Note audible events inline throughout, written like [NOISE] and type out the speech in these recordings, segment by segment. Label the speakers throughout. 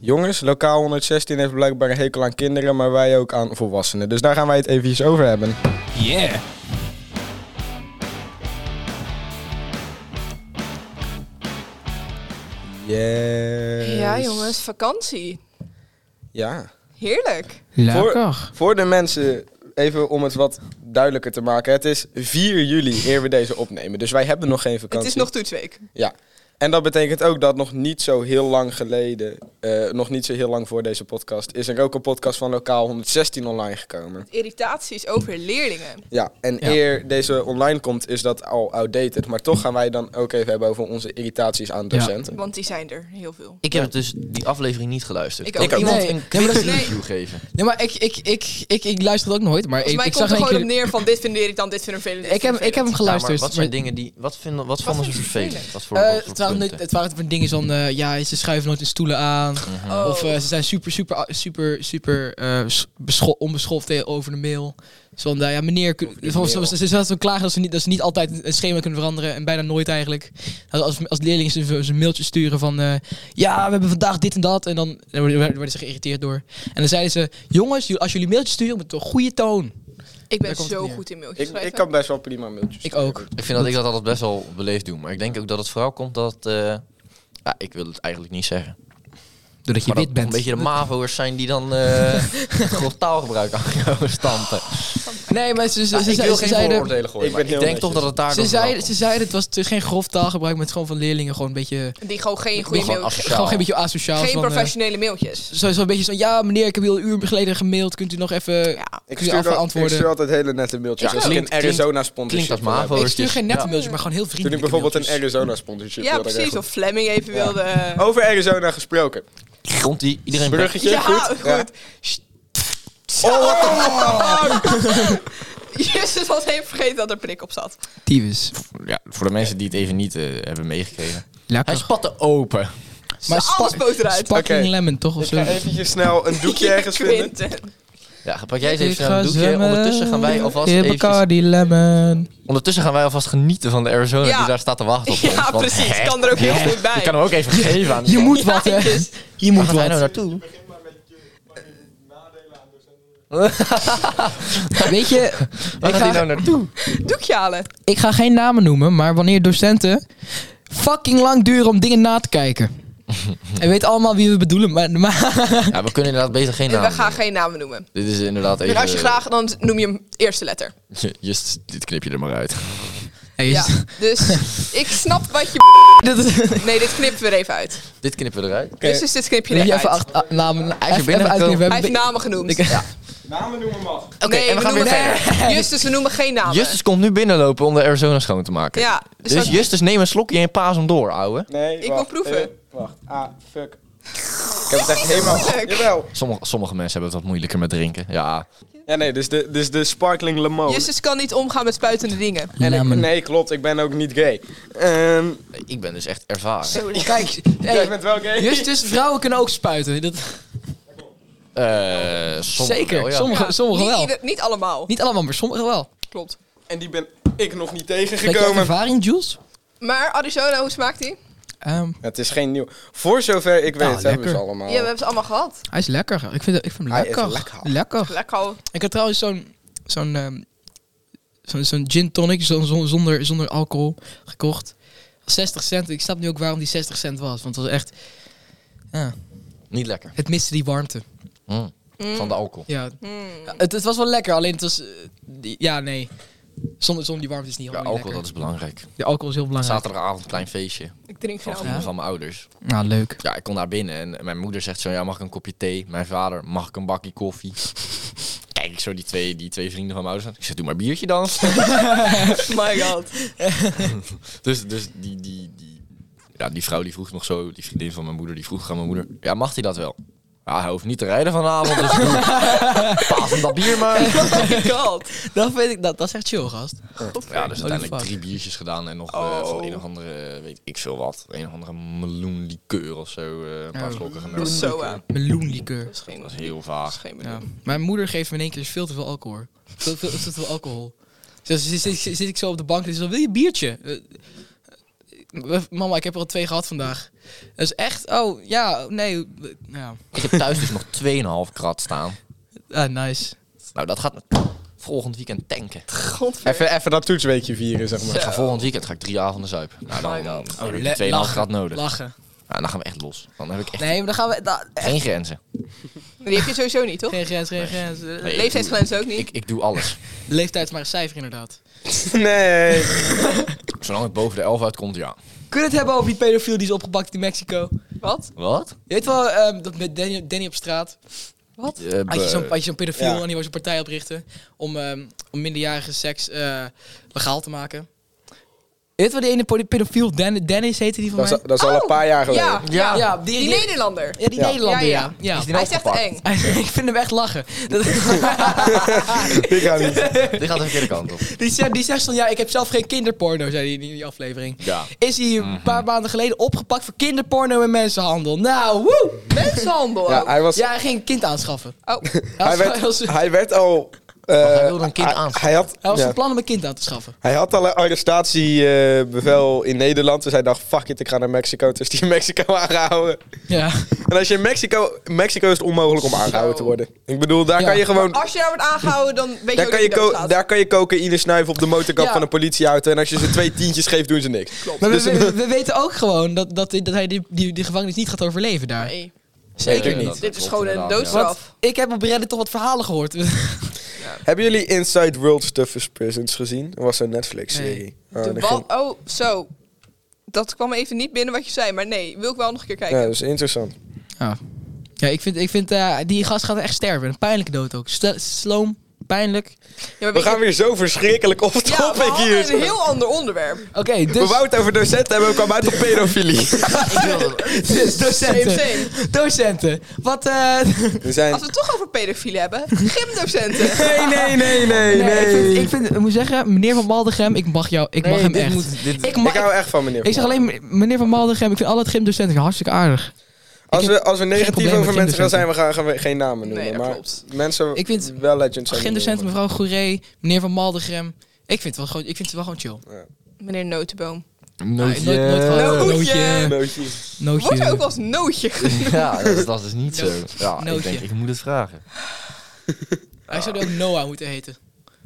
Speaker 1: Jongens, lokaal 116 heeft blijkbaar een hekel aan kinderen, maar wij ook aan volwassenen. Dus daar gaan wij het even over hebben.
Speaker 2: Yeah.
Speaker 1: Yes.
Speaker 2: Eh,
Speaker 3: Ja, jongens, vakantie.
Speaker 1: Ja.
Speaker 3: Heerlijk.
Speaker 2: Lekker.
Speaker 1: Voor de mensen, even om het wat duidelijker te maken. Het is 4 juli eer we deze opnemen. Dus wij hebben nog geen vakantie.
Speaker 3: Het is nog toetsweek.
Speaker 1: Ja. En dat betekent ook dat nog niet zo heel lang geleden, eh, nog niet zo heel lang voor deze podcast, is er ook een podcast van Lokaal 116 online gekomen.
Speaker 3: Irritaties over leerlingen.
Speaker 1: Ja, en
Speaker 2: Ja.
Speaker 1: eer deze online komt, is dat al outdated. Maar toch gaan wij dan ook even hebben over onze irritaties aan
Speaker 2: Ja.
Speaker 1: docenten.
Speaker 3: Want die zijn er heel veel.
Speaker 4: Ik heb dus die aflevering niet geluisterd.
Speaker 3: Ik
Speaker 4: Kan
Speaker 3: ook niet.
Speaker 4: iemand
Speaker 2: Nee.
Speaker 4: een
Speaker 2: Nee,
Speaker 4: quick
Speaker 2: maar dat-
Speaker 4: review geven?
Speaker 2: Nee, maar ik, ik, ik, ik, ik luister het ook nooit. Maar
Speaker 3: Volgens
Speaker 2: ik,
Speaker 3: mij
Speaker 2: ik
Speaker 3: komt
Speaker 2: zag in
Speaker 3: er
Speaker 2: één
Speaker 3: gewoon
Speaker 2: keer...
Speaker 3: op neer van dit vinden jullie dan, dit vinden vervelend. dit
Speaker 2: Ik heb,
Speaker 3: vinden
Speaker 2: ik heb hem
Speaker 3: vervelend.
Speaker 4: Ja, maar
Speaker 2: geluisterd.
Speaker 4: wat zijn dingen die... Wat, vinden, wat vonden ze
Speaker 3: vind je
Speaker 4: vervelend?
Speaker 3: vervelend?
Speaker 4: Wat voor,
Speaker 2: maar, eh,
Speaker 4: wat voor
Speaker 2: het, waren,
Speaker 4: punten?
Speaker 2: het waren van dingen zoals, eh, ja, ze schuiven nooit hun stoelen aan.
Speaker 3: Oh.
Speaker 2: Of eh, ze zijn super, super, ah, super, super eh, s- bescho- onbeschoft eh, over de mail. Dus van, eh, ja, meneer, kun-
Speaker 1: de
Speaker 2: soms,
Speaker 1: mail.
Speaker 2: soms, ze zaten klagen dat ze, niet, dat ze niet altijd het schema kunnen veranderen. En bijna nooit eigenlijk. Dat Als, als leerlingen ze zo- zo'n mailtje sturen van, eh, ja, we hebben vandaag dit en dat. En dan dan worden dan worden ze geïrriteerd door. En dan zeiden ze, jongens, jullie- als jullie mailtjes sturen, moet het een goede toon.
Speaker 3: Ik
Speaker 2: Daar
Speaker 3: ben
Speaker 2: komt het
Speaker 3: zo
Speaker 2: neer.
Speaker 3: goed in mailtjes
Speaker 1: Ik,
Speaker 3: schrijven.
Speaker 1: ik kan best wel prima mailtjes.
Speaker 2: Ik
Speaker 1: sturen.
Speaker 2: ook.
Speaker 4: Ik vind dat ik dat altijd best wel beleefd doe. Maar ik denk ook dat het vooral komt dat... eh, ja, ik wil het eigenlijk niet zeggen.
Speaker 2: Doordat je
Speaker 4: maar
Speaker 2: wit
Speaker 4: dat
Speaker 2: bent.
Speaker 4: een beetje de mavo'ers zijn die dan eh [LAUGHS] grof taalgebruik aan gaan stampen.
Speaker 2: Nee, maar ze, ze,
Speaker 4: Ja,
Speaker 2: ze,
Speaker 4: ik
Speaker 2: ze,
Speaker 4: wil
Speaker 2: ze
Speaker 4: geen
Speaker 2: zeiden...
Speaker 4: vooroordelen gooien,
Speaker 1: Ik
Speaker 4: maar
Speaker 1: ben
Speaker 4: ik
Speaker 1: heel
Speaker 4: denk toch
Speaker 1: netjes.
Speaker 4: dat het daar
Speaker 2: Ze
Speaker 4: door
Speaker 2: zeiden,
Speaker 4: vooral
Speaker 2: ze zeiden, het was het geen grof taalgebruik, maar het gewoon van leerlingen gewoon een beetje...
Speaker 3: Die gewoon geen
Speaker 4: komt.
Speaker 3: goede
Speaker 4: Gewoon
Speaker 3: mailtjes.
Speaker 4: asociaal.
Speaker 2: Gewoon een beetje asociaal.
Speaker 3: Geen
Speaker 2: van, eh,
Speaker 3: professionele mailtjes.
Speaker 2: Zo, zo een beetje zo, ja meneer, ik heb u al een uur geleden gemaild, kunt u nog even...
Speaker 3: Ja.
Speaker 1: Ik
Speaker 2: Kun je
Speaker 1: stuur, al, ik
Speaker 2: afantwoorden?
Speaker 1: stuur altijd hele nette mailtjes.
Speaker 4: Ja,
Speaker 1: als ik
Speaker 4: klinkt-
Speaker 1: een Arizona
Speaker 4: klinkt
Speaker 1: sponsorship
Speaker 4: als
Speaker 1: wil
Speaker 4: MAVO.
Speaker 1: hebben.
Speaker 2: ik stuur geen nette
Speaker 4: Ja.
Speaker 2: mailtjes, maar gewoon heel
Speaker 1: Toen ik
Speaker 2: vriendelijke
Speaker 1: bijvoorbeeld een
Speaker 2: mailtjes.
Speaker 1: Arizona sponsorship
Speaker 3: ja,
Speaker 1: wilde
Speaker 3: precies.
Speaker 1: regelen.
Speaker 3: Of Fleming even
Speaker 1: Ja. Oh. [LAUGHS]
Speaker 3: wilde... [LAUGHS]
Speaker 1: Over Arizona gesproken.
Speaker 4: Grond die iedereen weg.
Speaker 1: Bruggetje,
Speaker 3: Ja,
Speaker 1: goed?
Speaker 3: goed.
Speaker 1: Ja.
Speaker 3: Justus was even vergeten dat er prik op zat.
Speaker 2: Tyfus.
Speaker 4: Ja, voor de mensen die het even niet eh, hebben meegekregen. Hij
Speaker 2: Lekker.
Speaker 4: spatte open.
Speaker 2: Maar
Speaker 3: Ze- alles boot eruit.
Speaker 2: Sparkling
Speaker 1: Oké.
Speaker 2: lemon, toch? Of
Speaker 1: Ik
Speaker 2: zo?
Speaker 1: ga eventjes snel een doekje ergens vinden.
Speaker 3: Quinten.
Speaker 4: Ja, pak jij eens even snel een doekje. Ondertussen gaan wij alvast
Speaker 2: even...
Speaker 4: eventjes,
Speaker 2: Bacardi lemon.
Speaker 4: ondertussen gaan wij alvast genieten van de Arizona
Speaker 3: Ja.
Speaker 4: die daar staat te wachten op ons.
Speaker 3: Ja,
Speaker 4: want,
Speaker 3: precies.
Speaker 4: hè,
Speaker 3: Kan er ook heel
Speaker 4: hè,
Speaker 3: goed bij.
Speaker 4: Je kan hem ook even geven aan
Speaker 2: Je
Speaker 4: iemand.
Speaker 2: moet wat, hè?
Speaker 3: dus
Speaker 2: Je
Speaker 4: Waar
Speaker 2: moet
Speaker 4: gaat hij nou
Speaker 2: wat.
Speaker 4: naartoe?
Speaker 2: Weet je,
Speaker 4: [LAUGHS] Waar
Speaker 2: ik ga,
Speaker 4: gaat hij
Speaker 2: [LAUGHS]
Speaker 4: nou naartoe?
Speaker 3: Doekje halen.
Speaker 2: ik ga geen namen noemen, maar wanneer docenten fucking lang duren om dingen na te kijken.
Speaker 4: [LAUGHS]
Speaker 2: En weet allemaal wie we bedoelen, maar, maar
Speaker 4: Ja, we kunnen inderdaad beter geen
Speaker 3: En
Speaker 4: naam
Speaker 3: we gaan geen namen noemen.
Speaker 4: Dit is inderdaad even...
Speaker 3: En als je graag, dan noem je hem eerste letter.
Speaker 4: [LAUGHS] Just, dit knip je er maar
Speaker 3: [LAUGHS]
Speaker 4: uit.
Speaker 2: Hey, [LAUGHS]
Speaker 3: Ja,
Speaker 2: is-
Speaker 3: dus
Speaker 4: [LAUGHS]
Speaker 3: ik snap wat je...
Speaker 2: Dit is-
Speaker 3: Nee, dit knippen we er even uit.
Speaker 4: Dit knippen we eruit.
Speaker 3: Dus, dus dit knip je
Speaker 2: Wil je
Speaker 3: er
Speaker 2: even
Speaker 3: even uit.
Speaker 2: acht ah, namen
Speaker 4: is
Speaker 2: even, even
Speaker 4: binnengekomen.
Speaker 2: uitknippen? We
Speaker 3: Hij heeft
Speaker 2: hebben-
Speaker 3: namen genoemd.
Speaker 2: Ik-
Speaker 1: Namen noemen mag.
Speaker 4: Oké,
Speaker 3: nee,
Speaker 4: en we gaan weer
Speaker 3: noemen-
Speaker 4: verder.
Speaker 3: Nee, Justus, we noemen geen namen.
Speaker 4: Justus komt nu binnenlopen om de Arizona schoon te maken.
Speaker 3: Ja,
Speaker 4: Dus,
Speaker 3: dus dat-
Speaker 4: Justus, neem een slokje en paas hem door, ouwe.
Speaker 1: Nee,
Speaker 3: Ik
Speaker 1: wacht,
Speaker 3: wil proeven.
Speaker 1: eh, wacht. Ah, fuck. Ik heb het echt helemaal...
Speaker 3: Fuck.
Speaker 1: Jawel.
Speaker 4: Sommige, sommige mensen hebben het wat moeilijker met drinken. Ja,
Speaker 1: Ja, nee, dus de, dus de sparkling lemon.
Speaker 3: Justus kan niet omgaan met spuitende dingen.
Speaker 1: en ik,
Speaker 2: Lemon.
Speaker 1: nee, klopt. Ik ben ook niet gay. Ehm
Speaker 4: ik ben dus echt ervaren.
Speaker 2: Kijk,
Speaker 1: Jij
Speaker 2: hey,
Speaker 1: bent wel gay?
Speaker 2: Justus, vrouwen kunnen ook spuiten. Dat,
Speaker 4: Eh, sommige
Speaker 2: zeker,
Speaker 4: wel, ja.
Speaker 2: sommige,
Speaker 4: [LAUGHS]
Speaker 2: sommigen
Speaker 3: niet,
Speaker 2: wel.
Speaker 3: ieder- niet allemaal.
Speaker 2: Niet allemaal, maar sommigen wel.
Speaker 3: Klopt.
Speaker 1: En die ben ik nog niet
Speaker 2: Weet je uit
Speaker 1: tegengekomen.
Speaker 2: ervaring, Jules?
Speaker 3: Maar Arizona, hoe smaakt die?
Speaker 4: Oh.
Speaker 2: Ehm,
Speaker 1: Het is geen nieuw. Voor zover ik weet,
Speaker 2: Ah,
Speaker 1: hebben ze
Speaker 2: lekker.
Speaker 1: allemaal.
Speaker 3: Ja, we hebben ze allemaal gehad.
Speaker 2: hij is lekker. Ik vind, ik vind hem
Speaker 1: Hij is
Speaker 2: lekker.
Speaker 1: lekker.
Speaker 3: Lekker. al.
Speaker 2: Ik had trouwens zo'n zo'n ehm, zo'n zo'n gin tonic zo'n zon- zonder, zonder alcohol gekocht. 60 cent. Ik snap nu ook waarom die 60 cent was. Want het was echt... Ja,
Speaker 4: Niet lekker.
Speaker 2: het miste die warmte.
Speaker 4: Mm. Van de alcohol.
Speaker 2: Ja,
Speaker 3: Mm.
Speaker 2: Ja, het, het was wel lekker, alleen het was... eh, die- ja, nee. Zonder, zonder die warmte is het niet
Speaker 4: Ja,
Speaker 2: helemaal
Speaker 4: alcohol,
Speaker 2: lekker.
Speaker 4: dat is belangrijk.
Speaker 2: De alcohol is heel belangrijk.
Speaker 4: Zaterdagavond, klein feestje.
Speaker 3: Ik drink
Speaker 4: Van,
Speaker 3: veel.
Speaker 4: vrienden van mijn ouders.
Speaker 2: Nou, leuk.
Speaker 4: Ja, ik kom daar binnen en mijn moeder zegt zo, ja, mag ik een kopje thee? Mijn vader, mag ik een bakje koffie?
Speaker 3: [LAUGHS]
Speaker 4: Kijk ik zo die twee, die twee vrienden van mijn ouders aan. Ik zeg, doe maar biertje dan. [LAUGHS]
Speaker 3: My god.
Speaker 4: Dus, dus die, die, die, ja, die vrouw die vroeg nog zo, die vriendin van mijn moeder, die vroeg aan mijn moeder: Ja, mag hij dat wel? Ja, hij hoeft niet te rijden vanavond,
Speaker 3: [LAUGHS]
Speaker 4: dus doe. Paas hem dat bier maar.
Speaker 3: My god.
Speaker 2: Dat vind ik, dat, dat is echt chill, gast.
Speaker 4: Ja, dus
Speaker 2: Holy
Speaker 4: uiteindelijk
Speaker 2: fuck.
Speaker 4: drie biertjes gedaan en nog eh,
Speaker 3: Oh.
Speaker 4: van een of andere, eh, weet ik veel wat, een of andere meloenlikeur of zo, eh, een paar
Speaker 2: Oh.
Speaker 4: slokken genomen.
Speaker 3: Dat is zo aan.
Speaker 2: Meloenlikeur.
Speaker 3: Dat is geen...
Speaker 4: eh. Dat
Speaker 3: Dat
Speaker 4: is heel
Speaker 3: is
Speaker 4: vaag.
Speaker 3: geen
Speaker 2: Ja.
Speaker 3: bedoel.
Speaker 2: Mijn moeder geeft me in één keer veel te veel alcohol. hoor. Veel, veel, veel te veel alcohol. Dus zit, zit, zit ik zo op de bank en ze zegt, wil je een biertje? Eh, Mama, ik heb er al twee gehad vandaag. Dat is echt, oh ja, nee. w- Ja,
Speaker 4: Ik heb thuis dus nog 2,5 krat staan.
Speaker 2: Ah, nice.
Speaker 4: Nou, dat gaat volgend weekend tanken.
Speaker 3: Godver.
Speaker 1: Even, even dat toetsweekje vieren, zeg maar.
Speaker 4: Ik ga volgend weekend ga ik drie avonden zuipen. Nou, dan,
Speaker 3: Oh my
Speaker 4: dan
Speaker 3: God.
Speaker 4: heb
Speaker 2: Le-
Speaker 4: ik 2,5
Speaker 2: lachen,
Speaker 4: grad nodig.
Speaker 2: Lachen.
Speaker 4: Ja, dan gaan we echt los. Dan heb ik echt
Speaker 2: Nee, maar dan gaan we. da-
Speaker 4: geen grenzen.
Speaker 3: Die heb je sowieso niet, toch?
Speaker 2: geen grens, geen grens. Eh,
Speaker 4: Nee, ik
Speaker 3: Leeftijdsgrens ook
Speaker 4: doe-
Speaker 3: niet.
Speaker 4: Ik, ik doe alles.
Speaker 2: De leeftijd is maar een cijfer, inderdaad.
Speaker 1: [LAUGHS] Nee.
Speaker 4: Zolang het boven de 11 uitkomt, ja.
Speaker 2: Kunnen we het hebben over die pedofiel die is opgepakt in Mexico?
Speaker 3: Wat?
Speaker 4: Wat?
Speaker 2: Je weet wel, ehm, dat met Danny, Danny op straat.
Speaker 3: Wat?
Speaker 4: Eh,
Speaker 2: Had je zo'n had je zo'n pedofiel
Speaker 1: Eh, Ja.
Speaker 2: en die was een partij oprichten om, ehm, om minderjarige seks eh, legaal te maken. Je weet wel, die ene poli- pedofiel, Dan- Dennis heette die van
Speaker 1: Dat is,
Speaker 2: mij?
Speaker 1: dat is al een
Speaker 3: Oh,
Speaker 1: paar jaar geleden.
Speaker 3: Ja,
Speaker 4: Ja.
Speaker 3: ja.
Speaker 2: Ja, die,
Speaker 3: Die
Speaker 2: die,
Speaker 3: Nederlander.
Speaker 2: ja, die
Speaker 1: Ja.
Speaker 2: Nederlander,
Speaker 3: Ja,
Speaker 2: ja.
Speaker 3: ja.
Speaker 2: ja.
Speaker 4: Is die
Speaker 3: Hij is echt
Speaker 4: opgepakt?
Speaker 2: [LAUGHS]
Speaker 3: eng.
Speaker 2: ik vind hem echt lachen. Dat-
Speaker 1: Ik ga niet.
Speaker 4: [LAUGHS] Dit gaat de verkeerde kant op.
Speaker 2: [LAUGHS] die, zegt, die zegt van, ja, ik heb zelf geen kinderporno, zei hij in die- in die aflevering.
Speaker 4: Ja.
Speaker 2: Is hij
Speaker 1: Mhm.
Speaker 2: een paar maanden geleden opgepakt voor kinderporno en mensenhandel. Nou, woe!
Speaker 3: Mensenhandel.
Speaker 1: Ja, hij, was,
Speaker 2: Ja, hij ging een kind aanschaffen.
Speaker 3: Oh,
Speaker 2: Hij,
Speaker 1: hij,
Speaker 2: was, hij, was,
Speaker 1: werd, hij werd al... eh,
Speaker 4: hij wilde een kind
Speaker 1: hij-
Speaker 4: aanvallen.
Speaker 1: Hij had,
Speaker 2: hij was
Speaker 1: ja.
Speaker 2: van plan om een kind aan te schaffen.
Speaker 1: hij had al een arrestatiebevel in Nederland. Dus hij dacht, fuck it, ik ga naar Mexico. Dus die in Mexico aangehouden.
Speaker 2: Ja.
Speaker 1: En als je in Mexico... Mexico is het onmogelijk om aangehouden
Speaker 3: Zo. Oh,
Speaker 1: te worden. Ik bedoel, daar
Speaker 2: Ja.
Speaker 1: kan je gewoon...
Speaker 3: als je daar wordt aangehouden, dan weet je
Speaker 1: Daar
Speaker 3: ook
Speaker 1: kan
Speaker 3: dat
Speaker 1: je,
Speaker 3: je
Speaker 1: ko-
Speaker 3: doodgaat.
Speaker 1: daar kan je cocaïne snuiven op de motorkap
Speaker 2: Ja.
Speaker 1: van een politieauto. En als je ze twee tientjes geeft, doen ze niks.
Speaker 2: Maar we, we- we weten ook gewoon dat, dat, dat hij die, die, die gevangenis niet gaat overleven daar.
Speaker 3: Nee.
Speaker 1: Oh, Zeker
Speaker 4: Nee,
Speaker 1: niet.
Speaker 4: dat- dat
Speaker 3: Dit is
Speaker 4: klopt
Speaker 3: gewoon een
Speaker 4: inderdaad,
Speaker 3: doodstraf.
Speaker 4: ja.
Speaker 2: Want ik heb op Reddit toch wat verhalen gehoord. [LAUGHS]
Speaker 1: Hebben jullie Inside World Stuffers Prisons gezien? Dat was zo'n Netflix-serie. Oh,
Speaker 3: De
Speaker 1: dat
Speaker 3: wa-
Speaker 1: ging-
Speaker 3: Oh, zo. Dat kwam even niet binnen wat je zei, maar nee, wil ik wel nog een keer kijken.
Speaker 1: ja, dat is interessant.
Speaker 2: Ja, ja ik vind, ik vind eh, die gast gaat echt sterven. Een pijnlijke dood ook. Stel- sloom, pijnlijk.
Speaker 3: Ja, maar
Speaker 1: We
Speaker 3: weet
Speaker 1: gaan
Speaker 3: je-
Speaker 1: weer zo verschrikkelijk off
Speaker 3: Ja, we
Speaker 1: topic
Speaker 3: hadden
Speaker 1: hier.
Speaker 3: een heel ander
Speaker 1: [LAUGHS]
Speaker 3: onderwerp.
Speaker 2: Oké,
Speaker 1: We
Speaker 2: dus...
Speaker 1: wouden het over docenten hebben, we kwamen uit op
Speaker 3: [LAUGHS]
Speaker 1: pedofilie.
Speaker 2: [LAUGHS] dus
Speaker 3: Same, [LAUGHS]
Speaker 2: docenten.
Speaker 3: same.
Speaker 2: Docenten. Wat, eh, [LAUGHS]
Speaker 1: We zijn...
Speaker 3: Als we het toch over pedofielen hebben,
Speaker 1: [LAUGHS]
Speaker 3: gymdocenten.
Speaker 1: Nee, nee, nee, nee,
Speaker 2: Nee, ik,
Speaker 1: nee.
Speaker 2: vind, ik, vind, ik moet zeggen, meneer Van Maldegem, ik mag jou, ik mag hem echt. ik, mag,
Speaker 1: Ik hou echt van meneer.
Speaker 2: ik zeg alleen, meneer Van Maldegem, ik vind alle het gymdocenten hartstikke aardig.
Speaker 1: Als
Speaker 2: ik
Speaker 1: we, als we negatief
Speaker 2: probleem
Speaker 1: over
Speaker 2: met
Speaker 1: mensen gaan zijn, we
Speaker 2: gymdocenten.
Speaker 1: gaan, gaan we geen namen noemen.
Speaker 3: Nee, dat
Speaker 1: maar
Speaker 3: klopt.
Speaker 1: mensen
Speaker 2: Ik vind-
Speaker 1: wel legends zijn.
Speaker 2: Gymdocent, mevrouw Goeree, meneer Van Maldegem. Ik vind het wel gewoon, ik vind het wel gewoon chill.
Speaker 3: Meneer Notenboom.
Speaker 2: Nee, nooit, nooit gewoon
Speaker 4: [LAUGHS]
Speaker 3: Nootje.
Speaker 2: nootje.
Speaker 1: Nootje.
Speaker 3: Wordt
Speaker 2: Nootje.
Speaker 3: ook wel eens nootje genoemd.
Speaker 4: Ja, dat is, dat is niet zo.
Speaker 2: Nootje.
Speaker 4: Ja, ik denk, ik moet het vragen.
Speaker 2: Hij zou ook Noah moeten heten.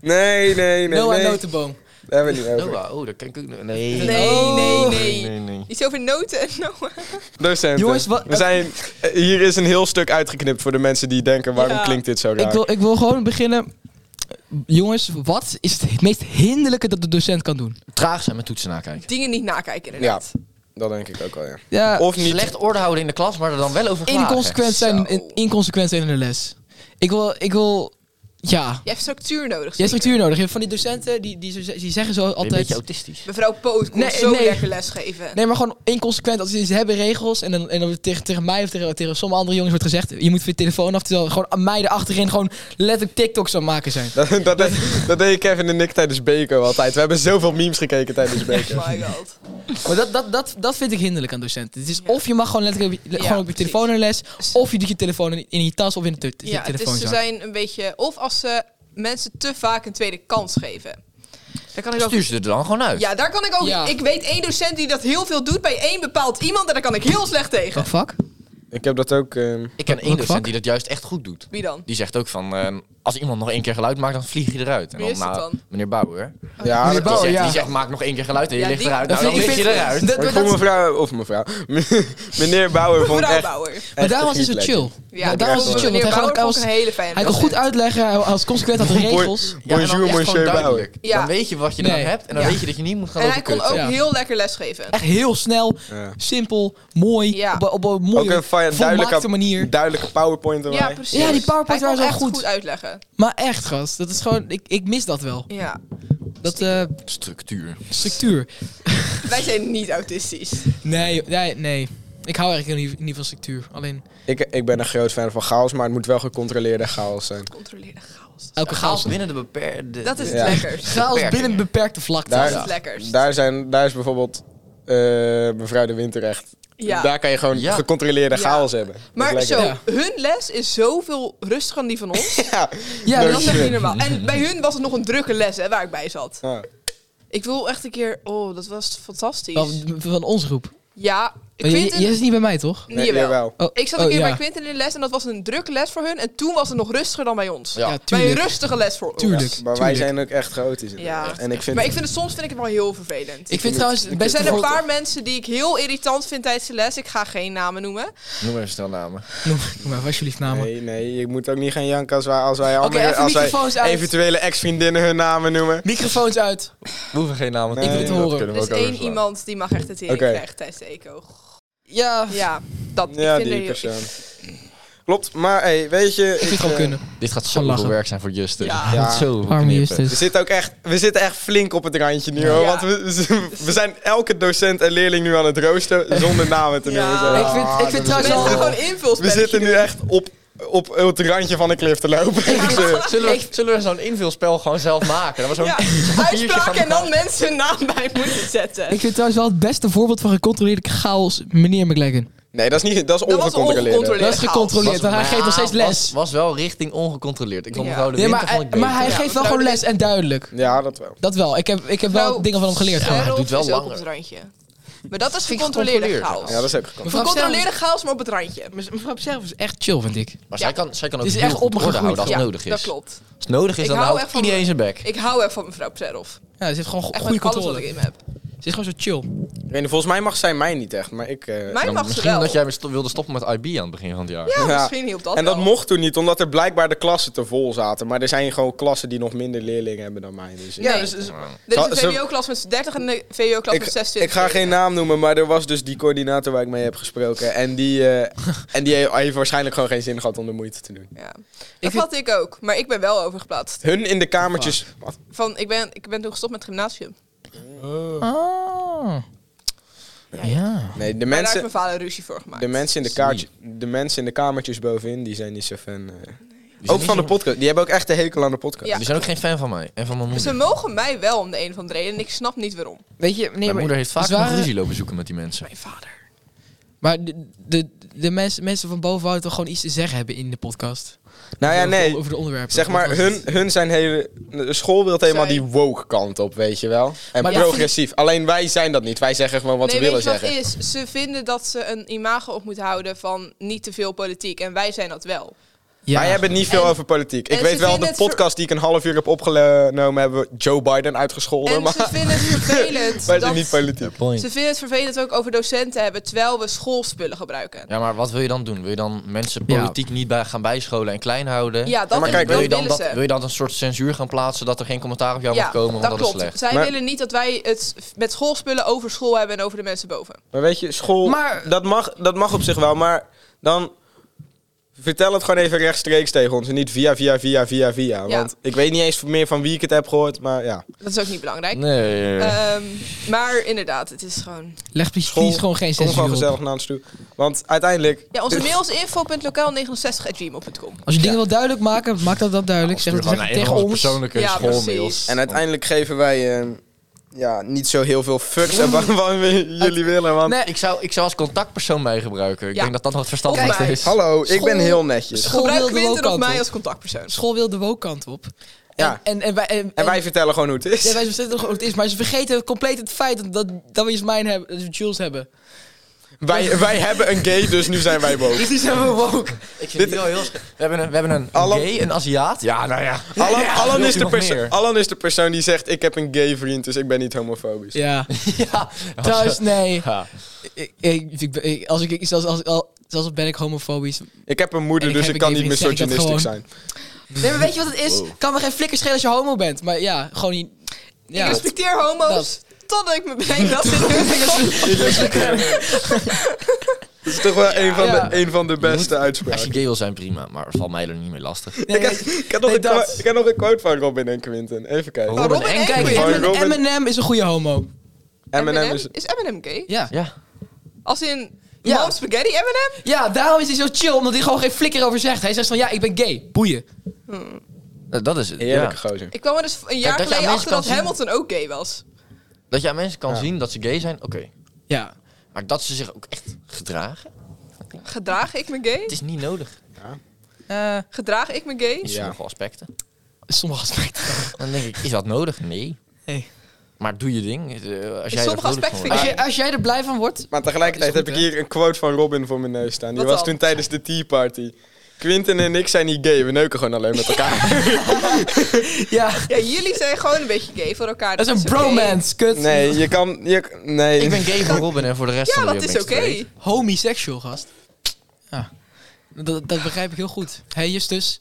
Speaker 1: Nee, nee, nee.
Speaker 2: Noah
Speaker 1: nee.
Speaker 2: Notenboom.
Speaker 1: Daar hebben we het niet over.
Speaker 4: oh, dat kan ik ook... Nee.
Speaker 3: Nee, nee, nee.
Speaker 4: Nee, nee.
Speaker 3: Iets over noten en Noah.
Speaker 1: Docenten.
Speaker 2: Jongens, wat-
Speaker 1: we zijn, eh, hier is een heel stuk uitgeknipt voor de mensen die denken, waarom
Speaker 3: Ja.
Speaker 1: klinkt dit zo raar?
Speaker 2: Ik wil, ik wil gewoon beginnen. Jongens, wat is het meest hinderlijke dat de docent kan doen?
Speaker 4: Traag zijn met toetsen
Speaker 3: [LAUGHS]
Speaker 4: nakijken.
Speaker 3: Dingen niet nakijken inderdaad.
Speaker 1: Dat denk ik ook wel, ja.
Speaker 2: Ja,
Speaker 1: Of niet.
Speaker 4: Slecht orde houden in de klas, maar er dan wel over klagen.
Speaker 2: inconsequent zijn,
Speaker 3: Zo.
Speaker 2: in, inconsequent zijn in de les. Ik wil, ik wil, ja.
Speaker 3: Je hebt structuur nodig.
Speaker 2: Je hebt
Speaker 3: zeker.
Speaker 2: structuur nodig. Je hebt Van die docenten, die, die, zo- die zeggen zo
Speaker 4: Ben je Een beetje
Speaker 2: altijd...
Speaker 4: autistisch.
Speaker 3: Mevrouw Poot kon
Speaker 2: Nee,
Speaker 3: zo
Speaker 2: nee.
Speaker 3: lekker lesgeven.
Speaker 2: Nee, maar gewoon inconsequent. Als ze ze hebben regels en dan, en dan tegen, tegen mij of tegen, tegen sommige andere jongens wordt gezegd... Je moet van je telefoon af, terwijl gewoon meiden achterin gewoon letterlijk TikToks aan het maken zijn.
Speaker 1: [LAUGHS] Dat, dat, deed- dat deed Kevin en ik tijdens Beko altijd. We hebben zoveel memes gekeken tijdens Beko.
Speaker 3: Oh my god.
Speaker 2: [LAUGHS] Maar dat, dat, dat, dat vind ik hinderlijk aan docenten. Het is of je mag gewoon letterlijk op je,
Speaker 3: Ja,
Speaker 2: gewoon op je
Speaker 3: precies. Dus-
Speaker 2: telefoon naar les, of je doet je telefoon in, in je tas of in de, te-
Speaker 3: Ja, het
Speaker 2: telefoon.
Speaker 3: is, ze zijn een beetje... Of als ze mensen te vaak een tweede kans geven. Daar kan ik ook
Speaker 4: Stuur ze er dan gewoon uit.
Speaker 3: Ja, daar kan ik ook.
Speaker 2: Ja.
Speaker 3: Ik weet één docent die dat heel veel doet bij één bepaald iemand en daar kan ik heel slecht tegen.
Speaker 2: fuck?
Speaker 1: [LAUGHS] Ik heb dat ook... ehm,
Speaker 4: Ik ken
Speaker 2: Wat-
Speaker 4: één
Speaker 2: wat
Speaker 4: docent
Speaker 2: vak?
Speaker 4: die dat juist echt goed doet.
Speaker 3: Wie dan?
Speaker 4: Die zegt ook van, ehm, als iemand nog één keer geluid maakt, dan vlieg je eruit. En
Speaker 3: Wie is dat
Speaker 4: nou,
Speaker 3: dan?
Speaker 4: Meneer Bauer. Die
Speaker 1: ja, dat
Speaker 2: Bauer,
Speaker 1: klopt.
Speaker 4: zegt,
Speaker 2: ja.
Speaker 4: die zegt, maak nog één keer geluid en je
Speaker 3: Ja,
Speaker 4: ligt
Speaker 3: die-
Speaker 4: eruit.
Speaker 2: Dat
Speaker 4: Nou, dan
Speaker 2: vind ik-
Speaker 4: lig je
Speaker 2: ik vind-
Speaker 4: eruit.
Speaker 2: dat-
Speaker 1: Maar ik
Speaker 2: dat-
Speaker 1: vond mevrouw... Of mevrouw. [LAUGHS] Meneer Bauer vond
Speaker 3: Mevrouw
Speaker 1: echt...
Speaker 3: Bauer.
Speaker 2: Maar
Speaker 1: echt
Speaker 2: daarom is het zo
Speaker 1: niet
Speaker 2: chill.
Speaker 1: lekker.
Speaker 2: Ja, daarom is het
Speaker 1: echt
Speaker 2: chill. Want hij,
Speaker 3: Meneer
Speaker 2: gewoon,
Speaker 3: Bauer
Speaker 2: hij, was,
Speaker 3: vond ik een hele fijne
Speaker 2: hij kon goed
Speaker 3: docent.
Speaker 2: uitleggen, hij was consequent
Speaker 4: [LAUGHS]
Speaker 2: had de
Speaker 1: Boy-
Speaker 2: regels.
Speaker 4: Ja, en dan
Speaker 1: Bonjour,
Speaker 4: echt gewoon
Speaker 1: monsieur Bauer.
Speaker 4: duidelijk.
Speaker 3: Ja.
Speaker 4: Dan weet je wat je
Speaker 2: Nee.
Speaker 4: dan hebt en dan
Speaker 2: Ja.
Speaker 4: weet je dat je niet moet gaan
Speaker 3: En hij kon
Speaker 4: overkutten.
Speaker 3: ook
Speaker 2: Ja.
Speaker 3: heel lekker lesgeven.
Speaker 2: Echt heel snel,
Speaker 1: Ja.
Speaker 2: simpel, mooi,
Speaker 3: Ja.
Speaker 2: op, op een
Speaker 1: Ook
Speaker 2: mooie,
Speaker 1: een fijn-
Speaker 2: volmaakte
Speaker 1: duidelijke,
Speaker 2: manier.
Speaker 1: duidelijke powerpoint erbij.
Speaker 3: Ja, precies.
Speaker 2: Ja, die powerpoint
Speaker 3: Hij
Speaker 2: waren
Speaker 3: kon
Speaker 2: zo
Speaker 3: echt
Speaker 2: goed.
Speaker 3: goed uitleggen.
Speaker 2: Maar echt, gast, dat is gewoon, ik, ik mis dat wel. [LAUGHS]
Speaker 3: Ja.
Speaker 2: Dat eh,
Speaker 4: Structuur.
Speaker 2: structuur.
Speaker 3: Wij zijn niet autistisch.
Speaker 2: Nee, nee, nee. Ik hou eigenlijk niet, niet van structuur. Alleen
Speaker 1: Ik, ik ben een groot fan van chaos, maar het moet wel gecontroleerde chaos zijn.
Speaker 3: Controleer de chaos.
Speaker 2: elke chaos.
Speaker 4: binnen de beperkte...
Speaker 3: Dat is het
Speaker 1: Ja.
Speaker 3: lekkers.
Speaker 2: Chaos
Speaker 4: beperkingen.
Speaker 2: binnen een beperkte vlakte.
Speaker 1: Daar-
Speaker 3: Dat is het lekkers.
Speaker 1: Daar, zijn, daar is bijvoorbeeld eh, mevrouw de Winter echt...
Speaker 3: Ja.
Speaker 1: Daar kan je gewoon
Speaker 4: Ja.
Speaker 1: gecontroleerde
Speaker 3: Ja.
Speaker 1: chaos hebben. Dat is
Speaker 3: Maar
Speaker 1: lekker.
Speaker 3: zo,
Speaker 2: Ja.
Speaker 3: hun les is zoveel rustiger dan die van ons.
Speaker 1: Ja.
Speaker 2: Ja,
Speaker 3: Dat
Speaker 1: Leuk. Ah,
Speaker 3: is echt niet normaal. En bij hun was het nog een drukke les hè, waar ik bij zat.
Speaker 1: Ja.
Speaker 3: Ik wil echt een keer... Oh, dat was fantastisch.
Speaker 2: Van, van onze groep.
Speaker 3: ja,
Speaker 2: Maar je,
Speaker 3: Quinten...
Speaker 2: je is niet bij mij, toch?
Speaker 1: Nee,
Speaker 3: jawel.
Speaker 1: jawel.
Speaker 2: Oh,
Speaker 3: Ik zat een
Speaker 2: oh,
Speaker 3: keer
Speaker 2: ja.
Speaker 3: bij Quinten in de les en dat was een drukke les voor hun. En toen was het nog rustiger dan bij ons.
Speaker 4: Ja.
Speaker 2: Ja,
Speaker 3: bij een
Speaker 2: tuurlijk.
Speaker 3: rustige les voor ons.
Speaker 2: Tuurlijk.
Speaker 1: maar wij
Speaker 2: tuurlijk.
Speaker 1: zijn ook echt chaotisch. in.
Speaker 3: Ja.
Speaker 1: En ik vind,
Speaker 3: Maar ik vind het, soms vind ik het wel heel vervelend.
Speaker 2: Ik vind trouwens...
Speaker 3: er
Speaker 2: best
Speaker 3: zijn een paar mensen die ik heel irritant vind tijdens de les. Ik ga geen namen noemen.
Speaker 4: Noem maar even snel namen.
Speaker 2: Noem noem maar alsjeblieft namen.
Speaker 1: Nee, nee, je moet ook niet gaan janken als wij, als wij, andere,
Speaker 2: even
Speaker 1: als wij
Speaker 2: microfoons uit.
Speaker 1: eventuele ex-vriendinnen hun namen noemen.
Speaker 2: Microfoons uit.
Speaker 4: We hoeven geen namen
Speaker 1: Nee,
Speaker 2: Ik wil het
Speaker 4: dat
Speaker 2: horen.
Speaker 4: kunnen
Speaker 3: Er
Speaker 4: we
Speaker 3: is
Speaker 4: ook
Speaker 3: één
Speaker 4: overslaan.
Speaker 3: iemand die mag echt het tering
Speaker 1: Oké.
Speaker 3: krijgen tijdens de eco.
Speaker 2: Ja.
Speaker 3: Ja, dat.
Speaker 1: Ja,
Speaker 3: ik vind
Speaker 1: die
Speaker 3: er heel-
Speaker 1: persoon. Klopt, maar hey, weet je...
Speaker 2: Ik vind het gewoon
Speaker 1: eh,
Speaker 2: kunnen.
Speaker 4: Dit gaat
Speaker 2: Gaan
Speaker 4: zoveel
Speaker 2: lachen.
Speaker 4: werk zijn voor Justin.
Speaker 3: Ja.
Speaker 1: Ja.
Speaker 4: Gaat zoveel
Speaker 2: Arme
Speaker 4: knippen.
Speaker 2: Justus.
Speaker 1: We zitten ook echt, we zitten echt flink op het randje nu hoor.
Speaker 3: Ja.
Speaker 1: Want we, [LAUGHS] we zijn elke docent en leerling nu aan het roosten zonder namen te
Speaker 3: Ja.
Speaker 1: noemen. zo.
Speaker 2: Ik vind, ik vind trouwens
Speaker 3: Mensen
Speaker 2: al...
Speaker 3: gaan gewoon invulspelletjes
Speaker 1: We zitten nu
Speaker 3: doen.
Speaker 1: echt op, op het randje van de klif te lopen. [LAUGHS] Dus,
Speaker 4: Zullen we, zullen we zo'n invulspel gewoon zelf maken? Dat
Speaker 1: [LAUGHS]
Speaker 4: was
Speaker 3: Ja, dus uitspraak en dan mensen hun naam bij moeten zetten.
Speaker 2: Ik vind trouwens wel het beste voorbeeld van gecontroleerde chaos meneer McLaggen.
Speaker 1: nee, dat is, niet, dat is
Speaker 3: was
Speaker 1: ongecontroleerd.
Speaker 3: ongecontroleerd.
Speaker 2: Dat is gecontroleerd, want hij geeft nog steeds
Speaker 4: Was,
Speaker 2: les.
Speaker 4: was wel richting ongecontroleerd. Ik vond
Speaker 3: Ja.
Speaker 4: mevrouw de
Speaker 2: Nee,
Speaker 4: Winter
Speaker 2: maar, eh,
Speaker 4: vond
Speaker 2: hij-
Speaker 4: ik
Speaker 2: maar hij
Speaker 4: beter.
Speaker 3: Ja,
Speaker 2: geeft wel
Speaker 3: mevrouw
Speaker 2: gewoon
Speaker 3: de
Speaker 2: les en duidelijk.
Speaker 1: Ja, dat wel.
Speaker 2: Dat wel. Ik heb, ik heb wel
Speaker 3: Nou,
Speaker 2: dingen van hem geleerd. gewoon.
Speaker 4: hij doet wel
Speaker 3: is ook
Speaker 4: langer.
Speaker 3: op het randje. Maar dat is
Speaker 4: Vind ik
Speaker 3: gecontroleerde
Speaker 4: gecontroleerd.
Speaker 3: chaos.
Speaker 1: Ja, dat is ook gecontroleerd.
Speaker 2: Mevrouw
Speaker 3: Gecontroleerde chaos, maar op het randje.
Speaker 2: Pserv- mevrouw Pserv is echt chill, vind ik.
Speaker 4: Maar
Speaker 3: Ja.
Speaker 4: zij, kan, zij kan ook
Speaker 2: Het is
Speaker 4: heel
Speaker 2: echt
Speaker 4: goed
Speaker 2: op me
Speaker 4: orde houden als
Speaker 2: gegroeid.
Speaker 4: het
Speaker 3: ja,
Speaker 4: nodig is.
Speaker 3: dat klopt.
Speaker 4: Als het nodig is,
Speaker 3: Ik
Speaker 4: dan
Speaker 3: hou
Speaker 2: nou
Speaker 4: houdt
Speaker 3: echt van-
Speaker 4: iedereen zijn bek.
Speaker 3: Ik hou echt van mevrouw Pserhoff.
Speaker 2: Ja, ze heeft gewoon
Speaker 3: Echt
Speaker 2: goede
Speaker 3: met alles wat
Speaker 2: controle.
Speaker 3: ik in me heb.
Speaker 2: Ze is gewoon zo chill.
Speaker 1: Ik weet niet, volgens mij mag zij mij niet echt, maar ik... eh,
Speaker 3: Mij
Speaker 4: Dan
Speaker 3: mag ze
Speaker 4: misschien
Speaker 3: wel.
Speaker 4: dat jij weer sto- wilde stoppen met IB aan het begin van het jaar.
Speaker 3: Ja,
Speaker 1: Ja.
Speaker 3: Nou, misschien hielp dat
Speaker 1: en dat
Speaker 3: wel.
Speaker 1: mocht toen niet, omdat er blijkbaar de klassen te vol zaten. Maar er zijn gewoon klassen die nog minder leerlingen hebben dan mij. Dus ik-
Speaker 3: Nee.
Speaker 2: Ja, dus, dus-
Speaker 3: Er
Speaker 1: Zal-
Speaker 3: is
Speaker 1: zal-
Speaker 3: een VWO-klas met z'n 30 en een VWO-klas
Speaker 1: Ik-
Speaker 3: met 26.
Speaker 1: Ik ga geen naam noemen, maar er was dus die coördinator waar ik mee heb gesproken. En die, [LAUGHS] eh, en die he- heeft waarschijnlijk gewoon geen zin gehad om de moeite te doen.
Speaker 3: Ja. Dat
Speaker 2: vind-
Speaker 3: had ik ook, maar ik ben wel overgeplaatst.
Speaker 1: Hun in de kamertjes. Wat?
Speaker 3: Van, ik, ben, ik ben toen gestopt met het gymnasium. Oh.
Speaker 2: Ah. Ja.
Speaker 3: Ja,
Speaker 1: Nee, de
Speaker 3: Maar daar heeft
Speaker 1: mensen,
Speaker 3: mijn vader ruzie voor gemaakt.
Speaker 1: de, mensen in de, kaartje, de mensen in de kamertjes bovenin, die zijn niet zo fan. eh.
Speaker 4: zijn
Speaker 1: Ook
Speaker 4: niet
Speaker 1: van de
Speaker 4: zo-
Speaker 1: podcast. Die hebben ook echt de hekel aan de podcast.
Speaker 3: Ja.
Speaker 4: Die zijn ook geen fan van mij en van mijn moeder.
Speaker 3: Ze mogen mij wel om de een of andere reden en ik snap niet waarom.
Speaker 2: Weet je, nee,
Speaker 4: Mijn
Speaker 2: maar,
Speaker 4: moeder heeft vaak
Speaker 2: ze waren-
Speaker 4: nog ruzie lopen zoeken met die mensen.
Speaker 3: Mijn vader.
Speaker 2: maar de, de, de mensen, mensen van boven hadden toch gewoon iets te zeggen hebben in de podcast.
Speaker 1: Nou ja,
Speaker 2: Over-
Speaker 1: nee.
Speaker 2: Over de onderwerpen.
Speaker 1: Zeg maar,
Speaker 2: Wat was
Speaker 1: hun,
Speaker 2: het?
Speaker 1: hun zijn hele. De school wil helemaal
Speaker 3: Zij-
Speaker 1: die woke kant op, weet je wel. En
Speaker 2: Maar dat
Speaker 1: progressief. Alleen wij zijn dat niet. Wij zeggen gewoon wat
Speaker 3: nee,
Speaker 1: we willen
Speaker 3: weet je wat
Speaker 1: zeggen.
Speaker 3: het is? Ze vinden dat ze een imago op moet houden van niet te veel politiek. En wij zijn dat wel.
Speaker 2: Ja.
Speaker 1: Wij hebben het niet veel
Speaker 3: En-
Speaker 1: over politiek. Ik
Speaker 3: en
Speaker 1: weet
Speaker 3: ze
Speaker 1: wel,
Speaker 3: vinden
Speaker 1: de
Speaker 3: het ver-
Speaker 1: podcast die ik een half uur heb opgenomen, hebben we Joe Biden uitgescholden.
Speaker 3: en
Speaker 1: maar [LAUGHS]
Speaker 3: ze vinden het vervelend
Speaker 1: wij
Speaker 3: dat...
Speaker 1: zijn niet politiek.
Speaker 3: Ze vinden het vervelend dat we ook over docenten hebben, terwijl we schoolspullen gebruiken.
Speaker 4: Ja, maar wat wil je dan doen? Wil je dan mensen
Speaker 2: Ja.
Speaker 4: politiek niet bij, gaan bijscholen en klein houden?
Speaker 3: Ja, dat,
Speaker 1: Ja, maar
Speaker 3: en
Speaker 1: kijk,
Speaker 3: dat
Speaker 4: wil, je dan
Speaker 3: willen
Speaker 4: dat,
Speaker 3: ze.
Speaker 4: wil je dan een soort censuur gaan plaatsen dat er geen commentaar op jou mag komen? Want
Speaker 3: dat,
Speaker 4: dat,
Speaker 3: klopt.
Speaker 4: is slecht.
Speaker 3: Zij
Speaker 1: Maar-
Speaker 3: willen niet dat wij het met schoolspullen over school hebben en over de mensen boven.
Speaker 1: Maar weet je, school,
Speaker 2: Maar-
Speaker 1: dat, mag, dat mag op zich wel, maar dan vertel het gewoon even rechtstreeks tegen ons en niet via, via, via, via, via.
Speaker 3: Ja.
Speaker 1: Want ik weet niet eens meer van wie ik het heb gehoord, maar ja.
Speaker 3: Dat is ook niet belangrijk.
Speaker 1: Eh,
Speaker 4: Nee.
Speaker 3: Ehm, maar inderdaad, het is gewoon...
Speaker 2: Leg
Speaker 1: School-
Speaker 2: precies gewoon geen
Speaker 1: Kom
Speaker 2: censuur
Speaker 1: gewoon
Speaker 2: op.
Speaker 1: gezellig naar ons toe. Want uiteindelijk...
Speaker 3: Ja, onze
Speaker 1: Dit-
Speaker 3: mail is info.lokaal69.gmail.com.
Speaker 2: Als je dingen wil duidelijk maken, maak dat dan duidelijk. Zeg het zeg het tegen ons.
Speaker 4: persoonlijke
Speaker 3: Ja,
Speaker 4: schoolmails.
Speaker 3: precies.
Speaker 1: En uiteindelijk geven wij eh, ja, niet zo heel veel
Speaker 3: [LAUGHS]
Speaker 1: fucks [LAUGHS] aan wat- wat we- jullie willen, want...
Speaker 4: Nee, ik zou, ik zou als contactpersoon mij gebruiken. Ik
Speaker 3: Ja.
Speaker 4: denk dat dat nog het verstandigste
Speaker 3: Kijk,
Speaker 4: is.
Speaker 1: Hallo, ik ben
Speaker 2: School-
Speaker 1: heel netjes.
Speaker 2: school-
Speaker 3: Gebruik
Speaker 2: wilde
Speaker 3: Quinten
Speaker 2: ook
Speaker 3: of mij
Speaker 2: kant
Speaker 3: als contactpersoon.
Speaker 2: School wil de woke kant op.
Speaker 1: Ja.
Speaker 2: En, en, en wij, en,
Speaker 1: En wij vertellen gewoon hoe het is.
Speaker 2: Ja, wij weten nog hoe het is, maar ze vergeten compleet het feit dat, dat, dat we eens mijn hebben, dat we Jules hebben.
Speaker 1: Wij, wij hebben een gay, dus nu zijn wij boos.
Speaker 2: Dus die zijn we woke.
Speaker 4: Ik vind het wel heel... sch- We hebben een, we hebben een
Speaker 1: Alan-
Speaker 4: gay, een Aziat. Ja, nou ja.
Speaker 1: Alan, Alan,
Speaker 4: wil
Speaker 1: is
Speaker 4: je
Speaker 1: de
Speaker 4: nog
Speaker 1: perso-
Speaker 4: meer?
Speaker 1: Alan is de persoon die zegt: Ik heb een gay vriend, dus ik ben niet homofobisch. [LAUGHS]
Speaker 2: Ja,
Speaker 4: ja.
Speaker 2: trouwens, nee.
Speaker 4: Ja.
Speaker 2: Ik, ik, ik- ik- als ik, ik- zelfs, als, ik al- zelfs al ben ik homofobisch.
Speaker 1: Ik heb een moeder,
Speaker 2: En ik
Speaker 1: dus
Speaker 2: heb
Speaker 1: ik
Speaker 2: een
Speaker 1: kan niet
Speaker 2: gay vriend, zeg ik dat
Speaker 1: misogynistisch zijn.
Speaker 2: gewoon. Nee, maar weet je wat het is? Kan me geen flikker schelen als je homo bent. Maar ja, gewoon niet... Ja.
Speaker 3: ik respecteer homo's totdat ik me bedenk dat ze in hun kop-
Speaker 2: [LAUGHS]
Speaker 1: Dat is toch wel een, van
Speaker 2: Ja.
Speaker 1: de, een van de beste
Speaker 4: [LAUGHS] Als je
Speaker 1: uitspraken.
Speaker 4: gay wil zijn, prima. Maar val mij er niet mee lastig.
Speaker 2: Nee,
Speaker 1: Ik heb- Ik heb nog
Speaker 2: Nee,
Speaker 1: een qua-
Speaker 2: dat.
Speaker 1: ik heb nog een quote van Robin en Quinten. Even kijken.
Speaker 4: Oh.
Speaker 3: Robin
Speaker 4: Robin en
Speaker 3: en
Speaker 2: Kijk,
Speaker 1: Quinten.
Speaker 3: Quinten.
Speaker 1: Van Robin-
Speaker 2: Eminem, Eminem is een goede homo.
Speaker 1: Eminem is.
Speaker 3: Is Eminem gay?
Speaker 2: Ja.
Speaker 4: Ja.
Speaker 3: Als in
Speaker 2: Ja.
Speaker 3: mom spaghetti Eminem?
Speaker 2: ja, daarom is hij zo chill, omdat hij gewoon geen flikker over zegt. Hij zegt van, ja, ik ben gay. Boeien.
Speaker 4: Nou, Dat is het. Ja.
Speaker 1: Heerlijke gozer.
Speaker 3: Ik kwam er dus een jaar
Speaker 4: dat je aan
Speaker 3: geleden
Speaker 4: mensen
Speaker 3: achter dat
Speaker 4: kan zien-
Speaker 3: Hamilton ook gay was.
Speaker 4: Dat je aan mensen kan
Speaker 1: Ja.
Speaker 4: zien dat ze gay zijn, oké.
Speaker 2: Ja.
Speaker 4: Maar dat ze zich ook echt gedragen,
Speaker 3: Gedraag ik me gay?
Speaker 4: het is niet nodig.
Speaker 2: Eh,
Speaker 3: Gedraag ik me gay?
Speaker 4: In
Speaker 1: Ja.
Speaker 4: sommige aspecten.
Speaker 2: sommige aspecten.
Speaker 4: Dan denk ik, is dat nodig? Nee.
Speaker 2: Hey.
Speaker 4: Maar doe je ding. Eh, Als jij er
Speaker 3: sommige
Speaker 4: vrolijk van
Speaker 3: aspecten
Speaker 4: wordt.
Speaker 3: vind
Speaker 5: Als,
Speaker 3: Maar-
Speaker 5: je, als jij er blij van wordt,
Speaker 1: Maar tegelijkertijd
Speaker 5: Dat is
Speaker 1: heb
Speaker 5: goed,
Speaker 1: ik hier een quote van Robin voor mijn neus staan. Die
Speaker 3: Wat
Speaker 1: was
Speaker 3: dan?
Speaker 1: toen tijdens de Tea Party. Quinten en ik zijn niet gay, we neuken gewoon alleen met elkaar.
Speaker 5: ja,
Speaker 3: Ja, jullie zijn gewoon een beetje gay voor
Speaker 5: [LAUGHS]
Speaker 3: elkaar. dus
Speaker 5: dat is een
Speaker 3: oké.
Speaker 5: bromance, kut.
Speaker 1: Nee, je kan... Je, nee.
Speaker 4: Ik ben gay voor Robin en voor de rest
Speaker 3: Ja,
Speaker 4: van de
Speaker 3: dat is
Speaker 4: Mixed
Speaker 3: oké.
Speaker 4: Race.
Speaker 2: Homosexual, gast. Ja. Dat, dat begrijp ik heel goed. Hé, hey, Justus.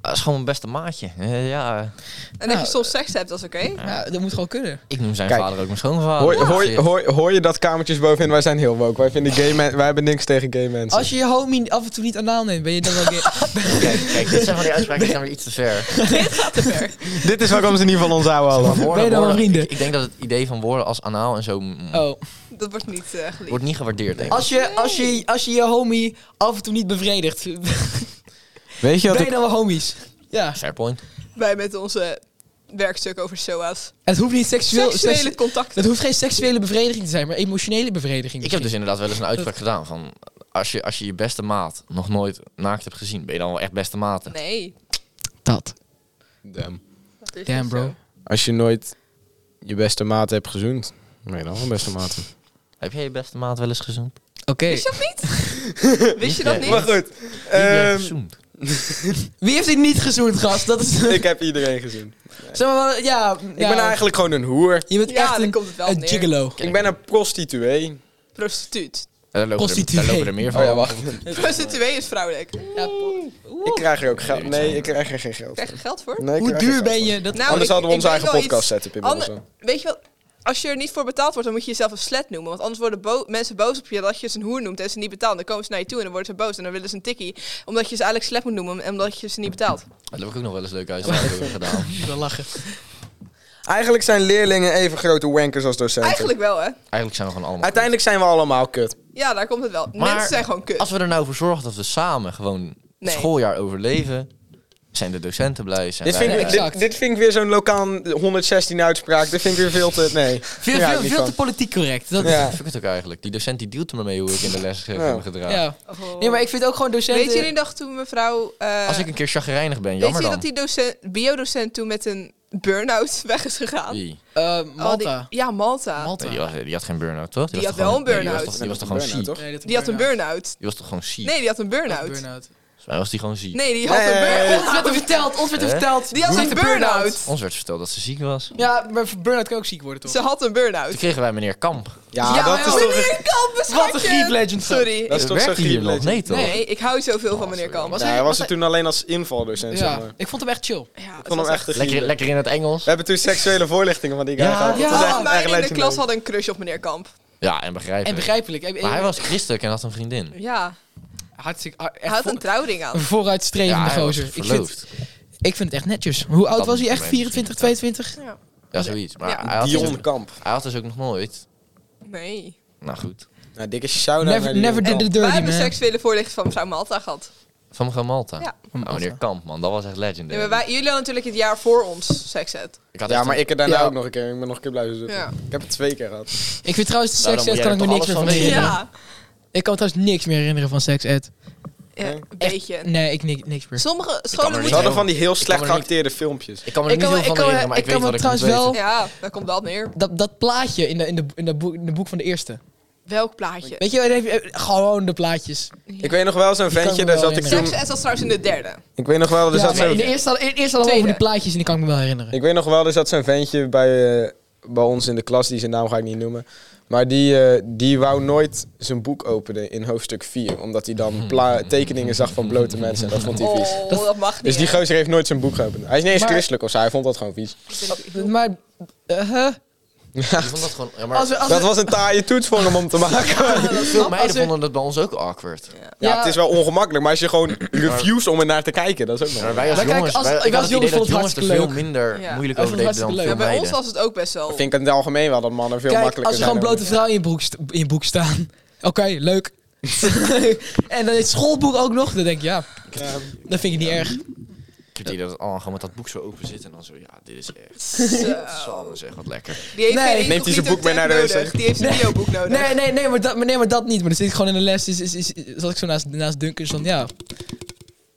Speaker 4: Ah, Dat is gewoon mijn beste maatje. Eh, ja, eh,
Speaker 3: En dat
Speaker 2: Nou,
Speaker 3: je soms seks hebt, dat is oké.
Speaker 2: Ja, dat moet gewoon kunnen.
Speaker 4: ik noem zijn
Speaker 1: Kijk.
Speaker 4: vader ook mijn schoonvader.
Speaker 1: Hoor,
Speaker 4: Ja.
Speaker 1: hoor, hoor, hoor je dat kamertjes bovenin? Wij zijn heel woke. Wij, vinden gay men, wij hebben niks tegen gay mensen.
Speaker 2: Als je je homie af en toe niet anaal neemt, ben je dan wel gay.
Speaker 4: Kijk, kijk,
Speaker 1: [LAUGHS]
Speaker 4: dit zijn van die uitspraken die gaan weer iets te ver.
Speaker 1: Dit is waarom ze niet van ons houden
Speaker 4: [LAUGHS]
Speaker 1: allemaal.
Speaker 4: Woorden-
Speaker 2: Ben je dan wel
Speaker 4: woorden-
Speaker 2: vrienden?
Speaker 4: Ik, ik denk dat het idee van woorden als anaal en zo
Speaker 2: [LAUGHS]
Speaker 4: mm,
Speaker 2: Oh.
Speaker 3: Dat wordt niet eh geliefd.
Speaker 4: wordt niet gewaardeerd, denk ik.
Speaker 2: Als je, als, je, als je je homie af en toe niet bevredigt, ben
Speaker 1: Weet je wat
Speaker 2: je
Speaker 1: ik...
Speaker 2: dan wel homies. Ja.
Speaker 4: Fair point.
Speaker 3: Wij met onze werkstuk over SOA's.
Speaker 2: Het hoeft niet seksueel...
Speaker 3: Seksuele
Speaker 2: seks-
Speaker 3: contacten.
Speaker 2: het hoeft geen seksuele bevrediging te zijn, maar emotionele bevrediging.
Speaker 4: Ik heb dus
Speaker 2: misschien.
Speaker 4: inderdaad wel eens een uitspraak gedaan van... Als je, als je je beste maat nog nooit naakt hebt gezien, ben je dan wel echt beste maten.
Speaker 3: Nee.
Speaker 2: Dat.
Speaker 1: Damn.
Speaker 3: dat is
Speaker 2: Damn,
Speaker 3: niet
Speaker 2: bro.
Speaker 3: zo.
Speaker 1: Als je nooit je beste maat hebt gezoend... Nee, dan wel beste maat.
Speaker 4: Heb jij je beste maat wel eens gezoend?
Speaker 2: Oké.
Speaker 3: Wist je dat niet? Wist je dat
Speaker 4: Niet,
Speaker 3: niet?
Speaker 1: Maar
Speaker 4: ja.
Speaker 1: goed.
Speaker 4: Wie heb jij
Speaker 1: ehm,
Speaker 4: gezoend? Eh,
Speaker 2: Wie heeft dit niet gezoend, gast? Dat [LAUGHS] is...
Speaker 1: ik heb iedereen gezien.
Speaker 2: Zeg maar, wel- ja...
Speaker 1: Ik ben eigenlijk gewoon een hoer.
Speaker 2: Je bent
Speaker 3: Ja,
Speaker 2: echt
Speaker 3: dan
Speaker 2: een,
Speaker 3: komt het wel
Speaker 2: een
Speaker 3: neer.
Speaker 2: gigolo.
Speaker 1: Ik ben een prostituee.
Speaker 3: Prostituut.
Speaker 4: Daar lopen, er,
Speaker 2: prostituee. Oh
Speaker 4: daar lopen er meer
Speaker 1: Oh,
Speaker 4: van.
Speaker 3: Prostituee is vrouwelijk.
Speaker 2: Ja, po-
Speaker 1: Ik krijg er ook geld...
Speaker 4: Nee,
Speaker 1: Nee, ik krijg er geen geld
Speaker 3: Krijg je geld voor?
Speaker 1: Nee, ik
Speaker 2: Hoe
Speaker 1: krijg er
Speaker 2: duur
Speaker 1: geld
Speaker 2: ben
Speaker 1: voor.
Speaker 2: je? Dat...
Speaker 3: Nou,
Speaker 1: Anders
Speaker 3: ik-
Speaker 1: hadden we
Speaker 3: ik
Speaker 1: onze
Speaker 3: weet
Speaker 1: eigen
Speaker 3: wel iets
Speaker 1: podcast zetten, Pim.
Speaker 3: ander- Weet je wel, als je er niet voor betaald wordt, dan moet je jezelf een slet noemen. Want anders worden bo- mensen boos op je dat je ze een hoer noemt en ze niet betaalt. Dan komen ze naar je toe en dan worden ze boos en dan willen ze een tikkie. Omdat je ze eigenlijk slet moet noemen en omdat je ze niet betaalt.
Speaker 4: Daar heb ik ook nog wel eens leuke uitspraken over gedaan.
Speaker 2: [LAUGHS] wel lachen.
Speaker 1: Eigenlijk zijn leerlingen even grote wankers als docenten.
Speaker 3: Eigenlijk wel, hè?
Speaker 4: Eigenlijk zijn we gewoon allemaal...
Speaker 1: Uiteindelijk zijn we allemaal kut.
Speaker 3: Ja, daar komt het wel.
Speaker 4: Maar-
Speaker 3: mensen zijn gewoon kut.
Speaker 4: Als we er nou voor zorgen dat we samen gewoon het
Speaker 3: Nee.
Speaker 4: schooljaar overleven, zijn de docenten blij. Zijn
Speaker 1: Dit vind,
Speaker 4: wij
Speaker 1: ik,
Speaker 4: blij.
Speaker 2: exact.
Speaker 1: dit, dit vind ik weer zo'n lokaal 116 uitspraak. Dit vind ik weer veel te... Nee.
Speaker 2: Veel,
Speaker 1: Ja,
Speaker 2: veel,
Speaker 1: niet
Speaker 2: veel te
Speaker 1: van.
Speaker 2: politiek correct. Dat,
Speaker 1: Ja.
Speaker 4: Ik vind het ook eigenlijk. Die docent die dealt me mee hoe ik in de les heb
Speaker 1: Ja.
Speaker 4: me gedragen.
Speaker 2: ja.
Speaker 3: Oh.
Speaker 2: Nee, maar ik vind ook gewoon docenten...
Speaker 3: Weet jullie nog toen mevrouw... eh,
Speaker 4: Als ik een keer chagrijnig ben,
Speaker 3: Weet
Speaker 4: jammer
Speaker 3: je
Speaker 4: dan.
Speaker 3: dat die docent, biodocent toen met een burn-out [LAUGHS] weg is gegaan?
Speaker 4: Wie?
Speaker 2: Eh,
Speaker 3: Al
Speaker 2: Malta.
Speaker 3: Die, ja, Malta.
Speaker 2: Malta.
Speaker 4: Nee, die, was, die had geen burn-out, toch?
Speaker 3: Die
Speaker 4: was
Speaker 3: had
Speaker 4: toch
Speaker 3: wel
Speaker 4: gewoon-
Speaker 3: een
Speaker 4: nee, die was
Speaker 3: burn-out.
Speaker 4: toch- Die was toch gewoon ziek?
Speaker 1: Burn-out, toch?
Speaker 2: Nee,
Speaker 3: Die had een burn-out.
Speaker 4: Die was toch gewoon ziek?
Speaker 3: Nee, die had een burn-out.
Speaker 2: burn-out.
Speaker 4: Volgens mij was die gewoon ziek.
Speaker 3: Nee, die had een
Speaker 1: Nee.
Speaker 2: [LAUGHS]
Speaker 3: burn-out.
Speaker 2: Ons werd er verteld, ons werd er
Speaker 4: Hè?
Speaker 2: verteld.
Speaker 3: Die had
Speaker 2: Ze
Speaker 3: een
Speaker 2: heeft burn-out.
Speaker 3: burn-out.
Speaker 4: Ons werd verteld dat ze ziek was.
Speaker 2: Ja, maar voor burn-out kan ook ziek worden, toch?
Speaker 3: Ze had een
Speaker 4: Toen
Speaker 3: burn-out. oh,
Speaker 4: kregen wij meneer Kamp.
Speaker 1: Ja,
Speaker 2: Ja,
Speaker 1: dat
Speaker 2: joh.
Speaker 1: is toch...
Speaker 3: Meneer Kamp, schatje.
Speaker 2: Wat een griep legend.
Speaker 3: Sorry.
Speaker 1: Dat is toch
Speaker 4: Werkt
Speaker 1: zo'n
Speaker 4: hij hier nog?
Speaker 1: griep.
Speaker 4: Nee, toch?
Speaker 3: Nee, ik hou zoveel van meneer
Speaker 4: sorry.
Speaker 3: Kamp.
Speaker 2: Was
Speaker 1: Nee,
Speaker 2: hij-
Speaker 1: Nou, hij was
Speaker 2: was
Speaker 1: er
Speaker 2: hij-
Speaker 1: toen alleen als invaldocent, zeg maar.
Speaker 2: Ja, ik vond hem echt chill.
Speaker 1: Ik
Speaker 3: Ja,
Speaker 1: vond hem echt een
Speaker 4: Lekker,
Speaker 1: griep.
Speaker 4: lekker in het Engels.
Speaker 1: We hebben toen seksuele voorlichtingen van die guy
Speaker 4: Ja,
Speaker 1: gehad. Dat
Speaker 2: ja.
Speaker 1: was echt-
Speaker 3: Alle
Speaker 1: echt
Speaker 3: meiden in de
Speaker 1: legendary.
Speaker 3: klas hadden een crush op meneer Kamp.
Speaker 4: Ja, en begrijp
Speaker 2: En
Speaker 4: ik.
Speaker 2: begrijpelijk. Ik- ik-
Speaker 4: Maar hij was christelijk en had een vriendin.
Speaker 3: Ja,
Speaker 2: hartstikke... ah,
Speaker 3: hij
Speaker 2: Echt
Speaker 3: had
Speaker 2: voor-
Speaker 3: een trouwring
Speaker 2: [LAUGHS]
Speaker 3: aan.
Speaker 2: een vooruitstrevende
Speaker 4: Ja, hij was
Speaker 2: gozer. Ik vind,
Speaker 4: verloofd.
Speaker 2: ik vind het echt netjes. Hoe oud
Speaker 4: Dat
Speaker 2: was hij? Echt
Speaker 4: moet
Speaker 2: 24, 22?
Speaker 4: Ja, zoiets. Maar
Speaker 3: Ja.
Speaker 4: hij, had dus,
Speaker 1: Dion Kamp.
Speaker 4: hij had dus ook nog nooit...
Speaker 3: Nee.
Speaker 4: Nou goed.
Speaker 1: Nou, dikke shout-out
Speaker 2: Never,
Speaker 1: naar Dion
Speaker 2: never did
Speaker 1: Kamp.
Speaker 2: the
Speaker 3: Wij
Speaker 2: dirty,
Speaker 3: hebben
Speaker 2: man.
Speaker 3: seksuele voorlichting van mevrouw Malta gehad.
Speaker 4: Van mevrouw Malta.
Speaker 3: Ja.
Speaker 4: Nou, meneer Kamp, man. Dat was echt
Speaker 3: Nee,
Speaker 4: legendary.
Speaker 3: maar wij, jullie hadden natuurlijk het jaar voor ons seksed.
Speaker 4: Ik had
Speaker 1: Ja,
Speaker 4: echt
Speaker 1: maar
Speaker 4: een-
Speaker 1: ik heb daarna
Speaker 2: Ja.
Speaker 1: ook nog een keer. Ik ben nog een keer blijven zitten.
Speaker 3: Ja.
Speaker 1: Ik heb het twee keer gehad.
Speaker 2: Ik vind trouwens de
Speaker 4: Nou, dan
Speaker 2: seks ed
Speaker 4: moet
Speaker 2: kan ik
Speaker 4: jij
Speaker 2: me
Speaker 4: er
Speaker 2: niks
Speaker 4: toch
Speaker 2: meer van
Speaker 4: alles van
Speaker 2: herinneren.
Speaker 3: Ja.
Speaker 2: Ik kan trouwens niks meer herinneren van seks ed.
Speaker 3: ja, een beetje.
Speaker 2: Nee, ik ni- niks meer.
Speaker 3: Sommige
Speaker 4: kan
Speaker 3: scholen
Speaker 4: er
Speaker 1: Ze
Speaker 4: niet
Speaker 3: moeten...
Speaker 1: hadden van die heel slecht
Speaker 4: me niet-
Speaker 1: geacteerde filmpjes.
Speaker 4: Ik kan me er
Speaker 2: Ik
Speaker 4: niet
Speaker 2: kan me-
Speaker 4: heel
Speaker 2: ik
Speaker 4: van
Speaker 2: kan me-
Speaker 4: herinneren, maar
Speaker 2: ik kan
Speaker 4: ik, weet
Speaker 2: me
Speaker 4: wat ik
Speaker 2: trouwens
Speaker 4: moet
Speaker 2: wel-
Speaker 4: weten.
Speaker 3: Ja, daar komt dat neer.
Speaker 2: Dat, dat plaatje in de, in, de, in, de boek, in de boek van de eerste.
Speaker 3: Welk plaatje?
Speaker 2: Weet je, wel, even- eh, gewoon de plaatjes.
Speaker 1: Ik weet nog wel zo'n
Speaker 2: kan
Speaker 1: ventje,
Speaker 2: me
Speaker 1: daar
Speaker 2: wel
Speaker 1: zat ik toen...
Speaker 3: Sex Ed was trouwens in de derde.
Speaker 1: Ik weet nog wel, er
Speaker 2: Ja,
Speaker 1: zat
Speaker 2: maar in
Speaker 1: zo'n...
Speaker 2: de eerste hadden in de eerste hadden we over
Speaker 3: Tweede.
Speaker 2: die plaatjes en die kan ik me wel herinneren.
Speaker 1: Ik weet nog wel, er zat zo'n ventje bij, eh, bij ons in de klas, die zijn naam ga ik niet noemen. Maar die, eh, die wou nooit zijn boek openen in hoofdstuk 4, omdat hij dan pla- tekeningen zag van blote mensen. En dat vond hij vies.
Speaker 3: Oh, dat mag niet.
Speaker 1: Dus die
Speaker 3: hè.
Speaker 1: gozer heeft nooit zijn boek geopend. Hij is niet eens
Speaker 2: Maar-
Speaker 1: christelijk of zo, hij vond dat gewoon vies.
Speaker 2: Maar, eh, huh?
Speaker 4: Ik vond dat gewoon... Ja, maar
Speaker 2: als we, als
Speaker 1: Dat
Speaker 2: we-
Speaker 1: was een taaie toets voor hem om te maken.
Speaker 4: veel meiden
Speaker 2: als we-
Speaker 4: vonden dat bij ons ook awkward.
Speaker 1: Ja,
Speaker 2: Ja.
Speaker 1: het is wel ongemakkelijk, maar als je gewoon [CLEARS THROAT] reviews om er naar te kijken, dat is ook nog...
Speaker 4: Maar wij als
Speaker 2: Maar kijk,
Speaker 4: jongens...
Speaker 2: als-
Speaker 4: wij-
Speaker 2: ik
Speaker 4: ik
Speaker 2: als
Speaker 4: had het
Speaker 2: jongens
Speaker 4: idee dat
Speaker 2: vond het
Speaker 4: jongens er
Speaker 2: hartstikke
Speaker 4: veel
Speaker 2: leuk.
Speaker 4: minder
Speaker 3: Ja.
Speaker 4: moeilijk
Speaker 2: Wij
Speaker 4: over
Speaker 2: vonden het
Speaker 4: deden dan
Speaker 2: hartstikke leuk.
Speaker 3: Ja,
Speaker 4: veel
Speaker 3: bij ons
Speaker 4: meiden.
Speaker 3: was het ook best wel.
Speaker 1: Ik vind het in het algemeen wel dat mannen veel
Speaker 2: Kijk,
Speaker 1: makkelijker
Speaker 2: als er gewoon
Speaker 1: zijn
Speaker 2: blote vrouwen in je broek, st- in je broek staan. [LAUGHS] Oké, leuk. [LAUGHS] en dan is het schoolboek ook nog. Dan denk ik, ja,
Speaker 1: Ja.
Speaker 2: dat vind ik niet erg.
Speaker 4: Ik heb het idee dat oh, gewoon met dat boek zo open zit en dan zo... Ja, dit is echt...
Speaker 1: [LAUGHS]
Speaker 3: Zo.
Speaker 4: Zo, zeg wat
Speaker 2: [LAUGHS]
Speaker 4: lekker.
Speaker 3: Die heeft
Speaker 2: Nee.
Speaker 3: geen
Speaker 1: Neemt hij zijn
Speaker 3: incognito
Speaker 1: boek mee naar de
Speaker 3: tent
Speaker 1: wc?
Speaker 3: nodig. Die heeft zijn
Speaker 2: Nee.
Speaker 3: bioboek nodig.
Speaker 2: Nee, nee, nee, maar dat, maar nee, maar dat niet. Maar dan zit ik gewoon in de les. Is, is, is, zat ik zo naast, naast Duncan. Dus dan, ja.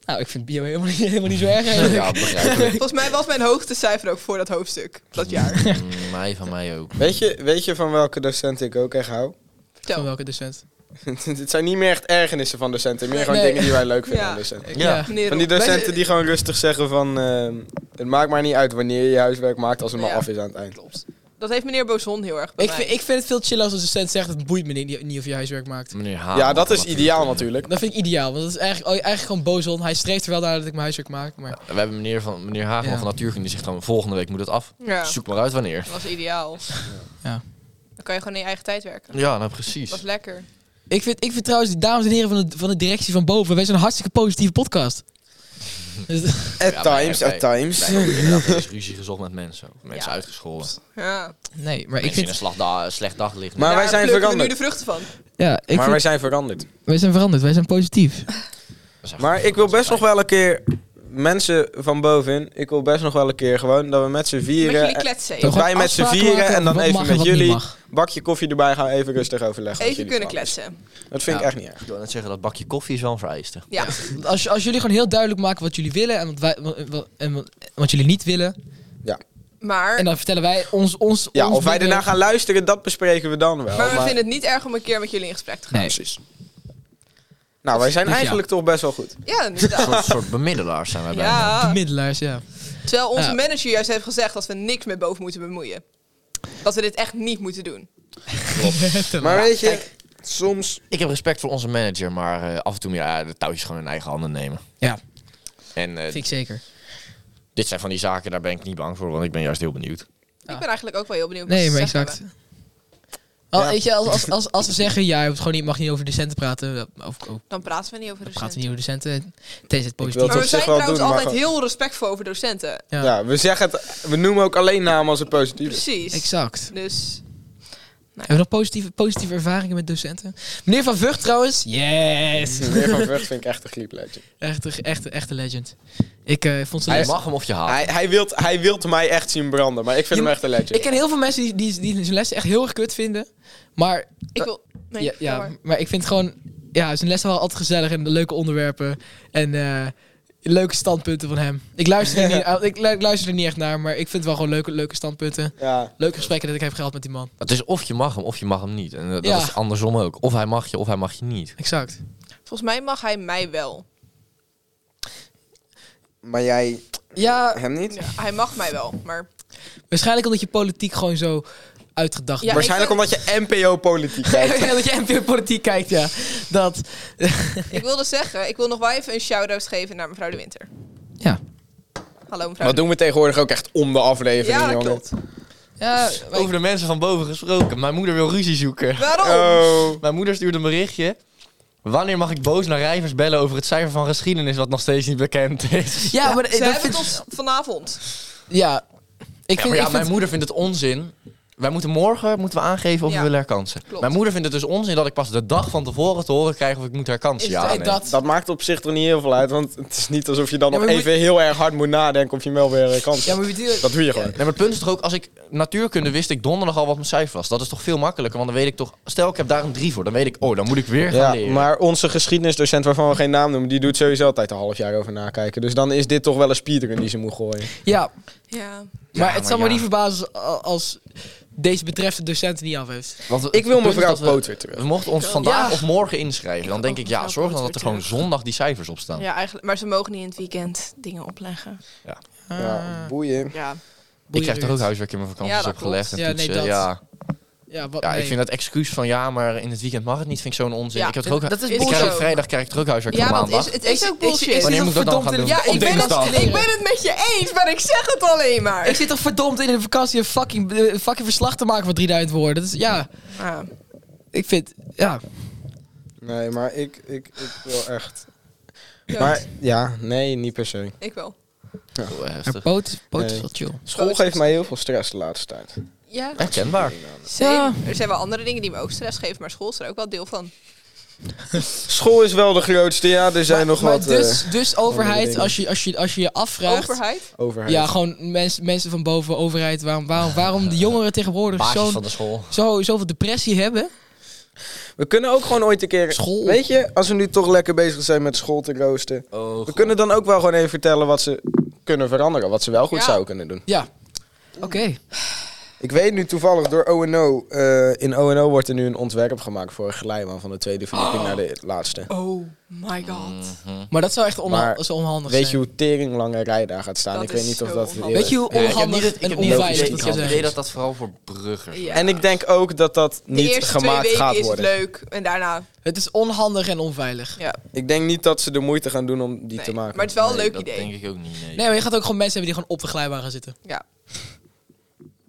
Speaker 2: Nou, ik vind bio helemaal niet, [LAUGHS] helemaal niet zo erg. eigenlijk.
Speaker 4: Ja, begrijpelijk.
Speaker 3: Volgens mij was mijn hoogtecijfer ook voor dat hoofdstuk dat
Speaker 2: [LAUGHS]
Speaker 3: jaar.
Speaker 4: Mm, Mij van mij ook.
Speaker 1: Weet je, weet je van welke docent ik ook echt hou?
Speaker 2: Van
Speaker 3: Vertel,
Speaker 2: welke docent?
Speaker 1: [LAUGHS] Dit zijn niet meer echt ergernissen van docenten, meer gewoon
Speaker 2: Nee.
Speaker 1: dingen die wij leuk vinden
Speaker 3: Ja.
Speaker 1: aan docenten.
Speaker 4: Ja.
Speaker 3: meneer
Speaker 1: Van die
Speaker 3: Rob.
Speaker 1: docenten die gewoon rustig zeggen van... ehm, het maakt maar niet uit wanneer je je huiswerk maakt als het maar
Speaker 3: Ja.
Speaker 1: af is aan het eind.
Speaker 4: Ah,
Speaker 3: Klopt. Dat heeft meneer Bozon heel erg bij
Speaker 2: Ik
Speaker 3: mij.
Speaker 2: vind, ik vind het veel chiller als een docent zegt... het boeit me niet, niet of je huiswerk maakt.
Speaker 1: Mm.
Speaker 4: Meneer H.
Speaker 1: Ja, dat is ideaal natuurlijk.
Speaker 2: Dat vind ik ideaal, want dat is eigenlijk, oh, eigenlijk gewoon boos om. Hij streeft er wel naar dat ik mijn huiswerk maak, maar...
Speaker 4: We hebben meneer, van, meneer Hageman
Speaker 2: Ja.
Speaker 4: van Natuurkunde die zegt dan volgende week moet het af.
Speaker 3: Ja,
Speaker 4: Zoek maar uit wanneer.
Speaker 3: dat was ideaal.
Speaker 2: Ja.
Speaker 3: Dan kan je gewoon in je eigen tijd werken.
Speaker 4: Ja, nou
Speaker 3: Dat is
Speaker 4: precies.
Speaker 3: lekker.
Speaker 2: Ik vind, ik vind trouwens, die dames en heren van de, van de directie van boven... wij zijn een hartstikke positieve
Speaker 1: [LAUGHS]
Speaker 2: podcast. Dus-
Speaker 1: At
Speaker 4: Ja, maar
Speaker 1: times,
Speaker 4: wij-
Speaker 1: at times. [LAUGHS]
Speaker 4: Wij hebben inderdaad wel eens ruzie gezocht met mensen. ook. Mensen
Speaker 3: Ja.
Speaker 4: uitgescholden.
Speaker 3: Ja.
Speaker 2: nee, maar ik
Speaker 4: mensen in een
Speaker 2: vind...
Speaker 4: slagda- slecht daglicht.
Speaker 1: Maar
Speaker 3: Ja,
Speaker 1: wij
Speaker 3: daar
Speaker 1: zijn
Speaker 3: plukken we
Speaker 1: veranderd.
Speaker 3: nu de vruchten van.
Speaker 2: Ja, ik
Speaker 1: maar
Speaker 2: vind-
Speaker 1: wij zijn veranderd.
Speaker 2: wij zijn veranderd, wij zijn positief.
Speaker 1: Maar ik wil best nog wel een keer... Mensen van bovenin, ik wil best nog wel een keer gewoon dat we met z'n
Speaker 3: Met
Speaker 1: vieren...
Speaker 3: jullie kletsen.
Speaker 1: eh, Toch?
Speaker 3: even.
Speaker 2: Gewoon
Speaker 1: wij met z'n
Speaker 2: afspraken
Speaker 1: vieren
Speaker 2: maken
Speaker 1: en dan
Speaker 2: wat
Speaker 1: even
Speaker 2: mag en
Speaker 1: met
Speaker 2: wat niet
Speaker 1: jullie.
Speaker 2: mag.
Speaker 1: Bakje koffie erbij gaan, even rustig overleggen. als
Speaker 3: Even
Speaker 1: jullie
Speaker 3: kunnen
Speaker 1: klaar zijn.
Speaker 3: kletsen.
Speaker 1: Dat vind ik
Speaker 4: Ja.
Speaker 1: echt niet erg.
Speaker 4: Ik wil net zeggen, dat bakje koffie is wel een vereiste.
Speaker 3: Ja.
Speaker 2: Als, als jullie gewoon heel duidelijk maken wat jullie willen en wat, wij, wat, wat- en wat, wat jullie niet willen...
Speaker 3: Maar,
Speaker 2: en dan vertellen wij ons... ons
Speaker 1: Ja,
Speaker 2: ons
Speaker 1: of wij
Speaker 2: willen-
Speaker 1: daarna gaan luisteren, dat bespreken we dan wel.
Speaker 3: maar we vinden het niet erg om een keer met jullie in gesprek te gaan.
Speaker 2: Nee,
Speaker 1: Nou, wij zijn
Speaker 2: Dus ja.
Speaker 1: eigenlijk toch best wel goed.
Speaker 3: Ja,
Speaker 4: Een
Speaker 3: inderdaad.
Speaker 4: soort, soort bemiddelaars zijn wij bijna.
Speaker 3: [LAUGHS]
Speaker 1: Ah.
Speaker 3: Ja.
Speaker 2: bemiddelaars,
Speaker 1: [LAUGHS]
Speaker 2: ja.
Speaker 3: Terwijl onze
Speaker 2: Ja.
Speaker 3: manager juist heeft gezegd dat we niks met boven moeten bemoeien. Dat we dit echt niet moeten doen.
Speaker 1: Maar weet je, soms...
Speaker 4: Ik heb respect voor onze manager, maar eh, af en toe moet je eh, de touwtjes gewoon in eigen handen nemen.
Speaker 2: Ja,
Speaker 4: En eh,
Speaker 2: vind ik zeker.
Speaker 4: dit zijn van die zaken, daar ben ik niet bang voor, want ik ben juist heel benieuwd.
Speaker 2: Ja.
Speaker 3: Ik ben eigenlijk ook wel heel benieuwd. wat
Speaker 2: Nee,
Speaker 3: ze
Speaker 2: maar
Speaker 3: te zeggen
Speaker 2: exact.
Speaker 3: hebben.
Speaker 2: Al,
Speaker 1: Ja.
Speaker 2: weet je, als, als, als, als ze zeggen, ja, je hebt gewoon niet, mag niet over docenten praten, eh, of, of
Speaker 3: Dan praten we niet over
Speaker 2: we
Speaker 3: docenten.
Speaker 2: praten niet over docenten, tenzij het positief
Speaker 1: wil
Speaker 2: is.
Speaker 3: Maar
Speaker 1: Dat
Speaker 3: we
Speaker 1: op
Speaker 3: zijn
Speaker 1: zich wel
Speaker 3: trouwens
Speaker 1: doen, maar
Speaker 3: altijd
Speaker 1: gewoon-
Speaker 3: heel respectvol over docenten.
Speaker 2: Ja,
Speaker 1: Ja. we zeggen het... We noemen ook alleen namen als het positief
Speaker 2: [LAUGHS]
Speaker 1: is.
Speaker 3: Precies.
Speaker 2: exact.
Speaker 3: Dus
Speaker 2: Hebben we nog positieve, positieve ervaringen met docenten? Meneer Van Vught trouwens, yes!
Speaker 1: Meneer Van Vught vind ik echt een griepletje.
Speaker 2: echt, een- echt, een- echt een legend. Ik eh, vond ze
Speaker 4: Je
Speaker 2: les-
Speaker 4: mag hem of je haat.
Speaker 1: Hij, hij, wilt, hij wilt mij echt zien branden, maar ik vind
Speaker 2: Ah. Je-
Speaker 1: hem echt een legend.
Speaker 2: Ik ken heel veel mensen die, die, die zijn lessen echt heel erg kut vinden, maar,
Speaker 3: ik wil... Nee,
Speaker 2: ja, ja,
Speaker 3: ga maar.
Speaker 2: maar ik vind gewoon, ja, zijn lessen waren altijd gezellig en leuke onderwerpen en... eh, Leuke standpunten van hem. Ik luister, er [LAUGHS] niet, ik lu- ik luister er niet echt naar, maar ik vind wel gewoon leuke, leuke standpunten.
Speaker 1: Ja.
Speaker 2: Leuke gesprekken dat ik heb gehad met die man.
Speaker 4: Het is of je mag hem of je mag hem niet. En eh, dat
Speaker 2: Ja.
Speaker 4: is andersom ook. Of hij mag je of hij mag je niet.
Speaker 2: Exact.
Speaker 3: Volgens mij mag hij mij wel.
Speaker 1: Maar jij
Speaker 2: Ja,
Speaker 1: hem niet?
Speaker 3: Ja, hij mag mij wel,
Speaker 2: [LAUGHS]
Speaker 3: maar...
Speaker 2: waarschijnlijk omdat je politiek gewoon zo uitgedacht wordt.
Speaker 3: Ja,
Speaker 2: [LAUGHS]
Speaker 1: Waarschijnlijk
Speaker 3: ik
Speaker 1: omdat je NPO-politiek kijkt.
Speaker 2: dat je NPO politiek kijkt, ja. Dat.
Speaker 3: Ik wilde zeggen, ik wil nog wel even een shout-out geven naar mevrouw De Winter.
Speaker 2: Ja.
Speaker 3: Hallo mevrouw
Speaker 1: Dat
Speaker 3: De
Speaker 1: doen we tegenwoordig ook echt om de aflevering,
Speaker 3: Ja, dat
Speaker 1: jongen.
Speaker 3: klopt.
Speaker 2: Ja, maar
Speaker 4: Over de mensen van boven gesproken. Mijn moeder wil ruzie zoeken.
Speaker 3: Waarom?
Speaker 1: Oh.
Speaker 4: Mijn moeder stuurde een berichtje. Wanneer mag ik boos naar Rijvers bellen over het cijfer van geschiedenis wat nog steeds niet bekend is?
Speaker 2: ja, maar
Speaker 3: Ze
Speaker 2: dat
Speaker 3: hebben
Speaker 2: vind,
Speaker 3: het ons vanavond.
Speaker 2: ja. Ik
Speaker 4: Ja,
Speaker 2: vind,
Speaker 4: maar ja,
Speaker 2: ik
Speaker 4: mijn
Speaker 2: vind,
Speaker 4: moeder vindt het onzin. Wij moeten morgen moeten we aangeven of
Speaker 3: Ja,
Speaker 4: we willen herkansen.
Speaker 3: klopt.
Speaker 4: Mijn moeder vindt het dus onzin dat ik pas de dag van tevoren te horen krijg of ik moet herkansen.
Speaker 3: Is
Speaker 4: ja,
Speaker 3: dat-
Speaker 4: nee.
Speaker 2: dat,
Speaker 1: Dat maakt op zich toch niet heel veel uit, want het is niet alsof je dan
Speaker 2: Ja,
Speaker 1: nog
Speaker 2: maar moet-
Speaker 1: even heel erg hard moet nadenken of je hem wel weer eh, kan.
Speaker 2: ja, maar bedoel-
Speaker 1: Dat doe je gewoon.
Speaker 4: Nee, maar het punt is toch ook, als ik natuurkunde wist ik donderdag al wat mijn cijfer was. Dat is toch veel makkelijker, want dan weet ik toch... Stel, ik heb daar een 3 voor, dan weet ik, oh, dan moet ik weer gaan
Speaker 1: Ja,
Speaker 4: leren.
Speaker 1: maar onze geschiedenisdocent, waarvan we geen naam noemen, die doet sowieso altijd een half jaar over nakijken. Dus dan is dit toch wel een speedrun die ze moet gooien.
Speaker 2: ja,
Speaker 3: Ja.
Speaker 2: maar
Speaker 4: maar
Speaker 2: het zal me
Speaker 4: ja.
Speaker 2: niet verbazen als, als deze betreffende docent niet af heeft.
Speaker 4: Want het
Speaker 1: Ik wil
Speaker 4: punt is
Speaker 1: mevrouw
Speaker 4: dat
Speaker 1: Poot weer
Speaker 4: We
Speaker 1: terug.
Speaker 4: mochten ons vandaag
Speaker 2: Ja.
Speaker 4: of morgen inschrijven. Dan
Speaker 3: Ik
Speaker 4: denk
Speaker 3: wil
Speaker 4: ik, ja,
Speaker 3: mevrouw
Speaker 4: zorg
Speaker 3: Poot
Speaker 4: dan dat er
Speaker 3: weer
Speaker 4: gewoon zondag die cijfers op staan.
Speaker 3: ja, eigenlijk. Maar ze mogen niet in het weekend dingen opleggen.
Speaker 2: Ah.
Speaker 1: Ja, boeien.
Speaker 3: Ja.
Speaker 4: Ik krijg toch ook
Speaker 2: Boeien.
Speaker 4: huiswerk in mijn vakanties
Speaker 3: Ja, dat
Speaker 4: opgelegd en
Speaker 2: klopt. Ja, nee,
Speaker 4: toetsen.
Speaker 2: dat.
Speaker 4: ja.
Speaker 2: Ja, wat,
Speaker 4: Ja,
Speaker 2: nee.
Speaker 4: ik vind dat excuus van ja, maar in het weekend mag het niet, vind ik zo'n onzin.
Speaker 3: Ja,
Speaker 4: ik heb toch ook,
Speaker 2: dat is
Speaker 4: ik krijg
Speaker 3: bullshit.
Speaker 4: ook vrijdag krijg ik er ook huiswerk
Speaker 3: Ja,
Speaker 4: van
Speaker 3: dat
Speaker 4: maandag.
Speaker 3: is, het is
Speaker 2: Ik-
Speaker 3: ook bullshit.
Speaker 2: ik- ik-
Speaker 4: Wanneer
Speaker 2: zit
Speaker 4: moet ik dat dan gaan
Speaker 2: verdomd
Speaker 4: doen?
Speaker 2: in-
Speaker 3: ja,
Speaker 2: Op
Speaker 3: ik ben,
Speaker 4: dinsdag.
Speaker 3: het, ik ben het met je eens, maar ik zeg het alleen maar.
Speaker 2: Ik zit toch verdomd in de vakantie een fucking, eh, een fucking verslag te maken van 3000 woorden. Dat is, ja,
Speaker 3: Ja.
Speaker 2: ik vind, ja.
Speaker 1: Nee, maar ik, ik, ik wil echt...
Speaker 3: Ja,
Speaker 1: Maar ja, nee, niet per se.
Speaker 3: ik wel.
Speaker 4: Oh,
Speaker 2: Maar
Speaker 4: heftig.
Speaker 2: poot, poot
Speaker 1: Nee.
Speaker 2: is wel chill.
Speaker 1: School geeft mij heel veel stress de laatste tijd.
Speaker 3: Ja,
Speaker 4: Herkenbaar.
Speaker 3: same.
Speaker 2: Ja.
Speaker 3: Er zijn wel andere dingen die me ook stress geven, maar school is er ook wel deel van.
Speaker 1: School is wel de grootste, ja, er zijn nog
Speaker 2: maar
Speaker 1: wat
Speaker 2: dus,
Speaker 1: eh
Speaker 2: dus overheid,
Speaker 1: dingen.
Speaker 2: als je, als, je, als je je afvraagt...
Speaker 3: Overheid.
Speaker 1: overheid.
Speaker 2: Ja, gewoon mensen mensen van boven, overheid. Waarom, waarom, waarom de jongeren tegenwoordig
Speaker 4: Baasjes
Speaker 2: zo'n
Speaker 4: van de school.
Speaker 2: zo, zoveel depressie hebben...
Speaker 1: We kunnen ook gewoon ooit een keer...
Speaker 2: School.
Speaker 1: Weet je, als we nu toch lekker bezig zijn met school te roosten...
Speaker 4: Oh,
Speaker 1: We kunnen dan ook wel gewoon even vertellen wat ze kunnen veranderen. Wat ze wel goed
Speaker 3: Ja.
Speaker 1: zouden kunnen doen.
Speaker 2: Ja.
Speaker 5: Oké.
Speaker 1: Ik weet nu toevallig door ONO... eh in ONO wordt er nu een ontwerp gemaakt voor een glijbaan van de tweede verdieping naar de laatste.
Speaker 3: Oh my god.
Speaker 2: Maar dat zou echt onha-
Speaker 1: Maar
Speaker 2: dat zou onhandig
Speaker 1: Weet je
Speaker 2: zijn.
Speaker 1: hoe tering lange rij daar gaat staan?
Speaker 3: Dat
Speaker 1: ik weet
Speaker 3: is
Speaker 1: niet
Speaker 3: zo
Speaker 1: of dat...
Speaker 3: onhandig.
Speaker 2: Weet je hoe
Speaker 4: Ja, Eh, ik heb
Speaker 2: onhandig
Speaker 4: niet het- ik
Speaker 2: en
Speaker 4: heb niet het
Speaker 2: onveilig
Speaker 4: idee-
Speaker 2: dat
Speaker 4: Ik
Speaker 2: je
Speaker 4: heb het idee
Speaker 2: zegt?
Speaker 4: dat dat vooral voor bruggers
Speaker 3: Ja.
Speaker 1: En ik denk ook dat dat
Speaker 3: De
Speaker 1: niet
Speaker 3: eerste twee
Speaker 1: gemaakt
Speaker 3: weken
Speaker 1: gaat
Speaker 3: is
Speaker 1: worden.
Speaker 3: het leuk en daarna.
Speaker 2: Het is onhandig en onveilig.
Speaker 3: Ja,
Speaker 1: Ik denk niet dat ze de moeite gaan doen om die
Speaker 3: nee.
Speaker 1: te maken.
Speaker 3: Maar het is wel een
Speaker 4: Nee,
Speaker 3: leuk
Speaker 4: dat
Speaker 3: idee.
Speaker 4: denk ik ook niet, nee.
Speaker 2: Nee, maar je gaat ook gewoon mensen hebben die gewoon op de glijbaan gaan zitten.
Speaker 3: Ja.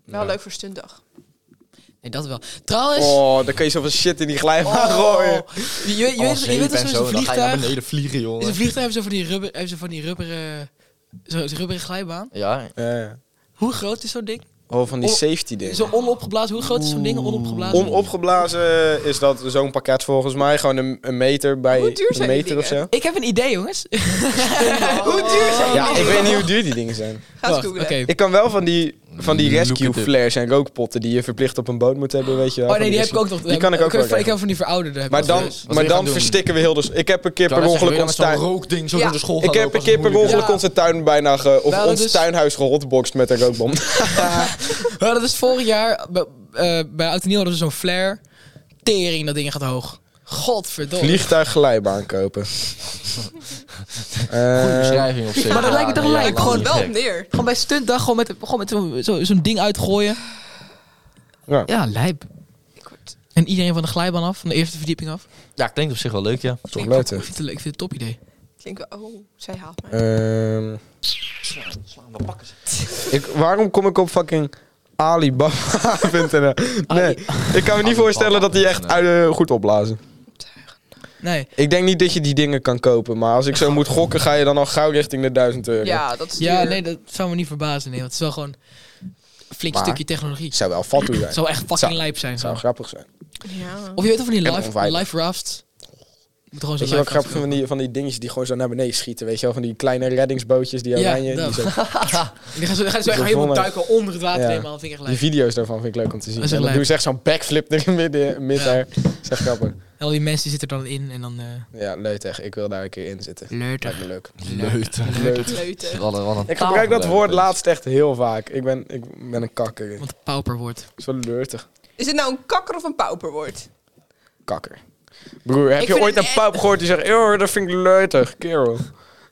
Speaker 3: Wel leuk voor stuntdag.
Speaker 2: Nee, dat wel. Trouwens,
Speaker 1: Oh, dan kun je zoveel shit in die
Speaker 3: Oh.
Speaker 1: glijbaan gooien.
Speaker 2: Oh. je, je,
Speaker 4: Oh,
Speaker 2: weet, je weet
Speaker 4: zeep
Speaker 2: dat
Speaker 4: en
Speaker 2: zo'n
Speaker 4: zo, dan ga je naar
Speaker 2: vliegtuig...
Speaker 4: beneden vliegen,
Speaker 2: In een
Speaker 4: jongen.
Speaker 2: vliegtuig hebben ze van die rubber, hebben ze van die rubber, eh, zo, zo'n rubberen glijbaan.
Speaker 4: Ja,
Speaker 1: Ja.
Speaker 2: Hoe groot is zo'n ding?
Speaker 1: Oh, van die
Speaker 2: Oh,
Speaker 1: safety dingen.
Speaker 2: Zo onopgeblazen, hoe groot is zo'n ding onopgeblazen?
Speaker 1: Onopgeblazen is dat zo'n pakket volgens mij. Gewoon een, een meter bij
Speaker 3: Hoe duur
Speaker 1: een
Speaker 3: zijn die
Speaker 1: meter of zo.
Speaker 3: dingen?
Speaker 2: ik heb een idee, jongens. [LAUGHS]
Speaker 3: Hoe duur zijn
Speaker 1: Ja,
Speaker 3: die?
Speaker 1: ik weet niet hoe duur die dingen zijn.
Speaker 3: Ga eens
Speaker 2: Wacht,
Speaker 3: googlen.
Speaker 2: oké.
Speaker 1: Ik kan wel van die, van die
Speaker 4: Look it
Speaker 1: rescue
Speaker 4: up.
Speaker 1: flares en rookpotten die je verplicht op een boot moet hebben, weet je wel.
Speaker 2: Oh
Speaker 1: van
Speaker 2: nee, die heb ik ook nog.
Speaker 1: Die kan ik ook wel
Speaker 2: heb- Ik
Speaker 1: krijgen.
Speaker 2: heb van die verouderde. heb
Speaker 1: Maar
Speaker 2: ik ook.
Speaker 1: dan,
Speaker 4: Wat wil
Speaker 1: maar
Speaker 4: je gaan
Speaker 1: dan
Speaker 4: doen?
Speaker 1: verstikken we heel dus. Ik heb een keer per
Speaker 4: Ja, dat zeg je
Speaker 1: ongeluk
Speaker 4: weer
Speaker 1: ons
Speaker 4: met
Speaker 1: tuin.
Speaker 4: zo'n rookding zo
Speaker 3: Ja.
Speaker 4: door de school
Speaker 1: Ik
Speaker 4: gaan
Speaker 1: heb
Speaker 4: lopen,
Speaker 1: een keer
Speaker 4: dat
Speaker 1: per
Speaker 4: is moeilijk.
Speaker 1: ongeluk
Speaker 2: Ja.
Speaker 1: onze tuin bijna ge, of
Speaker 2: Nou, dat
Speaker 1: ons
Speaker 2: is-
Speaker 1: tuinhuis gehotboxt met een
Speaker 4: [LAUGHS]
Speaker 1: rookbom.
Speaker 2: Ja, dat is vorig jaar bij, eh bij Oud en Nieuw hadden we zo'n flare. Tering, dat ding gaat hoog. Godverdomme.
Speaker 1: Vliegtuig glijbaan kopen.
Speaker 4: [LAUGHS] Goeie
Speaker 1: Eh,
Speaker 4: beschrijving op zich.
Speaker 2: Maar dat lijkt me toch
Speaker 4: Ja,
Speaker 2: lijp,
Speaker 4: ja,
Speaker 2: gewoon
Speaker 4: niet
Speaker 3: Wel
Speaker 4: gek.
Speaker 3: op neer.
Speaker 2: Gewoon bij stuntdag gewoon met, gewoon met zo'n zo, zo'n ding uitgooien.
Speaker 1: Ja.
Speaker 2: ja, lijp.
Speaker 3: Ik word-
Speaker 2: En iedereen van de glijbaan af, van de eerste verdieping af.
Speaker 4: Ja, klinkt op zich wel leuk, ja.
Speaker 1: Toch
Speaker 2: Ik
Speaker 1: leuk, hè?
Speaker 2: vind het een leuk, ik vind het een top idee.
Speaker 3: Klinkt wel... Oh, zij haalt mij.
Speaker 1: Ehm,
Speaker 4: We pakken ze.
Speaker 1: ik, waarom kom ik op fucking [LAUGHS] Alibaba.nl? Nee, ik kan me niet voorstellen dat die echt uit, eh, goed opblazen.
Speaker 2: Nee.
Speaker 1: Ik denk niet dat je die dingen kan kopen, maar als ik zo moet gokken, ga je dan al gauw richting de 1000 euro.
Speaker 3: Ja, dat is duur.
Speaker 2: Ja, nee, dat zou me niet verbazen. Nee, want het is wel gewoon een flink
Speaker 1: Maar-
Speaker 2: stukje technologie.
Speaker 1: Het zou wel fatu zijn.
Speaker 2: Het
Speaker 1: Het
Speaker 2: zou echt fucking
Speaker 1: Zou-
Speaker 2: lijp zijn.
Speaker 1: zou
Speaker 2: gewoon.
Speaker 1: grappig zijn.
Speaker 3: Ja.
Speaker 2: Of je weet toch van die
Speaker 1: En
Speaker 2: live,
Speaker 1: onveilig.
Speaker 2: live rafts. Je Moet gewoon zo'n
Speaker 1: Weet je wel
Speaker 2: live raft
Speaker 1: grappig van die, van die dingetjes die gewoon zo naar beneden schieten? Weet je wel, van die kleine reddingsbootjes, die
Speaker 2: Ja,
Speaker 1: oranje. die,
Speaker 2: dat.
Speaker 1: zo-
Speaker 2: kopen. Die gaan zo, die gaan zo echt
Speaker 1: Zo'n
Speaker 2: helemaal
Speaker 1: volle-
Speaker 2: duiken onder het water
Speaker 1: Ja.
Speaker 2: helemaal. Vind ik echt
Speaker 1: die
Speaker 2: lijp.
Speaker 1: video's daarvan vind ik leuk om te zien.
Speaker 2: Dat is
Speaker 1: En dan
Speaker 2: echt leuk.
Speaker 1: doen ze echt zo'n backflip er midden, midden
Speaker 2: Ja.
Speaker 1: daar. Dat is echt grappig.
Speaker 2: En al die mensen die zitten er dan in en dan... eh
Speaker 1: Ja, leuk echt. Ik wil daar een keer in zitten.
Speaker 2: Leuter.
Speaker 1: Lijkt me leuk.
Speaker 4: Leuten.
Speaker 1: Leuk.
Speaker 3: Leuten.
Speaker 4: Wat een- wat een
Speaker 1: Ik
Speaker 4: taal
Speaker 1: gebruik dat
Speaker 4: daar,
Speaker 1: woord
Speaker 4: weet
Speaker 1: laatst echt heel vaak. Ik ben, ik ben een kakker. Dat
Speaker 2: Want het pauper wordt.
Speaker 1: is wel leurtig.
Speaker 3: Is dit nou een kakker of een pauperwoord?
Speaker 1: Kakker. Broer, heb
Speaker 3: Ik
Speaker 1: je
Speaker 3: vind
Speaker 1: ooit
Speaker 3: het
Speaker 1: een
Speaker 3: echt-
Speaker 1: paup gehoord die zegt... Eeuw, dat vind ik leutig. Kerel.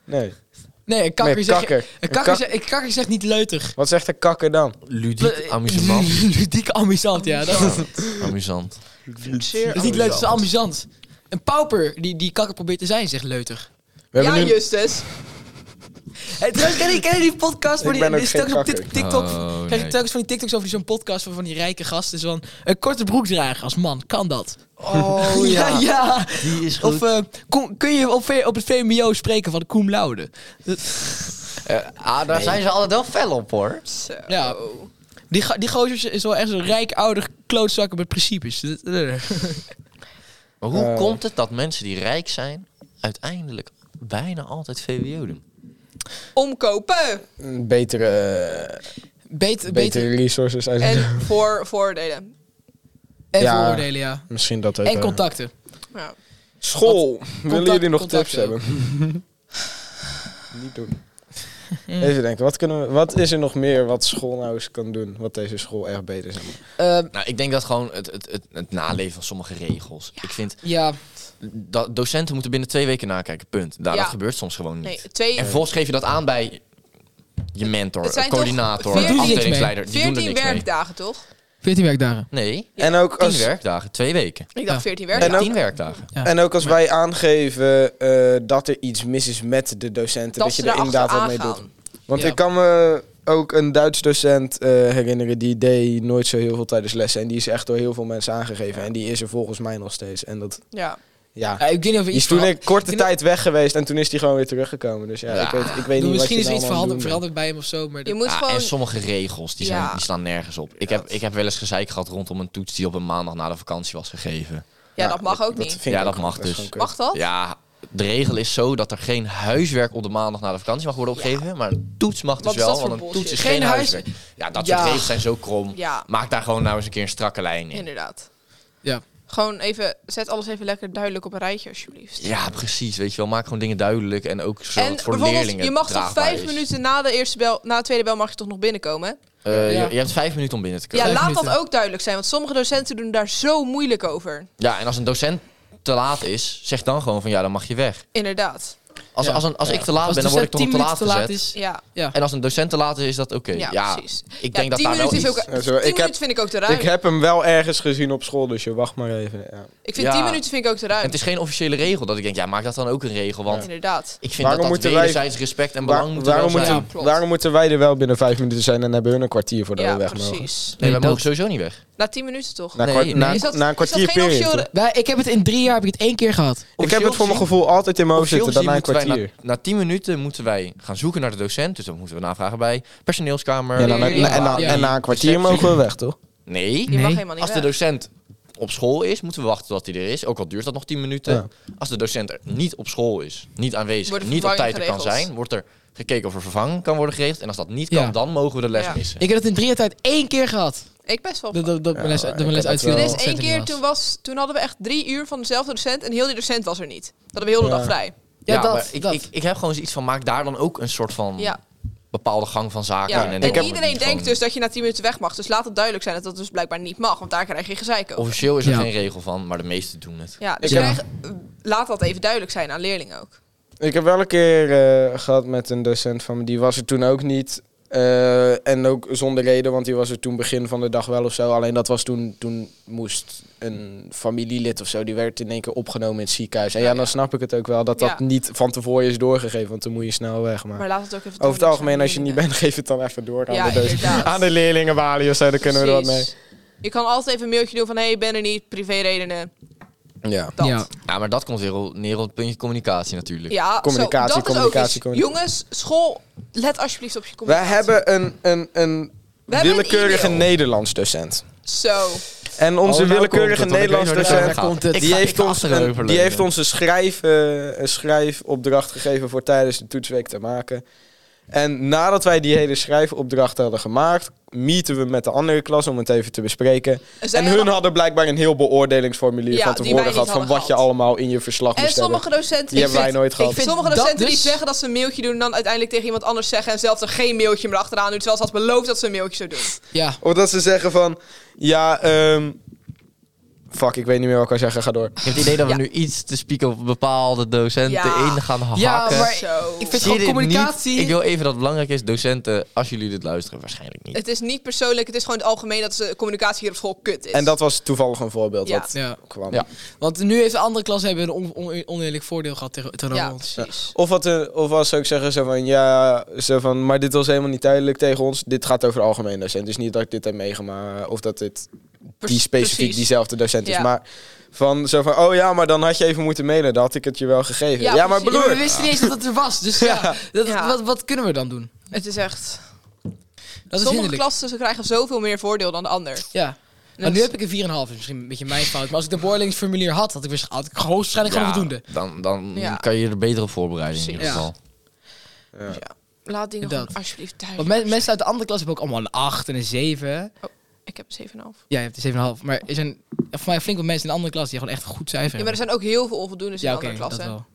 Speaker 1: Nee.
Speaker 2: Nee, een kakker,
Speaker 1: nee,
Speaker 2: zeg-
Speaker 1: kakker.
Speaker 2: Een kakker,
Speaker 1: Een kak-
Speaker 2: zegt, een kakker zegt niet leuter.
Speaker 1: Wat zegt een kakker dan?
Speaker 4: ik. Ludiek, amusant.
Speaker 2: [LAUGHS]
Speaker 4: [LAUGHS]
Speaker 2: Ludiek amusant, ja. Dat dat
Speaker 4: Amusant.
Speaker 3: Zeer
Speaker 2: is niet leuk, dat is amusant. Een pauper die, die kakker probeert te zijn, zegt leuter.
Speaker 1: We
Speaker 3: ja,
Speaker 1: hebben nu...
Speaker 3: Justus.
Speaker 2: Hey, trouwens, ken je, ken je die podcast? Waar
Speaker 1: Ik ben
Speaker 2: die,
Speaker 1: ook
Speaker 2: die is
Speaker 1: geen
Speaker 2: telkens op
Speaker 1: kakker.
Speaker 2: Tik- TikTok.
Speaker 4: Oh,
Speaker 2: Krijg je
Speaker 4: nee.
Speaker 2: telkens van die TikToks over die- zo'n podcast van, van die rijke gasten. Zo'n een korte broek dragen als man, kan dat? [LAUGHS]
Speaker 4: Oh
Speaker 2: ja. ja.
Speaker 4: Die is
Speaker 2: Of eh, kon- kun je op, V- op het VMBO spreken van de cum laude?
Speaker 4: ah, daar zijn ze altijd wel fel op hoor.
Speaker 3: Zo.
Speaker 2: Ja. Die, ga- die gozer is- is wel echt zo'n rijk ouder klootzakken met principes. Dat- eh, dat- dat-
Speaker 4: Maar hoe
Speaker 1: Eh.
Speaker 4: komt het dat mensen die rijk zijn uiteindelijk bijna altijd VWO doen?
Speaker 3: Omkopen.
Speaker 1: Een Betere, eh,
Speaker 2: Beter, beter.
Speaker 1: betere resources. uit-
Speaker 3: En voor, voordelen.
Speaker 2: En
Speaker 1: Ja.
Speaker 2: vooroordelen, ja.
Speaker 1: Misschien dat ook.
Speaker 2: En
Speaker 1: eh,
Speaker 2: contacten.
Speaker 3: Ja.
Speaker 1: School. Willen
Speaker 2: contact-
Speaker 1: jullie nog tips
Speaker 2: contacten
Speaker 1: hebben? Niet doen. Even denken, wat, kunnen we, wat is er nog meer wat school nou eens kan doen? Wat deze school echt beter zou maken?
Speaker 2: Eh,
Speaker 4: Nou, ik denk dat gewoon het, het, het, het naleven van sommige regels. Ik vind
Speaker 2: ja,
Speaker 4: dat docenten moeten binnen twee weken nakijken. Punt. Nou,
Speaker 3: Ja.
Speaker 4: dat gebeurt soms gewoon niet.
Speaker 3: Nee, twee...
Speaker 4: En vervolgens geef je dat aan bij je mentor,
Speaker 3: Het zijn
Speaker 4: coördinator,
Speaker 3: toch veertien-
Speaker 4: afdelingsleider. Die doen er
Speaker 3: 14
Speaker 4: niks
Speaker 3: werkdagen, toch?
Speaker 2: 14 werkdagen.
Speaker 4: mee. Nee,
Speaker 1: En ook
Speaker 4: tien
Speaker 1: als,
Speaker 4: werkdagen, twee weken.
Speaker 3: Ik
Speaker 2: Ja.
Speaker 3: dacht 14
Speaker 1: En
Speaker 3: werkdagen.
Speaker 1: ook-
Speaker 4: Tien werkdagen.
Speaker 2: Ja.
Speaker 1: En ook als wij aangeven eh, dat er iets mis is met de docenten, dat,
Speaker 3: Dat
Speaker 1: je
Speaker 3: ze
Speaker 1: er inderdaad wat mee
Speaker 3: erachteraan
Speaker 1: doet. Want
Speaker 2: Ja.
Speaker 1: ik kan me ook een Duits docent eh, herinneren, die deed nooit zo heel veel tijdens lessen. En die is echt door heel veel mensen aangegeven. En die is er volgens mij nog steeds. En dat,
Speaker 3: Ja.
Speaker 1: ja.
Speaker 2: ik weet niet of er
Speaker 1: Die is
Speaker 2: iets
Speaker 1: toen
Speaker 2: verha-
Speaker 1: een korte
Speaker 2: ik denk
Speaker 1: tijd weg geweest en toen is die gewoon weer teruggekomen. Dus ja,
Speaker 4: Ja.
Speaker 1: ik weet, ik weet niet
Speaker 2: Misschien
Speaker 1: wat
Speaker 2: is
Speaker 1: je
Speaker 2: er iets
Speaker 1: nou allemaal
Speaker 2: veranderd,
Speaker 1: doen
Speaker 2: veranderd bij hem of zo. Maar
Speaker 3: Je
Speaker 2: dat-
Speaker 3: moet
Speaker 4: Ja,
Speaker 3: gewoon...
Speaker 4: Ah, En sommige regels die, zijn,
Speaker 3: Ja.
Speaker 4: die staan nergens op. Ik heb, ik heb wel eens gezeik gehad rondom een toets die op een maandag na de vakantie was gegeven.
Speaker 3: Ja,
Speaker 1: Ja,
Speaker 3: dat mag ook
Speaker 1: moet.
Speaker 3: niet.
Speaker 1: vind
Speaker 4: Ja,
Speaker 1: ik
Speaker 4: dat
Speaker 1: ook-
Speaker 4: mag
Speaker 1: is
Speaker 4: dus.
Speaker 1: gewoon kut.
Speaker 3: Mag dat?
Speaker 4: Ja, de regel is zo dat er geen huiswerk op de maandag na de vakantie mag worden opgegeven. Maar een toets mag
Speaker 3: Wat
Speaker 4: dus
Speaker 3: is dat
Speaker 4: wel,
Speaker 3: voor
Speaker 4: want een toets
Speaker 3: bullshit?
Speaker 4: is
Speaker 2: Geen
Speaker 4: geen
Speaker 2: huis-
Speaker 4: huiswerk. Ja, dat
Speaker 2: Ja.
Speaker 4: soort regels zijn zo krom.
Speaker 3: Ja,
Speaker 4: Maak daar gewoon nou eens een keer een strakke lijn in.
Speaker 3: inderdaad.
Speaker 2: Ja.
Speaker 3: Gewoon even, zet alles even lekker duidelijk op een rijtje, alsjeblieft.
Speaker 4: Ja, precies. Weet je wel, maak gewoon dingen duidelijk en ook zo
Speaker 3: En
Speaker 4: dat het voor
Speaker 3: bijvoorbeeld,
Speaker 4: leerlingen
Speaker 3: je mag toch
Speaker 4: draagbaar
Speaker 3: vijf
Speaker 4: is.
Speaker 3: minuten na de, eerste bel, na de tweede bel mag je toch nog binnenkomen? hè?
Speaker 4: Eh,
Speaker 2: Ja.
Speaker 4: je, je hebt vijf minuten om binnen te komen.
Speaker 3: Ja,
Speaker 2: Vijf
Speaker 3: laat dat
Speaker 2: minuten.
Speaker 3: ook duidelijk zijn, want sommige docenten doen daar zo moeilijk over.
Speaker 4: Ja. en als een docent te laat is, zeg dan gewoon van ja, dan mag je weg.
Speaker 3: Inderdaad.
Speaker 4: Als,
Speaker 1: Ja.
Speaker 4: als, een, als ik te laat
Speaker 2: Als
Speaker 4: ben,
Speaker 2: de
Speaker 4: dan word ik
Speaker 2: docent
Speaker 4: toch op
Speaker 2: 10
Speaker 4: te
Speaker 2: minuten
Speaker 4: laat
Speaker 2: te laat
Speaker 4: gezet.
Speaker 2: is.
Speaker 3: Ja,
Speaker 2: Ja.
Speaker 4: En als een docent te laat is, is dat oké.
Speaker 3: ja,
Speaker 4: Ja,
Speaker 3: precies.
Speaker 4: ik
Speaker 3: Ja,
Speaker 4: denk dat
Speaker 3: 10
Speaker 4: daar wel
Speaker 3: minuten is
Speaker 4: iets...
Speaker 3: ook...
Speaker 1: Ja, zo,
Speaker 3: 10
Speaker 1: ik, heb,
Speaker 3: minuten vind ik ook te ruim.
Speaker 1: ik heb hem wel ergens gezien op school, dus je wacht maar even. Ja.
Speaker 3: Ik vind
Speaker 4: Ja.
Speaker 3: 10 minuten vind ik ook te
Speaker 4: En
Speaker 3: ruim.
Speaker 4: het is geen officiële regel dat ik denk, ja, maak dat dan ook een regel. Want
Speaker 3: Inderdaad.
Speaker 4: ik vind
Speaker 1: Waarom
Speaker 4: dat dat
Speaker 1: moeten wij-
Speaker 4: wederzijds respect en belang
Speaker 1: Waar-
Speaker 4: moeten wel
Speaker 1: waarom
Speaker 4: zijn.
Speaker 2: moeten-
Speaker 4: Nee,
Speaker 3: Klopt.
Speaker 1: Waarom moeten wij er wel binnen vijf minuten zijn en hebben hun een kwartier voordat
Speaker 3: ja,
Speaker 1: we weg mogen?
Speaker 3: precies.
Speaker 2: Nee,
Speaker 4: wij
Speaker 2: dat-
Speaker 4: mogen sowieso niet weg.
Speaker 3: Na 10 minuten toch?
Speaker 1: Na,
Speaker 4: Nee,
Speaker 1: kwart-
Speaker 4: nee.
Speaker 1: na,
Speaker 3: Is dat-
Speaker 1: na een
Speaker 3: is dat
Speaker 1: kwartier
Speaker 3: geen
Speaker 1: period,
Speaker 3: officieel-
Speaker 1: toch?
Speaker 2: Wij- ik heb het in drie jaar heb ik het één keer gehad.
Speaker 1: Ik heb het voor mijn
Speaker 4: gezien-
Speaker 1: gevoel altijd in mijn hoofd
Speaker 4: officieel
Speaker 1: zitten, dan na een
Speaker 4: gezien
Speaker 1: kwartier.
Speaker 4: moeten wij Na, na 10 minuten moeten wij gaan zoeken naar de docent. Dus dan moeten we navragen bij personeelskamer.
Speaker 1: Ja, dan,
Speaker 2: Nee,
Speaker 1: en,
Speaker 2: ja,
Speaker 1: na,
Speaker 2: ja.
Speaker 1: en na een kwartier
Speaker 4: Receptie.
Speaker 1: mogen we weg, toch?
Speaker 4: Nee,
Speaker 3: Je mag
Speaker 2: Nee.
Speaker 3: helemaal niet
Speaker 4: Als de
Speaker 3: weg.
Speaker 4: docent op school is, moeten we wachten tot hij er is. Ook al duurt dat nog 10 minuten.
Speaker 1: Ja.
Speaker 4: Als de docent er niet op school is, niet aanwezig,
Speaker 3: Wordt er
Speaker 4: niet op tijd
Speaker 3: vervanging
Speaker 4: er kan
Speaker 3: geregeld.
Speaker 4: zijn, wordt er gekeken of er vervanging kan worden geregeld. En als dat niet kan,
Speaker 2: Ja.
Speaker 4: dan mogen we de les
Speaker 3: Ja.
Speaker 4: missen.
Speaker 2: Ik heb het in drie jaar tijd één keer gehad.
Speaker 3: Ik best wel.
Speaker 2: Dat, dat, dat mijn les,
Speaker 1: maar
Speaker 2: dat
Speaker 1: ik
Speaker 2: mijn les
Speaker 1: heb het
Speaker 2: uitviel.
Speaker 1: wel.
Speaker 3: Er
Speaker 1: dat
Speaker 3: is één keer, toen, was, toen hadden we echt drie uur van dezelfde docent en heel die docent was er niet. Dat hadden we heel de
Speaker 1: Ja.
Speaker 3: dag vrij.
Speaker 2: Ja, dat,
Speaker 4: maar ik,
Speaker 2: dat.
Speaker 4: Ik, ik heb gewoon zoiets van, maak daar dan ook een soort van
Speaker 3: Ja.
Speaker 4: bepaalde gang van zaken
Speaker 3: Ja.
Speaker 4: in.
Speaker 3: En,
Speaker 4: dan wordt
Speaker 3: iedereen
Speaker 4: het
Speaker 3: denkt
Speaker 4: gewoon-
Speaker 3: dus dat je na 10 minuten weg mag. Dus laat het duidelijk zijn dat dat dus blijkbaar niet mag, want daar krijg je gezeik over.
Speaker 4: Officieel is er
Speaker 2: Ja.
Speaker 4: geen regel van, maar de meesten doen het.
Speaker 3: Ja, dus
Speaker 1: Ik heb-
Speaker 3: krijg, laat dat even duidelijk zijn aan leerlingen ook.
Speaker 1: Ik heb wel een keer eh, gehad met een docent van me, die was er toen ook niet. Eh, en ook zonder reden, want die was er toen begin van de dag wel of zo. Alleen dat was toen, toen moest een familielid of zo, die werd in één keer opgenomen in het ziekenhuis. En ja,
Speaker 3: Ja,
Speaker 1: dan
Speaker 3: ja.
Speaker 1: snap ik het ook wel dat dat
Speaker 3: Ja.
Speaker 1: niet van tevoren is doorgegeven, want dan moet je snel weg. Maar,
Speaker 3: Maar laat het ook even
Speaker 1: over het
Speaker 3: duidelijk zijn
Speaker 1: algemeen,
Speaker 3: aan
Speaker 1: als je niet
Speaker 3: leerlingen.
Speaker 1: bent, [LAUGHS] geef het dan even door aan,
Speaker 3: Ja,
Speaker 1: de, docent.
Speaker 3: inderdaad.
Speaker 1: aan de leerlingenbalie of zo, dan kunnen we er wat
Speaker 3: Precies. Je kan altijd even een mailtje doen van, hé, hey, ik ben er niet, privéredenen,
Speaker 1: mee. Ja.
Speaker 3: dat.
Speaker 2: Ja.
Speaker 4: Ja, Nou, maar dat komt weer op- neer op het puntje communicatie natuurlijk.
Speaker 3: Ja,
Speaker 1: Communicatie,
Speaker 3: zo, dat
Speaker 1: communicatie,
Speaker 3: is ook iets.
Speaker 1: communicatie.
Speaker 3: Jongens, school, let alsjeblieft op je
Speaker 1: We
Speaker 3: communicatie.
Speaker 1: hebben een, een, een
Speaker 3: We hebben een
Speaker 1: willekeurige
Speaker 3: e-mail.
Speaker 1: Nederlands docent.
Speaker 3: Zo,
Speaker 1: En onze
Speaker 4: Oh, nou
Speaker 1: willekeurige
Speaker 4: komt eh, het, want ik
Speaker 1: Nederlands
Speaker 4: weet waar dit
Speaker 1: docent
Speaker 4: over gaat.
Speaker 2: komt het.
Speaker 4: Ik
Speaker 1: die,
Speaker 4: ga- ik
Speaker 1: heeft
Speaker 4: ga
Speaker 1: ons een,
Speaker 4: achteroverleunen.
Speaker 1: die heeft ons een, schrijf, eh, een schrijfopdracht gegeven voor tijdens de toetsweek te maken. En nadat wij die hele schrijfopdracht hadden gemaakt, meeten we met de andere klas om het even te bespreken.
Speaker 3: Zij
Speaker 1: en hun
Speaker 3: hadden-
Speaker 1: hadden blijkbaar een heel beoordelingsformulier
Speaker 3: Ja,
Speaker 1: van
Speaker 3: die
Speaker 1: tevoren
Speaker 3: wij niet
Speaker 1: gehad van
Speaker 3: hadden
Speaker 1: wat je
Speaker 3: gehad.
Speaker 1: allemaal in je verslag
Speaker 3: En
Speaker 1: moest hebben.
Speaker 3: sommige docenten...
Speaker 1: Die hebben wij nooit gehad.
Speaker 2: vind-
Speaker 3: Sommige
Speaker 2: dat
Speaker 3: docenten die
Speaker 2: dus-
Speaker 3: zeggen dat ze een mailtje doen... en dan uiteindelijk tegen iemand anders zeggen... en zelf er geen mailtje meer achteraan doen... terwijl ze had beloofd dat ze een mailtje zou doen.
Speaker 2: Ja.
Speaker 1: Of dat ze zeggen van, ja, ehm, fuck, ik weet niet meer wat ik kan zeggen, ga door.
Speaker 4: Ik heb het idee dat we
Speaker 3: Ja.
Speaker 4: nu iets te spieken op bepaalde docenten
Speaker 3: Ja.
Speaker 4: in gaan hakken.
Speaker 2: Ja, maar
Speaker 3: Zo.
Speaker 2: ik vind
Speaker 4: Zie
Speaker 2: gewoon
Speaker 4: je dit
Speaker 2: communicatie...
Speaker 4: niet? Ik wil even dat het belangrijk is, docenten, als jullie dit luisteren, waarschijnlijk niet.
Speaker 3: Het is niet persoonlijk, het is gewoon het algemeen... dat de communicatie hier op school kut is.
Speaker 1: En dat was toevallig een voorbeeld
Speaker 3: Ja.
Speaker 1: wat
Speaker 2: Ja.
Speaker 1: kwam.
Speaker 4: Ja.
Speaker 2: Want nu heeft de andere klas hebben een on- on- oneerlijk voordeel gehad tegen tegenover
Speaker 3: Ja,
Speaker 2: ons.
Speaker 3: precies.
Speaker 1: Of wat, eh, of als ze ook zeggen zo van ja, zo van, maar dit was helemaal niet duidelijk tegen ons. Dit gaat over algemeen docent. Dus niet dat ik dit heb meegemaakt of dat dit die
Speaker 3: Pers-
Speaker 1: specifiek
Speaker 3: precies.
Speaker 1: diezelfde docent is.
Speaker 3: Ja.
Speaker 1: Maar van zo van oh ja, maar dan had je even moeten mailen. Dan had ik het je wel gegeven.
Speaker 3: Ja,
Speaker 1: Ja, maar
Speaker 3: precies.
Speaker 2: Ja,
Speaker 1: broer.
Speaker 2: maar we wisten niet eens dat het er
Speaker 1: [LAUGHS]
Speaker 2: was. Dus ja, dat,
Speaker 3: Ja.
Speaker 2: Wat, wat kunnen we dan doen?
Speaker 3: Het is echt...
Speaker 2: Dat is
Speaker 3: sommige
Speaker 2: hinderlijk.
Speaker 3: klassen ze krijgen zoveel meer voordeel dan de ander.
Speaker 2: Ja.
Speaker 3: Dus-
Speaker 2: Maar nu heb ik een 4,5. is misschien een beetje mijn fout. Maar als ik de beoordelingsformulier had, had ik weer had ik gewoon waarschijnlijk gewoon voldoende.
Speaker 4: Dan, dan
Speaker 3: Ja.
Speaker 4: kan je er beter op voorbereiden in ieder
Speaker 2: Precies.
Speaker 4: geval.
Speaker 3: Laat dingen gewoon
Speaker 2: Dat.
Speaker 3: alsjeblieft
Speaker 2: Want
Speaker 3: duidelijk.
Speaker 2: men- mensen uit de andere klas hebben ook allemaal een 8 en een 7.
Speaker 3: Ik heb een 7,5.
Speaker 2: Ja, je hebt een 7,5. Maar er zijn voor mij flink wat mensen in de andere klas die gewoon echt een goed cijfer
Speaker 3: Ja, maar er
Speaker 2: hebben.
Speaker 3: zijn ook heel veel onvoldoendes in
Speaker 2: Ja,
Speaker 3: de
Speaker 2: oké,
Speaker 3: andere
Speaker 2: dat
Speaker 3: klassen.
Speaker 2: wel.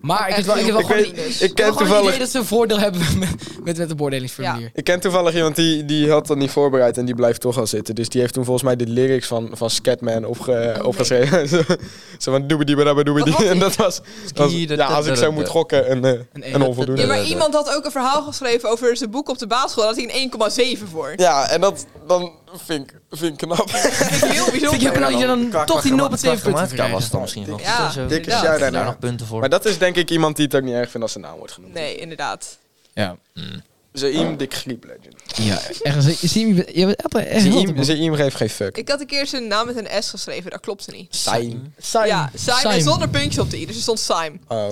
Speaker 2: maar ik heb
Speaker 3: Echt
Speaker 2: wel, ik heb wel
Speaker 3: heel
Speaker 1: ik,
Speaker 2: gewoon,
Speaker 3: veel
Speaker 1: weet,
Speaker 3: onvoldoendes.
Speaker 1: ik,
Speaker 2: ik
Speaker 1: ken
Speaker 2: heb gewoon het idee
Speaker 1: toevallig,
Speaker 2: dat ze een voordeel hebben met, met, met de beoordelingsformulier.
Speaker 1: ik ken toevallig iemand die, die had dat niet voorbereid en die blijft toch al zitten. Dus die heeft toen volgens mij de lyrics van, van Scatman opge,
Speaker 3: Oh, nee.
Speaker 1: opgeschreven. [LAUGHS] Zo- zo van doebediebadabadoebedie.
Speaker 3: Wat was
Speaker 1: En [LAUGHS] dat was, dat was- ja, als ik zo moet gokken, een, eh,
Speaker 2: Een één.
Speaker 1: een onvoldoende.
Speaker 3: Ja, maar
Speaker 4: Eh, eh,
Speaker 3: iemand had ook een verhaal geschreven over zijn boek op de basisschool. Daar had hij een 1,7 voor.
Speaker 1: Ja, en dat dan vind ik, vind ik knap.
Speaker 2: [LAUGHS]
Speaker 3: Dat vind ik heel
Speaker 2: Vind ik heel
Speaker 3: bijzonder.
Speaker 2: knap dat je dan toch die 0,7 punten
Speaker 4: Ja, was
Speaker 2: krijgt.
Speaker 4: het dan misschien nog.
Speaker 3: Ja,
Speaker 4: Zo,
Speaker 1: dikke
Speaker 3: inderdaad.
Speaker 1: shout-out.
Speaker 4: daar
Speaker 1: Ja.
Speaker 4: nog punten
Speaker 1: [LAUGHS]
Speaker 4: voor.
Speaker 1: Maar dat is denk ik iemand die het ook niet erg vindt als zijn naam wordt genoemd.
Speaker 3: Nee, inderdaad.
Speaker 4: ja.
Speaker 1: Zaim Dick Griep Legend.
Speaker 2: Ja, echt. Zie je, je bent echt- echt heel goed,
Speaker 1: Zaim,
Speaker 2: man.
Speaker 1: Zaim geeft geen fuck.
Speaker 3: Ik had een keer zijn naam met een S geschreven. Dat klopte niet.
Speaker 1: Saim.
Speaker 3: Ja, Simon,
Speaker 2: Simon.
Speaker 3: zonder puntjes op de i. Dus er stond Sime.
Speaker 1: Oh.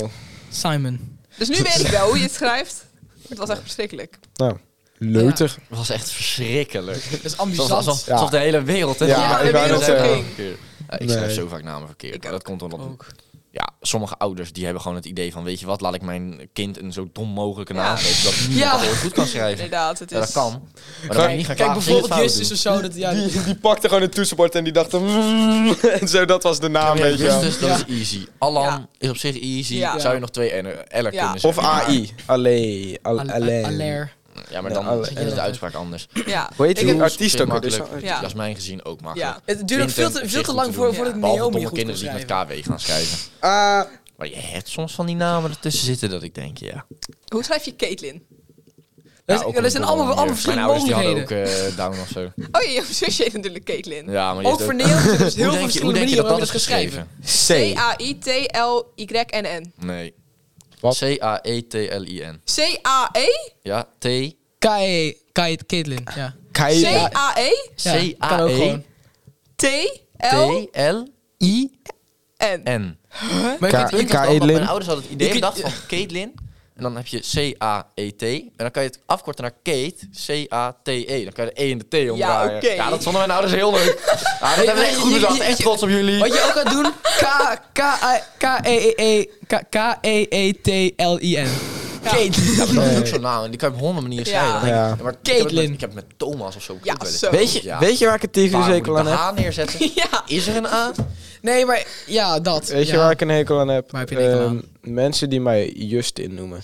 Speaker 2: Simon.
Speaker 3: Dus [LAUGHS] nu weet ik wel hoe je het schrijft. Het was echt verschrikkelijk.
Speaker 1: Nou. Leuter.
Speaker 4: Dat was echt verschrikkelijk.
Speaker 2: Dat is
Speaker 4: Alsof,
Speaker 2: ambitieuze.
Speaker 4: alsof, alsof de hele wereld... hè?
Speaker 1: Ja,
Speaker 4: Ja,
Speaker 1: ik
Speaker 4: de
Speaker 1: wou
Speaker 4: wereld
Speaker 1: net
Speaker 4: helemaal
Speaker 1: zeggen.
Speaker 4: verkeerd. Ja, ik schrijf
Speaker 1: Nee.
Speaker 4: zo vaak namen verkeerd.
Speaker 3: Ik
Speaker 4: maar dat komt omdat
Speaker 2: ook.
Speaker 4: Ja, sommige ouders die hebben gewoon het idee van, weet je wat, laat ik mijn kind een zo dom mogelijke naam
Speaker 3: Ja.
Speaker 4: geven. Dat hij
Speaker 2: Ja.
Speaker 4: ja. goed kan
Speaker 3: [LAUGHS]
Speaker 4: schrijven.
Speaker 3: Inderdaad, het is...
Speaker 4: Ja, dat kan. Maar dan kan je
Speaker 2: Kijk,
Speaker 4: niet gaan
Speaker 2: kijk
Speaker 4: klagen, vind je het
Speaker 2: bijvoorbeeld Justus
Speaker 4: fout
Speaker 2: of zo. Dat, ja,
Speaker 1: Die, die pakte gewoon het toetsenbord en die dacht... [LAUGHS] en zo, dat was de naam,
Speaker 4: doen.
Speaker 1: weet je wel.
Speaker 4: Justus, dat is easy. Alan
Speaker 3: Ja.
Speaker 4: is op zich easy.
Speaker 3: Ja.
Speaker 4: Zou je nog twee L'er kunnen
Speaker 3: Ja.
Speaker 4: zeggen.
Speaker 1: Of AI. Allee. al- alleen.
Speaker 2: Aller.
Speaker 4: Ja, maar
Speaker 1: Ja,
Speaker 4: dan
Speaker 1: alle-
Speaker 4: is de uitspraak anders.
Speaker 3: Ja.
Speaker 1: Hoe heet
Speaker 3: Ik
Speaker 1: die
Speaker 3: heb-
Speaker 1: artiest ook? dus- alweer?
Speaker 4: makkelijk.
Speaker 3: Ja.
Speaker 4: Jasmijn gezien ook makkelijk.
Speaker 3: Ja.
Speaker 2: Het duurde ook veel
Speaker 4: Vincent
Speaker 2: te, veel
Speaker 4: op zich
Speaker 2: te
Speaker 4: goed
Speaker 2: lang
Speaker 4: te
Speaker 2: voor,
Speaker 4: doen.
Speaker 2: voordat
Speaker 3: Ja.
Speaker 4: Behalve
Speaker 2: Naomi
Speaker 4: domme
Speaker 2: goed kon
Speaker 4: kinderen die met
Speaker 2: schrijven.
Speaker 4: KW gaan schrijven.
Speaker 1: Ah,
Speaker 4: Maar je hebt soms van die namen ertussen zitten dat ik denk, ja.
Speaker 3: Hoe schrijf je Caitlin?
Speaker 2: Dat
Speaker 4: Ja,
Speaker 2: is-
Speaker 4: ook op
Speaker 2: Er
Speaker 4: een
Speaker 2: zijn
Speaker 4: domme
Speaker 2: allemaal, allemaal
Speaker 4: manier.
Speaker 2: verschillende
Speaker 4: Mijn ouders nou die
Speaker 2: mogelijkheden.
Speaker 4: hadden ook eh, down of zo.
Speaker 3: Oh ja, jouw zusje heet natuurlijk Caitlin.
Speaker 4: Ja, maar je
Speaker 2: Ook
Speaker 4: hebt
Speaker 2: vernederd.
Speaker 4: [LAUGHS]
Speaker 2: Dus heel
Speaker 4: Hoe
Speaker 2: veel
Speaker 4: denk je- hoe
Speaker 2: verschillende
Speaker 4: denk je
Speaker 2: manieren
Speaker 4: dat dat
Speaker 2: waarop
Speaker 4: is
Speaker 2: het geschreven.
Speaker 4: geschreven?
Speaker 1: C.
Speaker 3: C-A-I-T-L-Y-N-N.
Speaker 4: Nee. E
Speaker 1: Wat?
Speaker 4: C-A-E-T-L-I-N.
Speaker 3: C-A-E?
Speaker 4: Ja, T.
Speaker 2: K.E. Kate Caitlin, ja.
Speaker 1: Keila.
Speaker 3: C-A-E?
Speaker 2: Ja, kan ook gewoon.
Speaker 3: T-L-N.
Speaker 4: C-A-E-T-L-I-N.
Speaker 2: Maar je kunt-
Speaker 1: K-
Speaker 2: je kunt-
Speaker 4: Ik wist ook dat
Speaker 1: Caitlin.
Speaker 4: Mijn ouders hadden het idee
Speaker 2: Je kunt-
Speaker 4: bedacht van Caitlin. En dan heb je C-A-E-T. En dan kan je het afkorten naar Kate. C-A-T-E. Dan kan je de E en de T omdraaien.
Speaker 3: oké.
Speaker 4: Ja, dat vonden mijn ouders heel leuk. [LAUGHS] Oh, Ja, dat hebben we echt goed bedacht. Echt trots op jullie.
Speaker 2: Wat je ook kan doen, K- K- I- K-E-E-E- K- E, K-E-E-T-L-I-N. Kate. [LAUGHS]
Speaker 4: Ja, maar dat is ook zo'n naam. En die kan je op honderden manieren
Speaker 3: Ja.
Speaker 4: schrijven. Dan denk ik,
Speaker 1: Ja.
Speaker 4: maar ik heb het
Speaker 2: Caitlin.
Speaker 4: met- Ik heb het met Thomas of zo. ook
Speaker 3: Ja,
Speaker 4: wel eens.
Speaker 3: zo.
Speaker 1: Weet je,
Speaker 4: Ja.
Speaker 1: weet je waar ik het tegen
Speaker 4: Waar moet ik
Speaker 1: hekel aan
Speaker 4: de
Speaker 1: heb?
Speaker 4: H neerzetten?
Speaker 3: [LAUGHS] Ja.
Speaker 4: Is er een A?
Speaker 2: Nee, maar ja, dat.
Speaker 1: Weet je
Speaker 2: Ja.
Speaker 1: waar ik een hekel aan heb?
Speaker 2: Waar heb je een hekel
Speaker 1: Ehm, mensen die mij Justin noemen.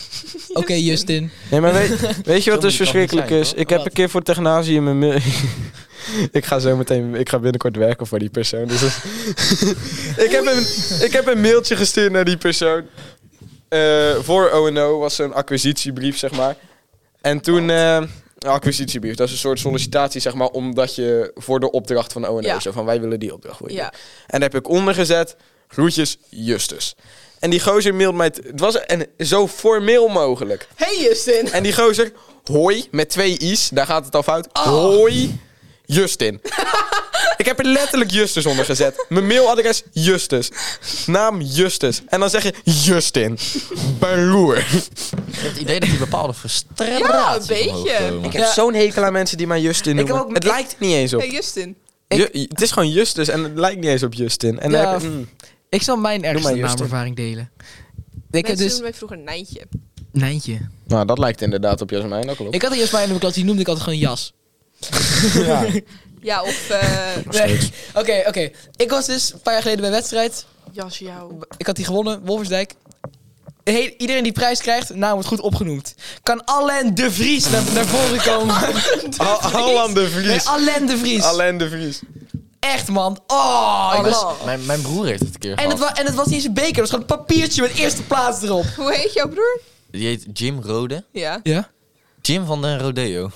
Speaker 2: Oké, Justin.
Speaker 1: Nee, maar weet, weet je wat dus
Speaker 4: Zo moet het
Speaker 1: verschrikkelijk
Speaker 4: dan niet
Speaker 1: is?
Speaker 4: zijn,
Speaker 1: Ik heb
Speaker 2: Wat?
Speaker 1: een keer voor Technasium een... mail- [LAUGHS] ik ga zo meteen... Ik ga binnenkort werken voor die persoon. Dus dat- [LAUGHS] ik, heb een, ik heb een mailtje gestuurd naar die persoon. Eh, voor O&O was zo'n acquisitiebrief, zeg maar. En toen... eh, een acquisitiebrief, dat is een soort sollicitatie, zeg maar, omdat je voor de opdracht van O&O,
Speaker 3: Ja.
Speaker 1: zo van wij willen die opdracht voor je.
Speaker 3: Ja.
Speaker 1: En daar heb ik onder gezet, groetjes Justus. En die gozer mailt mij, t- het was en zo formeel mogelijk.
Speaker 3: Hey Justin.
Speaker 1: En die gozer, hoi, met twee i's, daar gaat het al fout. Hoi, Justin. ik heb er letterlijk Justus onder gezet. Mijn mailadres, Justus. Naam, Justus. En dan zeg je, Justin. Beroer.
Speaker 4: Ik heb het idee dat die bepaalde frustratie
Speaker 3: Ja, een beetje.
Speaker 1: Ik heb zo'n hekel aan mensen die mij Justin
Speaker 2: heb
Speaker 1: noemen.
Speaker 2: ook-
Speaker 1: het
Speaker 2: ik-
Speaker 1: lijkt er niet eens op.
Speaker 3: Hey Justin.
Speaker 1: Ju- het is gewoon Justus en het lijkt niet eens op Justin. En dan
Speaker 2: Ja,
Speaker 1: heb ik- mm.
Speaker 2: Ik zal mijn ergste
Speaker 1: maar Justin.
Speaker 2: naamervaring delen. Ik heb
Speaker 3: Mensen
Speaker 2: dus...
Speaker 3: noemden mij vroeger Nijntje.
Speaker 2: Nijntje.
Speaker 1: Nou, dat lijkt inderdaad op Jasmijn, dat klopt.
Speaker 2: Ik had er eerst mijn in mijn klas, die noemde ik altijd gewoon Jas.
Speaker 1: Ja.
Speaker 3: Ja, of eh
Speaker 2: Nee. Oké, [LAUGHS] oké. Ik was dus een paar jaar geleden bij wedstrijd.
Speaker 3: [LAUGHS] Jas jou.
Speaker 2: Ik had die gewonnen, Wolversdijk. Heel- iedereen die prijs krijgt, naam wordt goed opgenoemd. Kan Alain de Vries naar, naar voren komen?
Speaker 1: Allan de Vries.
Speaker 2: Nee, Alain de Vries.
Speaker 1: Alain de Vries.
Speaker 2: Echt, man. Oh, ik was...
Speaker 3: Oh.
Speaker 4: Mijn, mijn broer heeft het een keer
Speaker 2: En het,
Speaker 4: gehad.
Speaker 2: wa- en het was niet eens een beker, het was gewoon een papiertje met eerste plaats erop.
Speaker 3: Hoe heet jouw broer?
Speaker 4: Die heet Jim Rode.
Speaker 3: Ja.
Speaker 2: Ja?
Speaker 4: Jim van den Rodeo.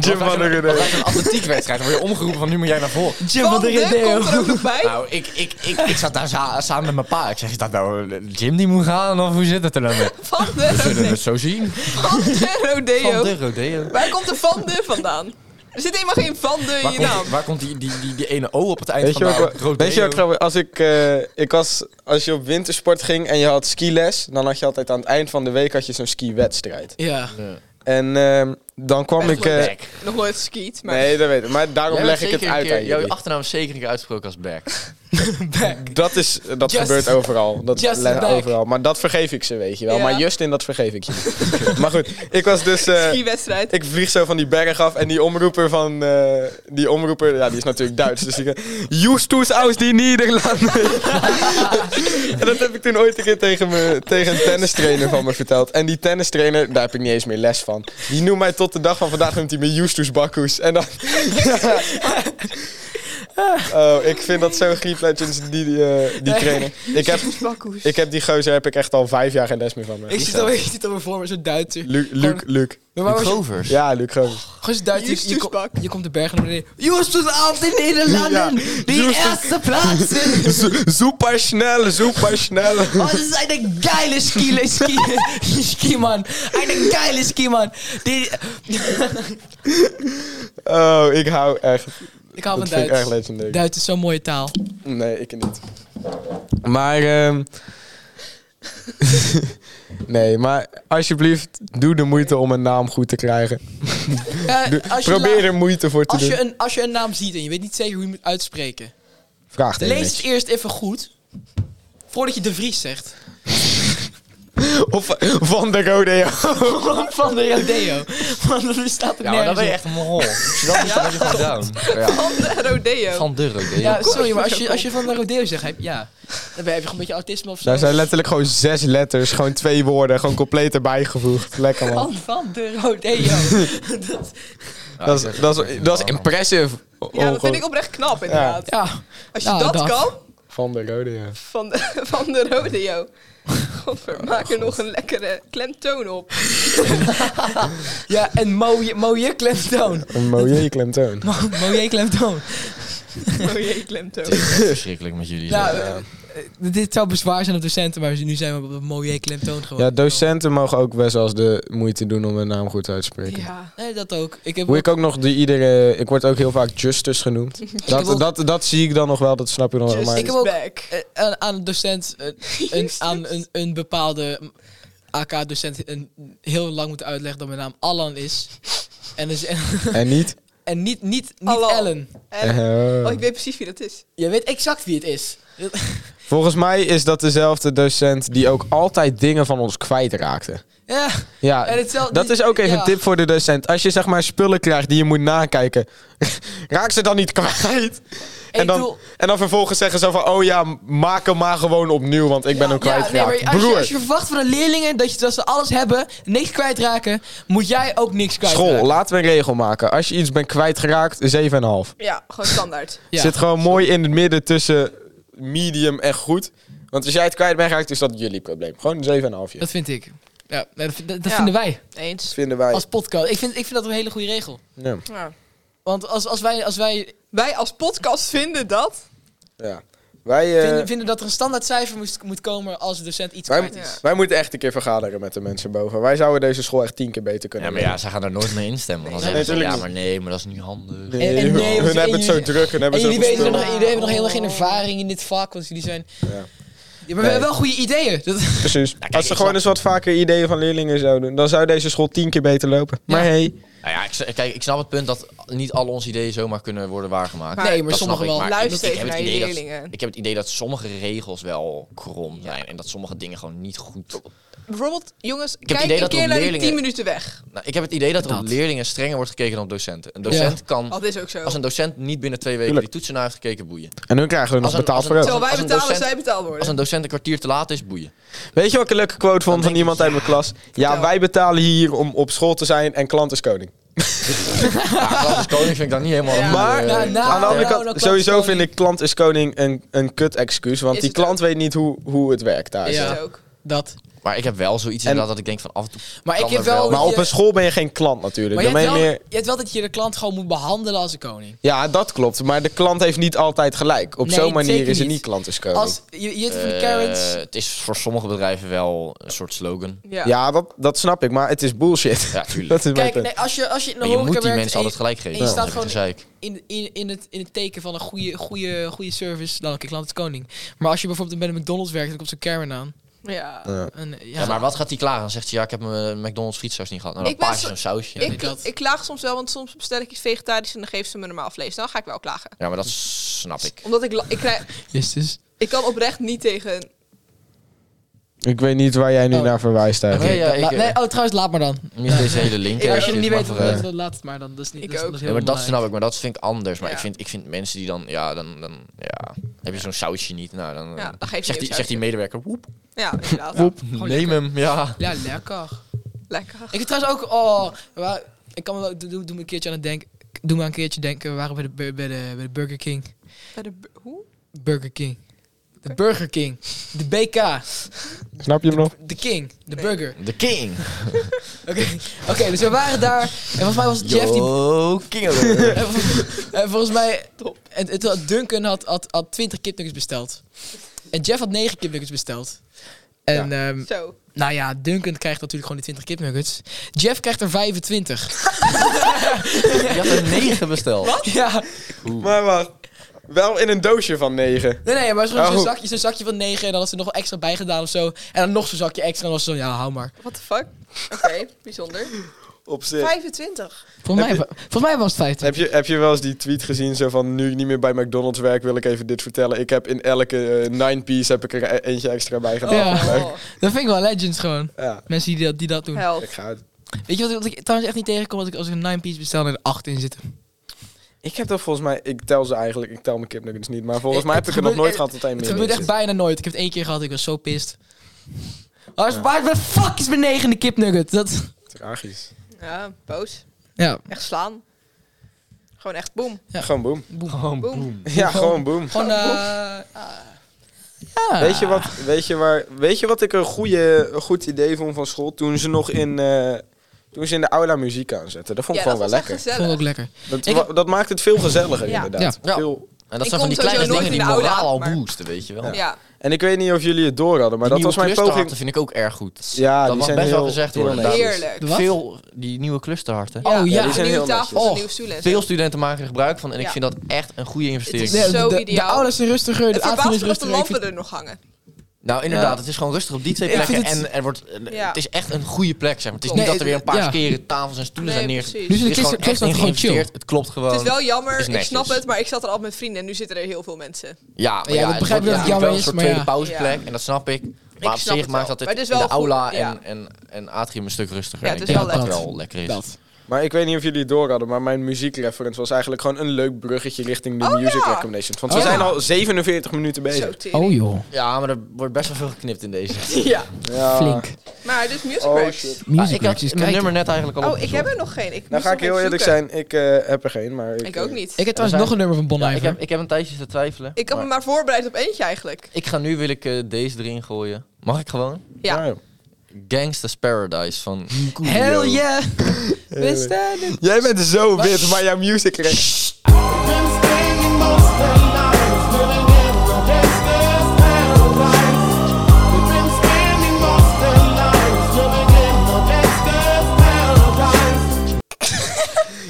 Speaker 1: Jim van der
Speaker 4: Dat
Speaker 1: Rudde.
Speaker 4: lijkt een atletiekwedstrijd. Dan word je omgeroepen van nu moet jij naar voren.
Speaker 2: Jim van de
Speaker 3: komt er ook nog bij.
Speaker 4: Nou, ik, ik, ik, ik zat daar za- samen met mijn pa. Ik zeg, is dat nou eh, Jim die moet gaan? Of hoe zit het er dan mee?
Speaker 3: Van de
Speaker 4: We zullen
Speaker 3: Rodeo.
Speaker 4: het zo zien.
Speaker 3: Van de
Speaker 4: Van
Speaker 3: Rodeo.
Speaker 4: de Rodeo.
Speaker 3: Waar komt de Van de vandaan? Er zit helemaal geen Van de in
Speaker 4: Waar
Speaker 3: je
Speaker 4: komt,
Speaker 2: nou.
Speaker 3: naam.
Speaker 4: waar komt die, die, die, die ene O op het eind
Speaker 1: Weet je
Speaker 4: van
Speaker 1: ook,
Speaker 4: de
Speaker 1: wel-
Speaker 4: Rodeo?
Speaker 1: weet je ook grappig, als ik, eh, ik was, als je op wintersport ging en je had skiles, dan had je altijd aan het eind van de week had je zo'n skiwedstrijd.
Speaker 2: Ja.
Speaker 1: En ehm, dan kwam ik, eh,
Speaker 4: Back.
Speaker 3: Nog nooit geskiet, maar...
Speaker 1: nee dat weet ik, maar daarom
Speaker 4: Jij bent
Speaker 1: leg ik het
Speaker 4: zeker een
Speaker 1: uit
Speaker 4: keer-
Speaker 1: aan
Speaker 4: Jouw
Speaker 1: jullie.
Speaker 4: achternaam is zeker een keer uitgesproken als Back.
Speaker 1: Dat, is, dat
Speaker 2: Just-
Speaker 1: gebeurt overal. Dat
Speaker 2: Just
Speaker 1: le-
Speaker 2: back.
Speaker 1: overal. Maar dat vergeef ik ze, weet je wel.
Speaker 3: Ja.
Speaker 1: Maar Justin, dat vergeef ik je niet. [LAUGHS] maar goed, ik was dus... eh,
Speaker 3: Skiwedstrijd.
Speaker 1: Ik vlieg zo van die berg af en die omroeper van... eh, die omroeper, ja, die is natuurlijk Duits. Dus die gaat... Justus aus die Nederlanden. [LAUGHS] en dat heb ik toen ooit een keer tegen, me, tegen een tennistrainer van me verteld. En die tennistrainer, daar heb ik niet eens meer les van. Die noemt mij tot de dag van vandaag noemt hij me Justus Bakkoes. En dan... [LAUGHS] oh, ik vind dat zo griep, Legends, die, die, eh, die trainer. Ik heb,
Speaker 3: Bakkoes.
Speaker 1: ik heb die gozer heb ik echt al vijf jaar geen les meer van me.
Speaker 2: Ik zit alweer, ik zit alweer voor me, zo'n Duitser.
Speaker 1: Luc, Luc, Luc.
Speaker 2: Maar waarom-
Speaker 4: Grovers.
Speaker 1: Ja, Luc Grovers.
Speaker 2: Gewoon zo'n Duitser, je,
Speaker 3: Justus
Speaker 2: je, komt-
Speaker 3: Bak.
Speaker 2: je komt de bergen naar beneden. Justus af in Nederlanden! die
Speaker 1: Justus.
Speaker 2: eerste
Speaker 1: [LAUGHS]
Speaker 2: plaats! in-
Speaker 1: Super snel, super snel.
Speaker 2: Oh, das ist eine geile Ski, Ski, [LAUGHS] Skimann. Eine geile Skimann. Die,
Speaker 1: Oh, ik hou echt.
Speaker 2: ik hou
Speaker 1: dat
Speaker 2: van
Speaker 1: vind ik echt
Speaker 2: Duits.
Speaker 1: legendary.
Speaker 2: Duits is zo'n mooie taal.
Speaker 1: nee, ik niet. Maar, ehm, [LAUGHS] nee, maar alsjeblieft, doe de moeite om een naam goed te krijgen. Doe-
Speaker 2: Eh, als je
Speaker 1: probeer
Speaker 2: la-
Speaker 1: er moeite voor te
Speaker 2: Als
Speaker 1: doen.
Speaker 2: je, een, als je een naam ziet en je weet niet zeker hoe je hem moet uitspreken,
Speaker 1: Vraag het even
Speaker 2: lees het
Speaker 1: netjes.
Speaker 2: eerst even goed. Voordat je De Vries zegt.
Speaker 1: Of van de Rodeo.
Speaker 2: [LAUGHS] Van de Rodeo. Want dat staat er
Speaker 4: Ja, maar
Speaker 2: nergens
Speaker 4: dan ben je
Speaker 2: op.
Speaker 4: echt een mol. Als je dat doet, dan ben je gewoon down. Ja.
Speaker 3: Van de Rodeo.
Speaker 4: Van de rodeo.
Speaker 2: Ja, sorry, maar [LAUGHS] als je, als je van de Rodeo zegt, heb, ja, dan ben je heb je gewoon een beetje autisme of zo.
Speaker 1: Daar zijn letterlijk gewoon zes letters, gewoon twee woorden, gewoon compleet erbij gevoegd. Lekker man.
Speaker 2: Van, van de Rodeo. dat, Oh.
Speaker 4: Ja,
Speaker 1: Dat
Speaker 4: ik
Speaker 1: is,
Speaker 4: zeg-
Speaker 1: dat is, Oh, dat is impressive.
Speaker 3: Ja, dat vind ik oprecht knap, inderdaad.
Speaker 2: ja.
Speaker 3: Als je
Speaker 2: Nou,
Speaker 3: dat
Speaker 2: dag.
Speaker 3: kan,
Speaker 1: Van de Rodeo.
Speaker 3: van de, van de rodeo. Godver, maak er nog een lekkere klemtoon op.
Speaker 2: ja, en mooie, mooie klemtoon.
Speaker 1: Een mooie klemtoon.
Speaker 2: [LAUGHS] Mo- Mooie klemtoon.
Speaker 3: Oh jee, klemtoon.
Speaker 4: verschrikkelijk met jullie.
Speaker 2: Nou,
Speaker 4: zeg.
Speaker 2: eh, eh, dit zou bezwaar zijn op docenten, maar nu zijn we op een mooie klemtoon gewoon.
Speaker 1: Ja, docenten mogen ook best wel eens de moeite doen om hun naam goed uit te spreken.
Speaker 3: Ja.
Speaker 2: Nee, dat ook. Ik heb
Speaker 1: Hoe ik ook nog de iedere... Ik word ook heel vaak Justus
Speaker 2: [LAUGHS]
Speaker 1: genoemd. Dat,
Speaker 2: ook-
Speaker 1: dat, dat zie ik dan nog wel, dat snap je nog wel.
Speaker 3: Just
Speaker 1: Maar
Speaker 2: ik heb ook-
Speaker 3: back.
Speaker 2: eh, aan, aan een docent, eh, een, aan een, een bepaalde AK-docent een, heel lang moeten uitleggen dat mijn naam Allan is. En, dus, en,
Speaker 1: En
Speaker 2: [LAUGHS]
Speaker 1: niet?
Speaker 2: en niet, niet, niet
Speaker 3: Allan.
Speaker 2: Ellen.
Speaker 3: En,
Speaker 1: Eh,
Speaker 3: oh, ik weet precies wie dat is.
Speaker 2: Je weet exact wie het is.
Speaker 1: Volgens mij is dat dezelfde docent die ook altijd dingen van ons kwijtraakte.
Speaker 2: Ja,
Speaker 1: Ja,
Speaker 2: en hetzelfde.
Speaker 1: dat is ook even
Speaker 2: ja.
Speaker 1: een tip voor de docent. Als je zeg maar spullen krijgt die je moet nakijken, [LAUGHS] raak ze dan niet kwijt. En
Speaker 2: Ik
Speaker 1: dan,
Speaker 2: bedoel-
Speaker 1: en dan vervolgens zeggen ze van, oh ja, maak hem maar gewoon opnieuw, want ik ben hem
Speaker 2: Ja, nee,
Speaker 1: kwijtgeraakt.
Speaker 2: maar als je,
Speaker 1: Broer,
Speaker 2: als je verwacht van de leerlingen dat, je, dat ze alles hebben, niks kwijtraken, moet jij ook niks kwijtraken.
Speaker 1: school, laten we een regel maken. Als je iets bent kwijtgeraakt, 7,5.
Speaker 3: Ja, gewoon standaard.
Speaker 2: Ja.
Speaker 1: Zit gewoon mooi in het midden tussen medium en goed. Want als jij het kwijt bent geraakt, is dat jullie probleem. Gewoon een 7,5.
Speaker 2: Dat vind ik. Ja, nee, dat, vind- dat, dat
Speaker 3: Ja.
Speaker 2: vinden wij
Speaker 3: Eens.
Speaker 1: vinden wij.
Speaker 2: als podcast. Ik vind, ik vind dat een hele goede regel.
Speaker 1: Ja.
Speaker 3: Ja.
Speaker 2: Want als, als wij, als
Speaker 1: Eh.
Speaker 2: wij
Speaker 3: Wij als podcast vinden dat.
Speaker 1: Ja. Wij, eh,
Speaker 2: vinden, vinden dat er een standaard cijfer moest, moet komen als de docent iets
Speaker 1: Wij-
Speaker 2: kwijt is.
Speaker 3: Ja.
Speaker 1: Wij moeten echt een keer vergaderen met de mensen boven. Wij zouden deze school echt tien keer beter kunnen
Speaker 4: Ja, maar ja, zij gaan er nooit mee instemmen. Want dan
Speaker 1: Nee,
Speaker 4: zeggen ze, ja,
Speaker 1: natuurlijk
Speaker 4: maar nee, maar dat is niet handig.
Speaker 1: doen.
Speaker 2: en- en
Speaker 1: hun-
Speaker 2: nee, want-
Speaker 1: hun
Speaker 2: en
Speaker 1: hebben het zo
Speaker 2: jullie-
Speaker 1: druk. Hun hebben
Speaker 2: En jullie,
Speaker 1: zoveel
Speaker 2: weten nog,
Speaker 1: spullen.
Speaker 2: jullie hebben nog helemaal geen ervaring in dit vak, want jullie zijn...
Speaker 1: Ja.
Speaker 2: Ja, maar we
Speaker 1: Nee.
Speaker 2: hebben wel goede ideeën. Dat,
Speaker 1: Precies.
Speaker 4: kijk,
Speaker 1: Als ze gewoon
Speaker 4: ik snap-
Speaker 1: eens wat vaker ideeën van leerlingen zouden doen, dan zou deze school tien keer beter lopen. Maar
Speaker 2: Ja.
Speaker 1: hey,
Speaker 4: Nou ja, ik, s- kijk, ik snap het punt dat niet al onze ideeën zomaar kunnen worden waargemaakt.
Speaker 3: Maar-
Speaker 2: nee, maar
Speaker 4: dat
Speaker 2: sommigen
Speaker 4: snap
Speaker 2: wel.
Speaker 4: ik, maar
Speaker 3: Luister
Speaker 4: ik
Speaker 3: even
Speaker 4: heb het
Speaker 3: naar je
Speaker 4: idee dat-
Speaker 3: leerlingen.
Speaker 4: Ik heb het idee dat sommige regels wel krom zijn. En dat sommige dingen gewoon niet goed...
Speaker 3: Bijvoorbeeld, jongens,
Speaker 4: het
Speaker 3: kijk
Speaker 4: idee
Speaker 3: een
Speaker 4: dat
Speaker 3: keer naar die
Speaker 4: leerlingen-
Speaker 3: 10 minuten weg.
Speaker 4: Nou, ik heb het idee dat er op
Speaker 2: Dat.
Speaker 4: leerlingen strenger wordt gekeken dan op docenten. Een docent kan...
Speaker 3: Dat is ook zo.
Speaker 4: Als een docent niet binnen twee weken
Speaker 1: Tuurlijk.
Speaker 4: die toetsen naar heeft gekeken, boeien.
Speaker 1: en hun krijgen we nog
Speaker 4: Als een-
Speaker 1: betaald
Speaker 4: als
Speaker 1: voor
Speaker 4: een-
Speaker 1: ook.
Speaker 3: Terwijl wij
Speaker 4: als een
Speaker 3: betalen,
Speaker 4: docent-
Speaker 3: zij betaald worden.
Speaker 4: Als een docent een kwartier te laat is, boeien.
Speaker 1: Weet je wat ik een leuke quote vond van iemand uit mijn klas? Ja,
Speaker 3: Vertel.
Speaker 1: wij betalen hier om op school te zijn en klant is koning.
Speaker 4: Ja, dat als koning vind ik dan niet helemaal...
Speaker 3: Ja.
Speaker 1: Maar
Speaker 2: Nou, nou,
Speaker 1: aan de andere
Speaker 2: nou,
Speaker 1: kant,
Speaker 2: nou, klant is
Speaker 1: sowieso
Speaker 2: koning.
Speaker 1: vind ik klant is koning een, een kut excuus. Want
Speaker 3: Is
Speaker 1: die
Speaker 3: het ook.
Speaker 1: klant weet niet hoe, hoe het werkt daar.
Speaker 3: Is
Speaker 2: Ja.
Speaker 3: het ook.
Speaker 2: dat.
Speaker 4: eh, Maar ik heb wel zoiets
Speaker 1: En-
Speaker 4: inderdaad dat ik denk van af en toe...
Speaker 2: Maar ik
Speaker 4: kan Nou,
Speaker 2: heb
Speaker 4: er
Speaker 2: wel-
Speaker 1: Maar op
Speaker 2: je-
Speaker 1: een school ben je geen klant natuurlijk.
Speaker 2: Maar
Speaker 1: Dan
Speaker 2: je
Speaker 1: ben je
Speaker 2: hebt, wel,
Speaker 1: meer
Speaker 2: je hebt wel dat je de klant gewoon moet behandelen als een koning.
Speaker 1: Ja, dat klopt. Maar de klant heeft niet altijd gelijk. Op
Speaker 2: Nee,
Speaker 1: zo'n manier
Speaker 2: zeker
Speaker 1: is er
Speaker 2: niet.
Speaker 1: niet klant is koning.
Speaker 2: Als, je, je hebt van die
Speaker 4: Eh,
Speaker 2: Karens...
Speaker 4: het is voor sommige bedrijven wel een soort slogan.
Speaker 1: Ja,
Speaker 3: Ja.
Speaker 1: dat, dat snap ik. Maar het is bullshit. [LAUGHS]
Speaker 4: Ja, tuurlijk.
Speaker 1: Dat is mijn
Speaker 2: Kijk,
Speaker 1: punt.
Speaker 2: nee, als je, als je in de
Speaker 4: Maar je
Speaker 2: horeca
Speaker 4: moet die
Speaker 2: werkt
Speaker 4: mensen
Speaker 2: en je-
Speaker 4: altijd gelijk geven.
Speaker 2: en je
Speaker 4: dan
Speaker 2: staat
Speaker 4: heb je
Speaker 2: gewoon-
Speaker 4: gezeik.
Speaker 2: in, in, in, het, in het teken van een goede, goede, goede service, dan oké, klant is koning. Maar als je bijvoorbeeld bij een McDonald's werkt, dan komt zo'n Karen aan.
Speaker 3: Ja.
Speaker 1: Ja.
Speaker 2: En, eh, ja,
Speaker 4: Ja, maar wat gaat die klagen? Dan zegt ze, ja, ik heb mijn McDonald's frietsaus niet gehad. Nou,
Speaker 3: Ik ben
Speaker 4: dan paas je
Speaker 3: zo-
Speaker 4: zo'n sausje.
Speaker 3: Ik,
Speaker 2: dat.
Speaker 3: ik klaag soms wel, want soms bestel ik iets vegetarisch en dan geven ze me normaal vlees. Dan ga ik wel klagen.
Speaker 4: Ja, maar dat
Speaker 2: [LAUGHS]
Speaker 4: snap ik.
Speaker 3: Omdat ik, la- ik, krijg,
Speaker 2: Justus.
Speaker 3: ik kan oprecht niet tegen...
Speaker 1: Ik weet niet waar jij nu
Speaker 2: Oh.
Speaker 1: naar verwijst eigenlijk.
Speaker 4: Nee, ja, ik,
Speaker 2: La-
Speaker 4: eh,
Speaker 2: nee, oh, trouwens, laat maar dan.
Speaker 4: Mis deze hele
Speaker 2: Ik,
Speaker 4: link.
Speaker 2: als je
Speaker 4: ergens,
Speaker 2: het niet
Speaker 4: maar
Speaker 2: weet,
Speaker 4: voor,
Speaker 2: dan,
Speaker 4: eh,
Speaker 2: dan laat het maar. Dan, dat is niet,
Speaker 3: Ik
Speaker 2: dat is
Speaker 3: ook.
Speaker 2: nog
Speaker 4: Ja,
Speaker 2: heel
Speaker 4: maar dat
Speaker 2: belangrijk.
Speaker 4: snap ik, maar dat vind ik anders. Maar
Speaker 3: Ja.
Speaker 4: ik, vind, ik vind mensen die dan, ja, dan, dan ja, heb je zo'n sausje niet. Nou, dan, eh,
Speaker 3: Ja, dan geef je
Speaker 4: zegt,
Speaker 3: hem
Speaker 4: die, zegt die medewerker, woep,
Speaker 3: Ja, inderdaad.
Speaker 4: woep,
Speaker 2: gewoon
Speaker 4: neem hem. Ja.
Speaker 2: Ja, lekker.
Speaker 3: Lekker.
Speaker 2: Ik heb trouwens ook, oh, waar- ik kan me wel, doe, doe me een keertje aan het denken. Doe me een keertje denken, we waren bij de, bur- bij de, bij de Burger King.
Speaker 3: Bij de bu- Hoe?
Speaker 2: Burger King. De Burger King. De BK.
Speaker 1: Snap je hem nog?
Speaker 2: De King. De
Speaker 3: Nee.
Speaker 2: Burger.
Speaker 4: De king.
Speaker 2: Oké, Oké, dus we waren daar. En volgens mij was het Jeff die
Speaker 4: Yo, king. of the-
Speaker 2: En vol- en volgens mij...
Speaker 3: Top.
Speaker 2: En, en toen had Duncan had, had, had 20 kipnuggets besteld. En Jeff had 9 kipnuggets besteld. En ehm,
Speaker 3: Zo.
Speaker 2: nou ja, Duncan krijgt natuurlijk gewoon die 20 kipnuggets. Jeff krijgt er 25.
Speaker 4: [LAUGHS] Je
Speaker 3: [LAUGHS]
Speaker 4: had een 9 besteld.
Speaker 2: [LAUGHS] Ja.
Speaker 1: Maar wacht. Wel in een doosje van negen.
Speaker 2: Nee, nee, maar zo'n zo'n
Speaker 1: Oh.
Speaker 2: zakje, zo'n zakje van 9 en dan had ze er nog wel extra bij gedaan of zo. En dan nog zo'n zakje extra en dan was ze zo, ja, hou maar.
Speaker 3: What the fuck? Oké, bijzonder.
Speaker 1: op zich.
Speaker 3: 25.
Speaker 2: Volgens mij,
Speaker 1: Heb
Speaker 2: volgens mij was het 50.
Speaker 1: Heb je, heb je wel eens die tweet gezien, zo van nu ik niet meer bij McDonald's werk, wil ik even dit vertellen. Ik heb in elke eh, nine piece heb ik er e- eentje extra bij gedaan.
Speaker 2: Ja.
Speaker 3: Oh,
Speaker 2: Dat vind ik wel legends gewoon.
Speaker 1: Ja,
Speaker 2: Mensen die dat, die dat doen.
Speaker 1: ik
Speaker 3: help.
Speaker 1: ga het.
Speaker 2: Weet je wat, ik- wat ik trouwens echt niet tegenkom? Als ik, als ik een 9-piece bestel en er 8 in zitten.
Speaker 1: Ik heb dat volgens mij, ik tel ze eigenlijk, ik tel mijn kipnuggets niet, maar volgens
Speaker 2: Eh,
Speaker 1: mij heb
Speaker 2: het
Speaker 1: ik er nog
Speaker 2: gebeurt-
Speaker 1: nooit gehad dat één
Speaker 2: Het
Speaker 1: meer
Speaker 2: gebeurt
Speaker 1: in
Speaker 2: echt
Speaker 1: zit.
Speaker 2: bijna nooit. Ik heb het één keer gehad, ik was zo pissed. Waar is, waar de fuck is mijn negende kipnugget? Dat,
Speaker 1: Tragisch.
Speaker 3: Ja, boos.
Speaker 2: ja,
Speaker 3: Echt slaan. Gewoon echt boem.
Speaker 2: Ja.
Speaker 1: Gewoon
Speaker 2: [LAUGHS]
Speaker 1: boom.
Speaker 4: Gewoon
Speaker 3: Boom.
Speaker 1: Ja, gewoon boom.
Speaker 2: gewoon... eh, ah. ja.
Speaker 1: Weet je, wat, weet, je waar, weet je wat ik een, goede, een goed idee vond van school? Toen ze nog in, eh, toen ze in de aula muziek aanzetten. Dat vond
Speaker 3: ja,
Speaker 1: ik
Speaker 3: dat
Speaker 1: gewoon
Speaker 3: was
Speaker 1: wel
Speaker 3: echt
Speaker 1: lekker.
Speaker 2: Ik vond het
Speaker 3: gezellig.
Speaker 2: ook lekker.
Speaker 1: Dat, wa-
Speaker 2: Ik
Speaker 1: dat maakt het veel gezelliger
Speaker 3: Ja.
Speaker 1: inderdaad.
Speaker 2: Ja.
Speaker 3: Ja.
Speaker 1: Veel,
Speaker 4: En dat
Speaker 3: Ik
Speaker 4: zijn
Speaker 3: kom
Speaker 4: van die
Speaker 3: sowieso
Speaker 4: kleine
Speaker 3: nooit
Speaker 4: dingen
Speaker 3: in
Speaker 4: die
Speaker 3: de oude
Speaker 4: moraal
Speaker 3: haat,
Speaker 4: al
Speaker 3: maar-
Speaker 4: boosten, weet je wel. Die
Speaker 3: Ja.
Speaker 1: en ik weet niet of jullie het door hadden, maar dat
Speaker 4: nieuwe
Speaker 1: was mijn
Speaker 4: clusterharten
Speaker 1: poging.
Speaker 4: vind ik ook erg goed.
Speaker 1: Ja,
Speaker 4: dat
Speaker 1: die
Speaker 4: mag
Speaker 1: zijn
Speaker 4: best wel
Speaker 1: heel-
Speaker 4: gezegd
Speaker 1: heel
Speaker 4: worden.
Speaker 1: netjes.
Speaker 3: Heerlijk.
Speaker 2: Wat?
Speaker 4: Veel, die nieuwe clusterharten. Oh,
Speaker 2: Oh, ja.
Speaker 1: die zijn
Speaker 3: een nieuwe
Speaker 1: heel
Speaker 3: tafels,
Speaker 1: netjes.
Speaker 3: een nieuwe stoelen. en zo.
Speaker 4: Veel studenten maken er gebruik van en ik
Speaker 3: Ja.
Speaker 4: vind dat echt een goede investering.
Speaker 3: Het is zo
Speaker 2: de, de
Speaker 3: ideaal.
Speaker 2: ouders zijn rustiger, de
Speaker 3: Het
Speaker 2: avond
Speaker 3: verbaast
Speaker 2: is
Speaker 3: me dat de
Speaker 2: rustiger. Ik
Speaker 3: lampen
Speaker 2: vind,
Speaker 3: er nog hangen.
Speaker 4: Nou, inderdaad, het is gewoon rustig op die twee
Speaker 2: Ja, ik
Speaker 4: plekken.
Speaker 2: vind het-
Speaker 4: En er wordt, eh,
Speaker 3: Ja.
Speaker 4: het is echt een goede plek, zeg maar. Het is
Speaker 2: Klopt.
Speaker 4: niet
Speaker 2: Nee,
Speaker 4: dat er weer een paar
Speaker 2: ja.
Speaker 4: keren tafels en stoelen zijn
Speaker 3: Nee,
Speaker 4: neergezet.
Speaker 3: precies.
Speaker 2: nu zit
Speaker 4: Het
Speaker 2: de
Speaker 4: is gewoon
Speaker 2: kist
Speaker 4: echt
Speaker 2: dat
Speaker 4: in
Speaker 2: gewoon
Speaker 4: geïnvesteerd.
Speaker 2: chill.
Speaker 4: Het klopt gewoon.
Speaker 3: Het is wel jammer,
Speaker 4: is
Speaker 3: ik
Speaker 4: netjes.
Speaker 3: snap het, maar ik zat er altijd met vrienden en nu zitten er heel veel mensen.
Speaker 4: Ja, maar
Speaker 2: Ja,
Speaker 4: ja,
Speaker 2: dat begrijp
Speaker 4: het wordt
Speaker 2: ik dat het
Speaker 4: natuurlijk
Speaker 2: jammer
Speaker 4: wel een
Speaker 2: is,
Speaker 4: soort
Speaker 2: maar
Speaker 4: tweede
Speaker 2: ja.
Speaker 4: pauzeplek en dat snap ik. Maar
Speaker 3: snap
Speaker 4: op zich
Speaker 3: het
Speaker 4: maakt
Speaker 3: wel,
Speaker 4: dat het,
Speaker 3: maar het is
Speaker 4: in
Speaker 3: wel
Speaker 4: de aula
Speaker 3: goed, ja.
Speaker 4: en, en, en atrium een stuk rustiger.
Speaker 3: Ja,
Speaker 4: En
Speaker 3: het
Speaker 4: ik
Speaker 3: is
Speaker 4: denk
Speaker 3: dus wel
Speaker 4: dat
Speaker 2: lekker.
Speaker 4: wel lekker is.
Speaker 2: dat.
Speaker 1: Maar ik weet niet of jullie het door hadden, maar mijn muziekreference was eigenlijk gewoon een leuk bruggetje richting de
Speaker 3: Oh,
Speaker 1: music
Speaker 3: ja.
Speaker 1: recommendations. Want
Speaker 2: Oh,
Speaker 1: we
Speaker 2: ja.
Speaker 1: zijn al 47 minuten
Speaker 3: Zo
Speaker 1: bezig.
Speaker 3: tering.
Speaker 2: Oh joh,
Speaker 4: Ja, maar er wordt best wel veel geknipt in deze.
Speaker 3: Ja.
Speaker 1: Ja.
Speaker 2: flink.
Speaker 3: Maar dus music
Speaker 1: Oh,
Speaker 3: breaks.
Speaker 1: shit.
Speaker 4: Ah,
Speaker 2: Music
Speaker 4: ik had
Speaker 2: Breaks,
Speaker 4: mijn
Speaker 2: kijk.
Speaker 4: nummer net eigenlijk al
Speaker 3: Oh, ik heb er nog geen. Ik
Speaker 1: Nou
Speaker 3: moest
Speaker 1: ga
Speaker 3: nog
Speaker 1: ik heel
Speaker 3: even
Speaker 1: eerlijk
Speaker 3: zoeken.
Speaker 1: zijn, ik eh, heb er geen, maar...
Speaker 3: Ik
Speaker 1: eh,
Speaker 3: ook niet.
Speaker 2: Ik
Speaker 3: Ik,
Speaker 2: heb trouwens
Speaker 4: zijn-
Speaker 2: nog een nummer van Bon
Speaker 4: Ja, ik,
Speaker 2: Iver.
Speaker 4: heb, ik heb een tijdje te twijfelen.
Speaker 3: had me
Speaker 4: maar
Speaker 3: maar voorbereid op eentje eigenlijk.
Speaker 4: ik ga nu wil ik eh, deze erin gooien. Mag ik gewoon?
Speaker 3: Ja.
Speaker 1: nou,
Speaker 4: Gangsta's Paradise van
Speaker 2: Hell yeah!
Speaker 1: heerlijk.
Speaker 2: [LAUGHS] Wist dat het?
Speaker 1: Jij bent zo wit, maar jouw music rec-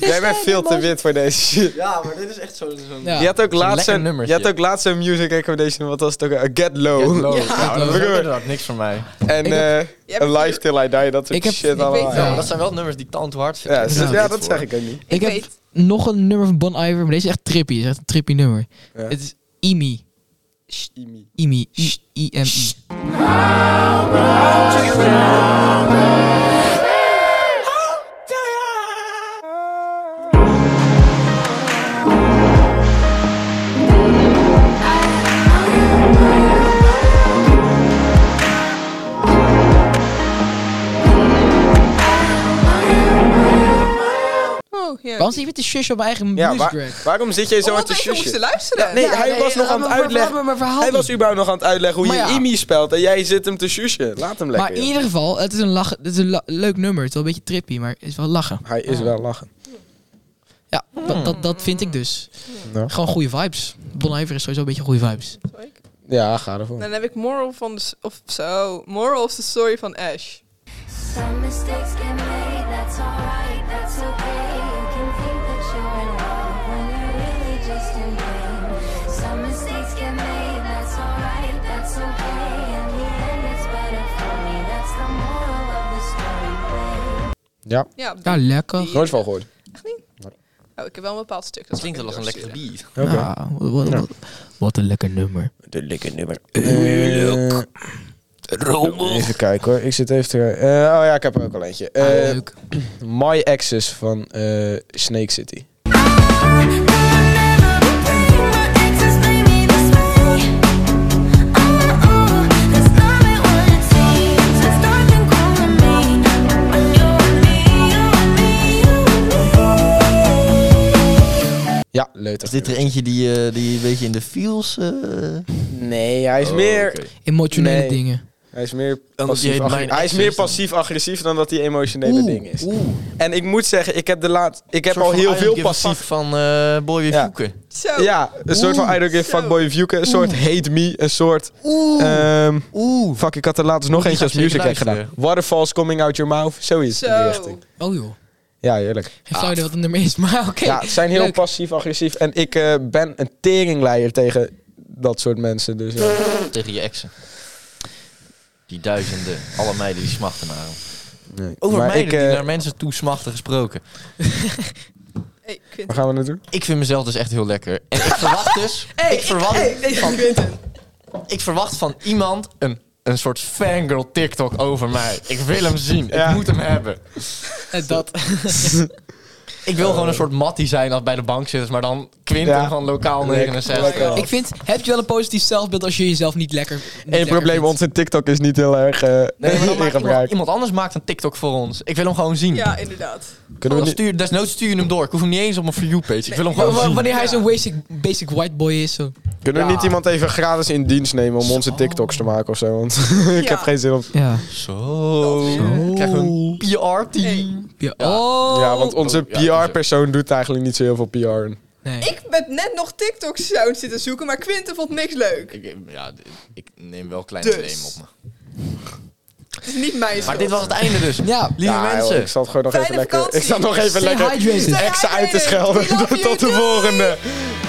Speaker 1: Jij bent veel te wit voor deze shit.
Speaker 4: Ja, maar dit is echt zo'n...
Speaker 2: Ja.
Speaker 1: Je had ook laatst
Speaker 4: lekker
Speaker 1: een
Speaker 4: nummertje.
Speaker 1: je had ook laatst een music recommendation, wat was het ook? eh, Get Low.
Speaker 4: Ja,
Speaker 1: dat
Speaker 4: dat
Speaker 1: is
Speaker 4: is
Speaker 1: ook
Speaker 4: inderdaad niks voor mij.
Speaker 1: [LAUGHS] En
Speaker 2: Ik
Speaker 1: eh
Speaker 3: Jij
Speaker 1: A
Speaker 3: bent-
Speaker 1: Life Till I Die, dat soort
Speaker 2: Ik heb-
Speaker 1: shit
Speaker 2: ik
Speaker 1: allemaal.
Speaker 3: weet wel.
Speaker 1: ja. dus
Speaker 4: dat zijn wel nummers die ik tand hard vind.
Speaker 1: Ja, zo-
Speaker 2: Ja.
Speaker 1: ja, dat zeg ik ook niet.
Speaker 2: Ik
Speaker 3: Ik
Speaker 2: heb-
Speaker 3: weet.
Speaker 2: Nog een nummer van Bon Iver, maar deze is echt trippy. Het is echt een trippy nummer.
Speaker 1: Ja.
Speaker 2: Het is Imi. Imi. I- I-M-I.
Speaker 3: Oh, ja.
Speaker 2: Waarom zit je met de shush op mijn eigen
Speaker 1: Ja,
Speaker 2: music
Speaker 1: waar-
Speaker 2: track?
Speaker 1: waarom zit jij zo aan
Speaker 3: Omdat
Speaker 1: te
Speaker 3: we even moesten
Speaker 1: zusje?
Speaker 3: luisteren.
Speaker 1: Nee,
Speaker 2: Ja,
Speaker 1: hij
Speaker 2: nee,
Speaker 1: was nog
Speaker 2: laat
Speaker 1: aan
Speaker 2: me
Speaker 1: het
Speaker 2: ver-
Speaker 1: uitleggen.
Speaker 2: laat me maar verhaal
Speaker 1: Hij
Speaker 2: doen.
Speaker 1: was überhaupt nog aan het uitleggen hoe
Speaker 2: Maar ja.
Speaker 1: je IMI spelt. En jij zit hem te zusje. Laat hem lekker.
Speaker 2: maar in
Speaker 1: joh.
Speaker 2: ieder geval, het is een, lach, het is een la- leuk nummer. Het is wel een beetje trippy, maar het is wel lachen.
Speaker 1: Hij is wel lachen.
Speaker 2: Ja, dat, dat, dat vind ik dus.
Speaker 1: Ja.
Speaker 2: Gewoon goede vibes. Bon Iver is sowieso een beetje goede vibes.
Speaker 3: Sorry.
Speaker 1: Ja, ga ervoor.
Speaker 3: Dan heb ik moral van de... s- Of zo. Moral of the story van Ash.
Speaker 6: Some mistakes get made, that's alright, that's okay. You can think that you're in love when you're really just in pain. Some mistakes get made, that's alright, that's okay. In the end, it's better for me, that's the moral of the story, babe.
Speaker 1: Ja.
Speaker 3: Ja,
Speaker 2: Ja, lekker.
Speaker 1: Nooit van gehoord.
Speaker 3: Oh, ik heb wel een bepaald stuk.
Speaker 4: Dat
Speaker 3: Dat
Speaker 4: klinkt wel als een lekkere
Speaker 3: bier.
Speaker 4: beat.
Speaker 2: Ja, wat, wat- wat- wat een lekker nummer.
Speaker 1: De lekker nummer. Eh, Even kijken hoor. Ik zit even te... eh, oh ja, ik heb er ook al eentje. Eh,
Speaker 2: leuk.
Speaker 1: My Axis van eh, Snake City. Ja, leuk.
Speaker 4: Is dit er eentje die, eh, die een beetje in de feels... eh,
Speaker 1: Nee, hij is
Speaker 4: Oh,
Speaker 1: meer...
Speaker 2: Emotionele
Speaker 1: Nee.
Speaker 2: dingen.
Speaker 1: Hij is meer
Speaker 4: heet
Speaker 1: passief-agressief
Speaker 4: mijn
Speaker 1: hij is
Speaker 4: Axis
Speaker 1: meer
Speaker 4: dan.
Speaker 1: passief-agressief dan dat hij emotionele
Speaker 2: Oeh,
Speaker 1: ding is.
Speaker 4: Oeh.
Speaker 1: En ik moet zeggen, ik heb, de laat, ik heb al heel veel passief...
Speaker 4: van eh Boy Weer
Speaker 1: Ja.
Speaker 4: Voeken.
Speaker 3: Zo.
Speaker 1: Ja, een soort van I don't give
Speaker 3: Zo.
Speaker 1: a fuck boy view. Een soort hate me. Een soort...
Speaker 4: Eh,
Speaker 1: ehm,
Speaker 4: Oeh.
Speaker 1: fuck, ik had er laatst nog
Speaker 4: Die
Speaker 1: eentje als
Speaker 4: ga ik
Speaker 1: music
Speaker 4: zeker
Speaker 1: hack gedaan.
Speaker 4: luisteren.
Speaker 1: Waterfalls coming out your mouth. Zoiets in die
Speaker 3: Zo.
Speaker 1: richting.
Speaker 2: Oh joh.
Speaker 1: Ja, heerlijk.
Speaker 2: Geen flauw idee wat het nummer is, [LAUGHS] maar oké.
Speaker 1: Ja, het zijn heel
Speaker 2: Leuk.
Speaker 1: passief-agressief. En ik eh, ben een teringleier tegen dat soort mensen. Dus, ja.
Speaker 4: Tegen je exen. Die duizenden, alle meiden die smachten naar hem.
Speaker 1: Nee.
Speaker 4: Over
Speaker 1: maar
Speaker 4: meiden
Speaker 1: ik,
Speaker 4: die
Speaker 1: eh,
Speaker 4: naar mensen toe smachten gesproken.
Speaker 3: Hey, Quinten.
Speaker 1: Waar gaan we naartoe?
Speaker 4: Ik vind mezelf dus echt heel lekker. En ik verwacht [LAUGHS] dus... ik, verwacht van, ik verwacht van iemand een, een soort fangirl TikTok over mij. Ik wil hem zien.
Speaker 1: Ja.
Speaker 4: Ik moet hem hebben.
Speaker 2: En Eh,
Speaker 1: [LAUGHS]
Speaker 2: dat.
Speaker 4: Ik wil gewoon een soort mattie zijn als bij de bank zit. Maar dan Quinten
Speaker 1: Ja.
Speaker 4: van lokaal
Speaker 1: Lekker.
Speaker 4: 69.
Speaker 1: Lekker.
Speaker 2: Ik vind, heb je wel een positief zelfbeeld als je jezelf niet lekker niet
Speaker 1: Eén
Speaker 2: lekker
Speaker 1: probleem,
Speaker 2: vindt?
Speaker 1: onze TikTok is niet heel erg eh
Speaker 4: Nee, maar dan
Speaker 1: [LAUGHS] in
Speaker 4: maakt
Speaker 1: gebruik.
Speaker 4: iemand, iemand anders maakt een TikTok voor ons. Ik wil hem gewoon zien.
Speaker 3: Ja, inderdaad.
Speaker 1: Kunnen we
Speaker 4: Dan
Speaker 1: niet...
Speaker 4: stuur, desnoods stuur je hem door. Ik hoef hem niet eens op mijn For You-page. Ik wil hem
Speaker 2: Wa-
Speaker 4: gewoon
Speaker 2: wa-
Speaker 4: zien.
Speaker 2: Wanneer hij
Speaker 3: Ja.
Speaker 2: zo'n basic, basic white boy is. Zo.
Speaker 1: Kunnen we
Speaker 4: Ja.
Speaker 1: niet iemand even gratis in dienst nemen om onze TikToks te maken of zo? Want [LAUGHS] ik
Speaker 3: Ja.
Speaker 1: heb geen zin om.
Speaker 2: Ja.
Speaker 4: Zo. Krijg een PR-team. Ja.
Speaker 2: Oh.
Speaker 1: ja, want onze
Speaker 4: Oh, ja, dat is
Speaker 1: PR-persoon doet eigenlijk niet zo heel veel PR.
Speaker 2: Nee.
Speaker 3: Ik ben net nog TikTok-sound zitten zoeken, maar Quinten vond niks leuk.
Speaker 4: Ik, ja, ik neem wel kleine
Speaker 3: Dus.
Speaker 4: claim op me.
Speaker 3: Het is niet mijn
Speaker 4: Maar
Speaker 3: schuld.
Speaker 4: dit was het einde dus.
Speaker 2: Ja.
Speaker 4: Lieve
Speaker 1: Ja, joh,
Speaker 4: mensen.
Speaker 1: ik zat gewoon nog
Speaker 3: Fijne
Speaker 1: even lekker.
Speaker 3: vakantie.
Speaker 1: Ik zat nog even
Speaker 2: Stay
Speaker 1: lekker
Speaker 2: hydrated.
Speaker 1: exen uit te
Speaker 3: hydrated. We
Speaker 1: schelden.
Speaker 3: love
Speaker 1: [LAUGHS] Tot de
Speaker 3: you. Doei.
Speaker 1: volgende.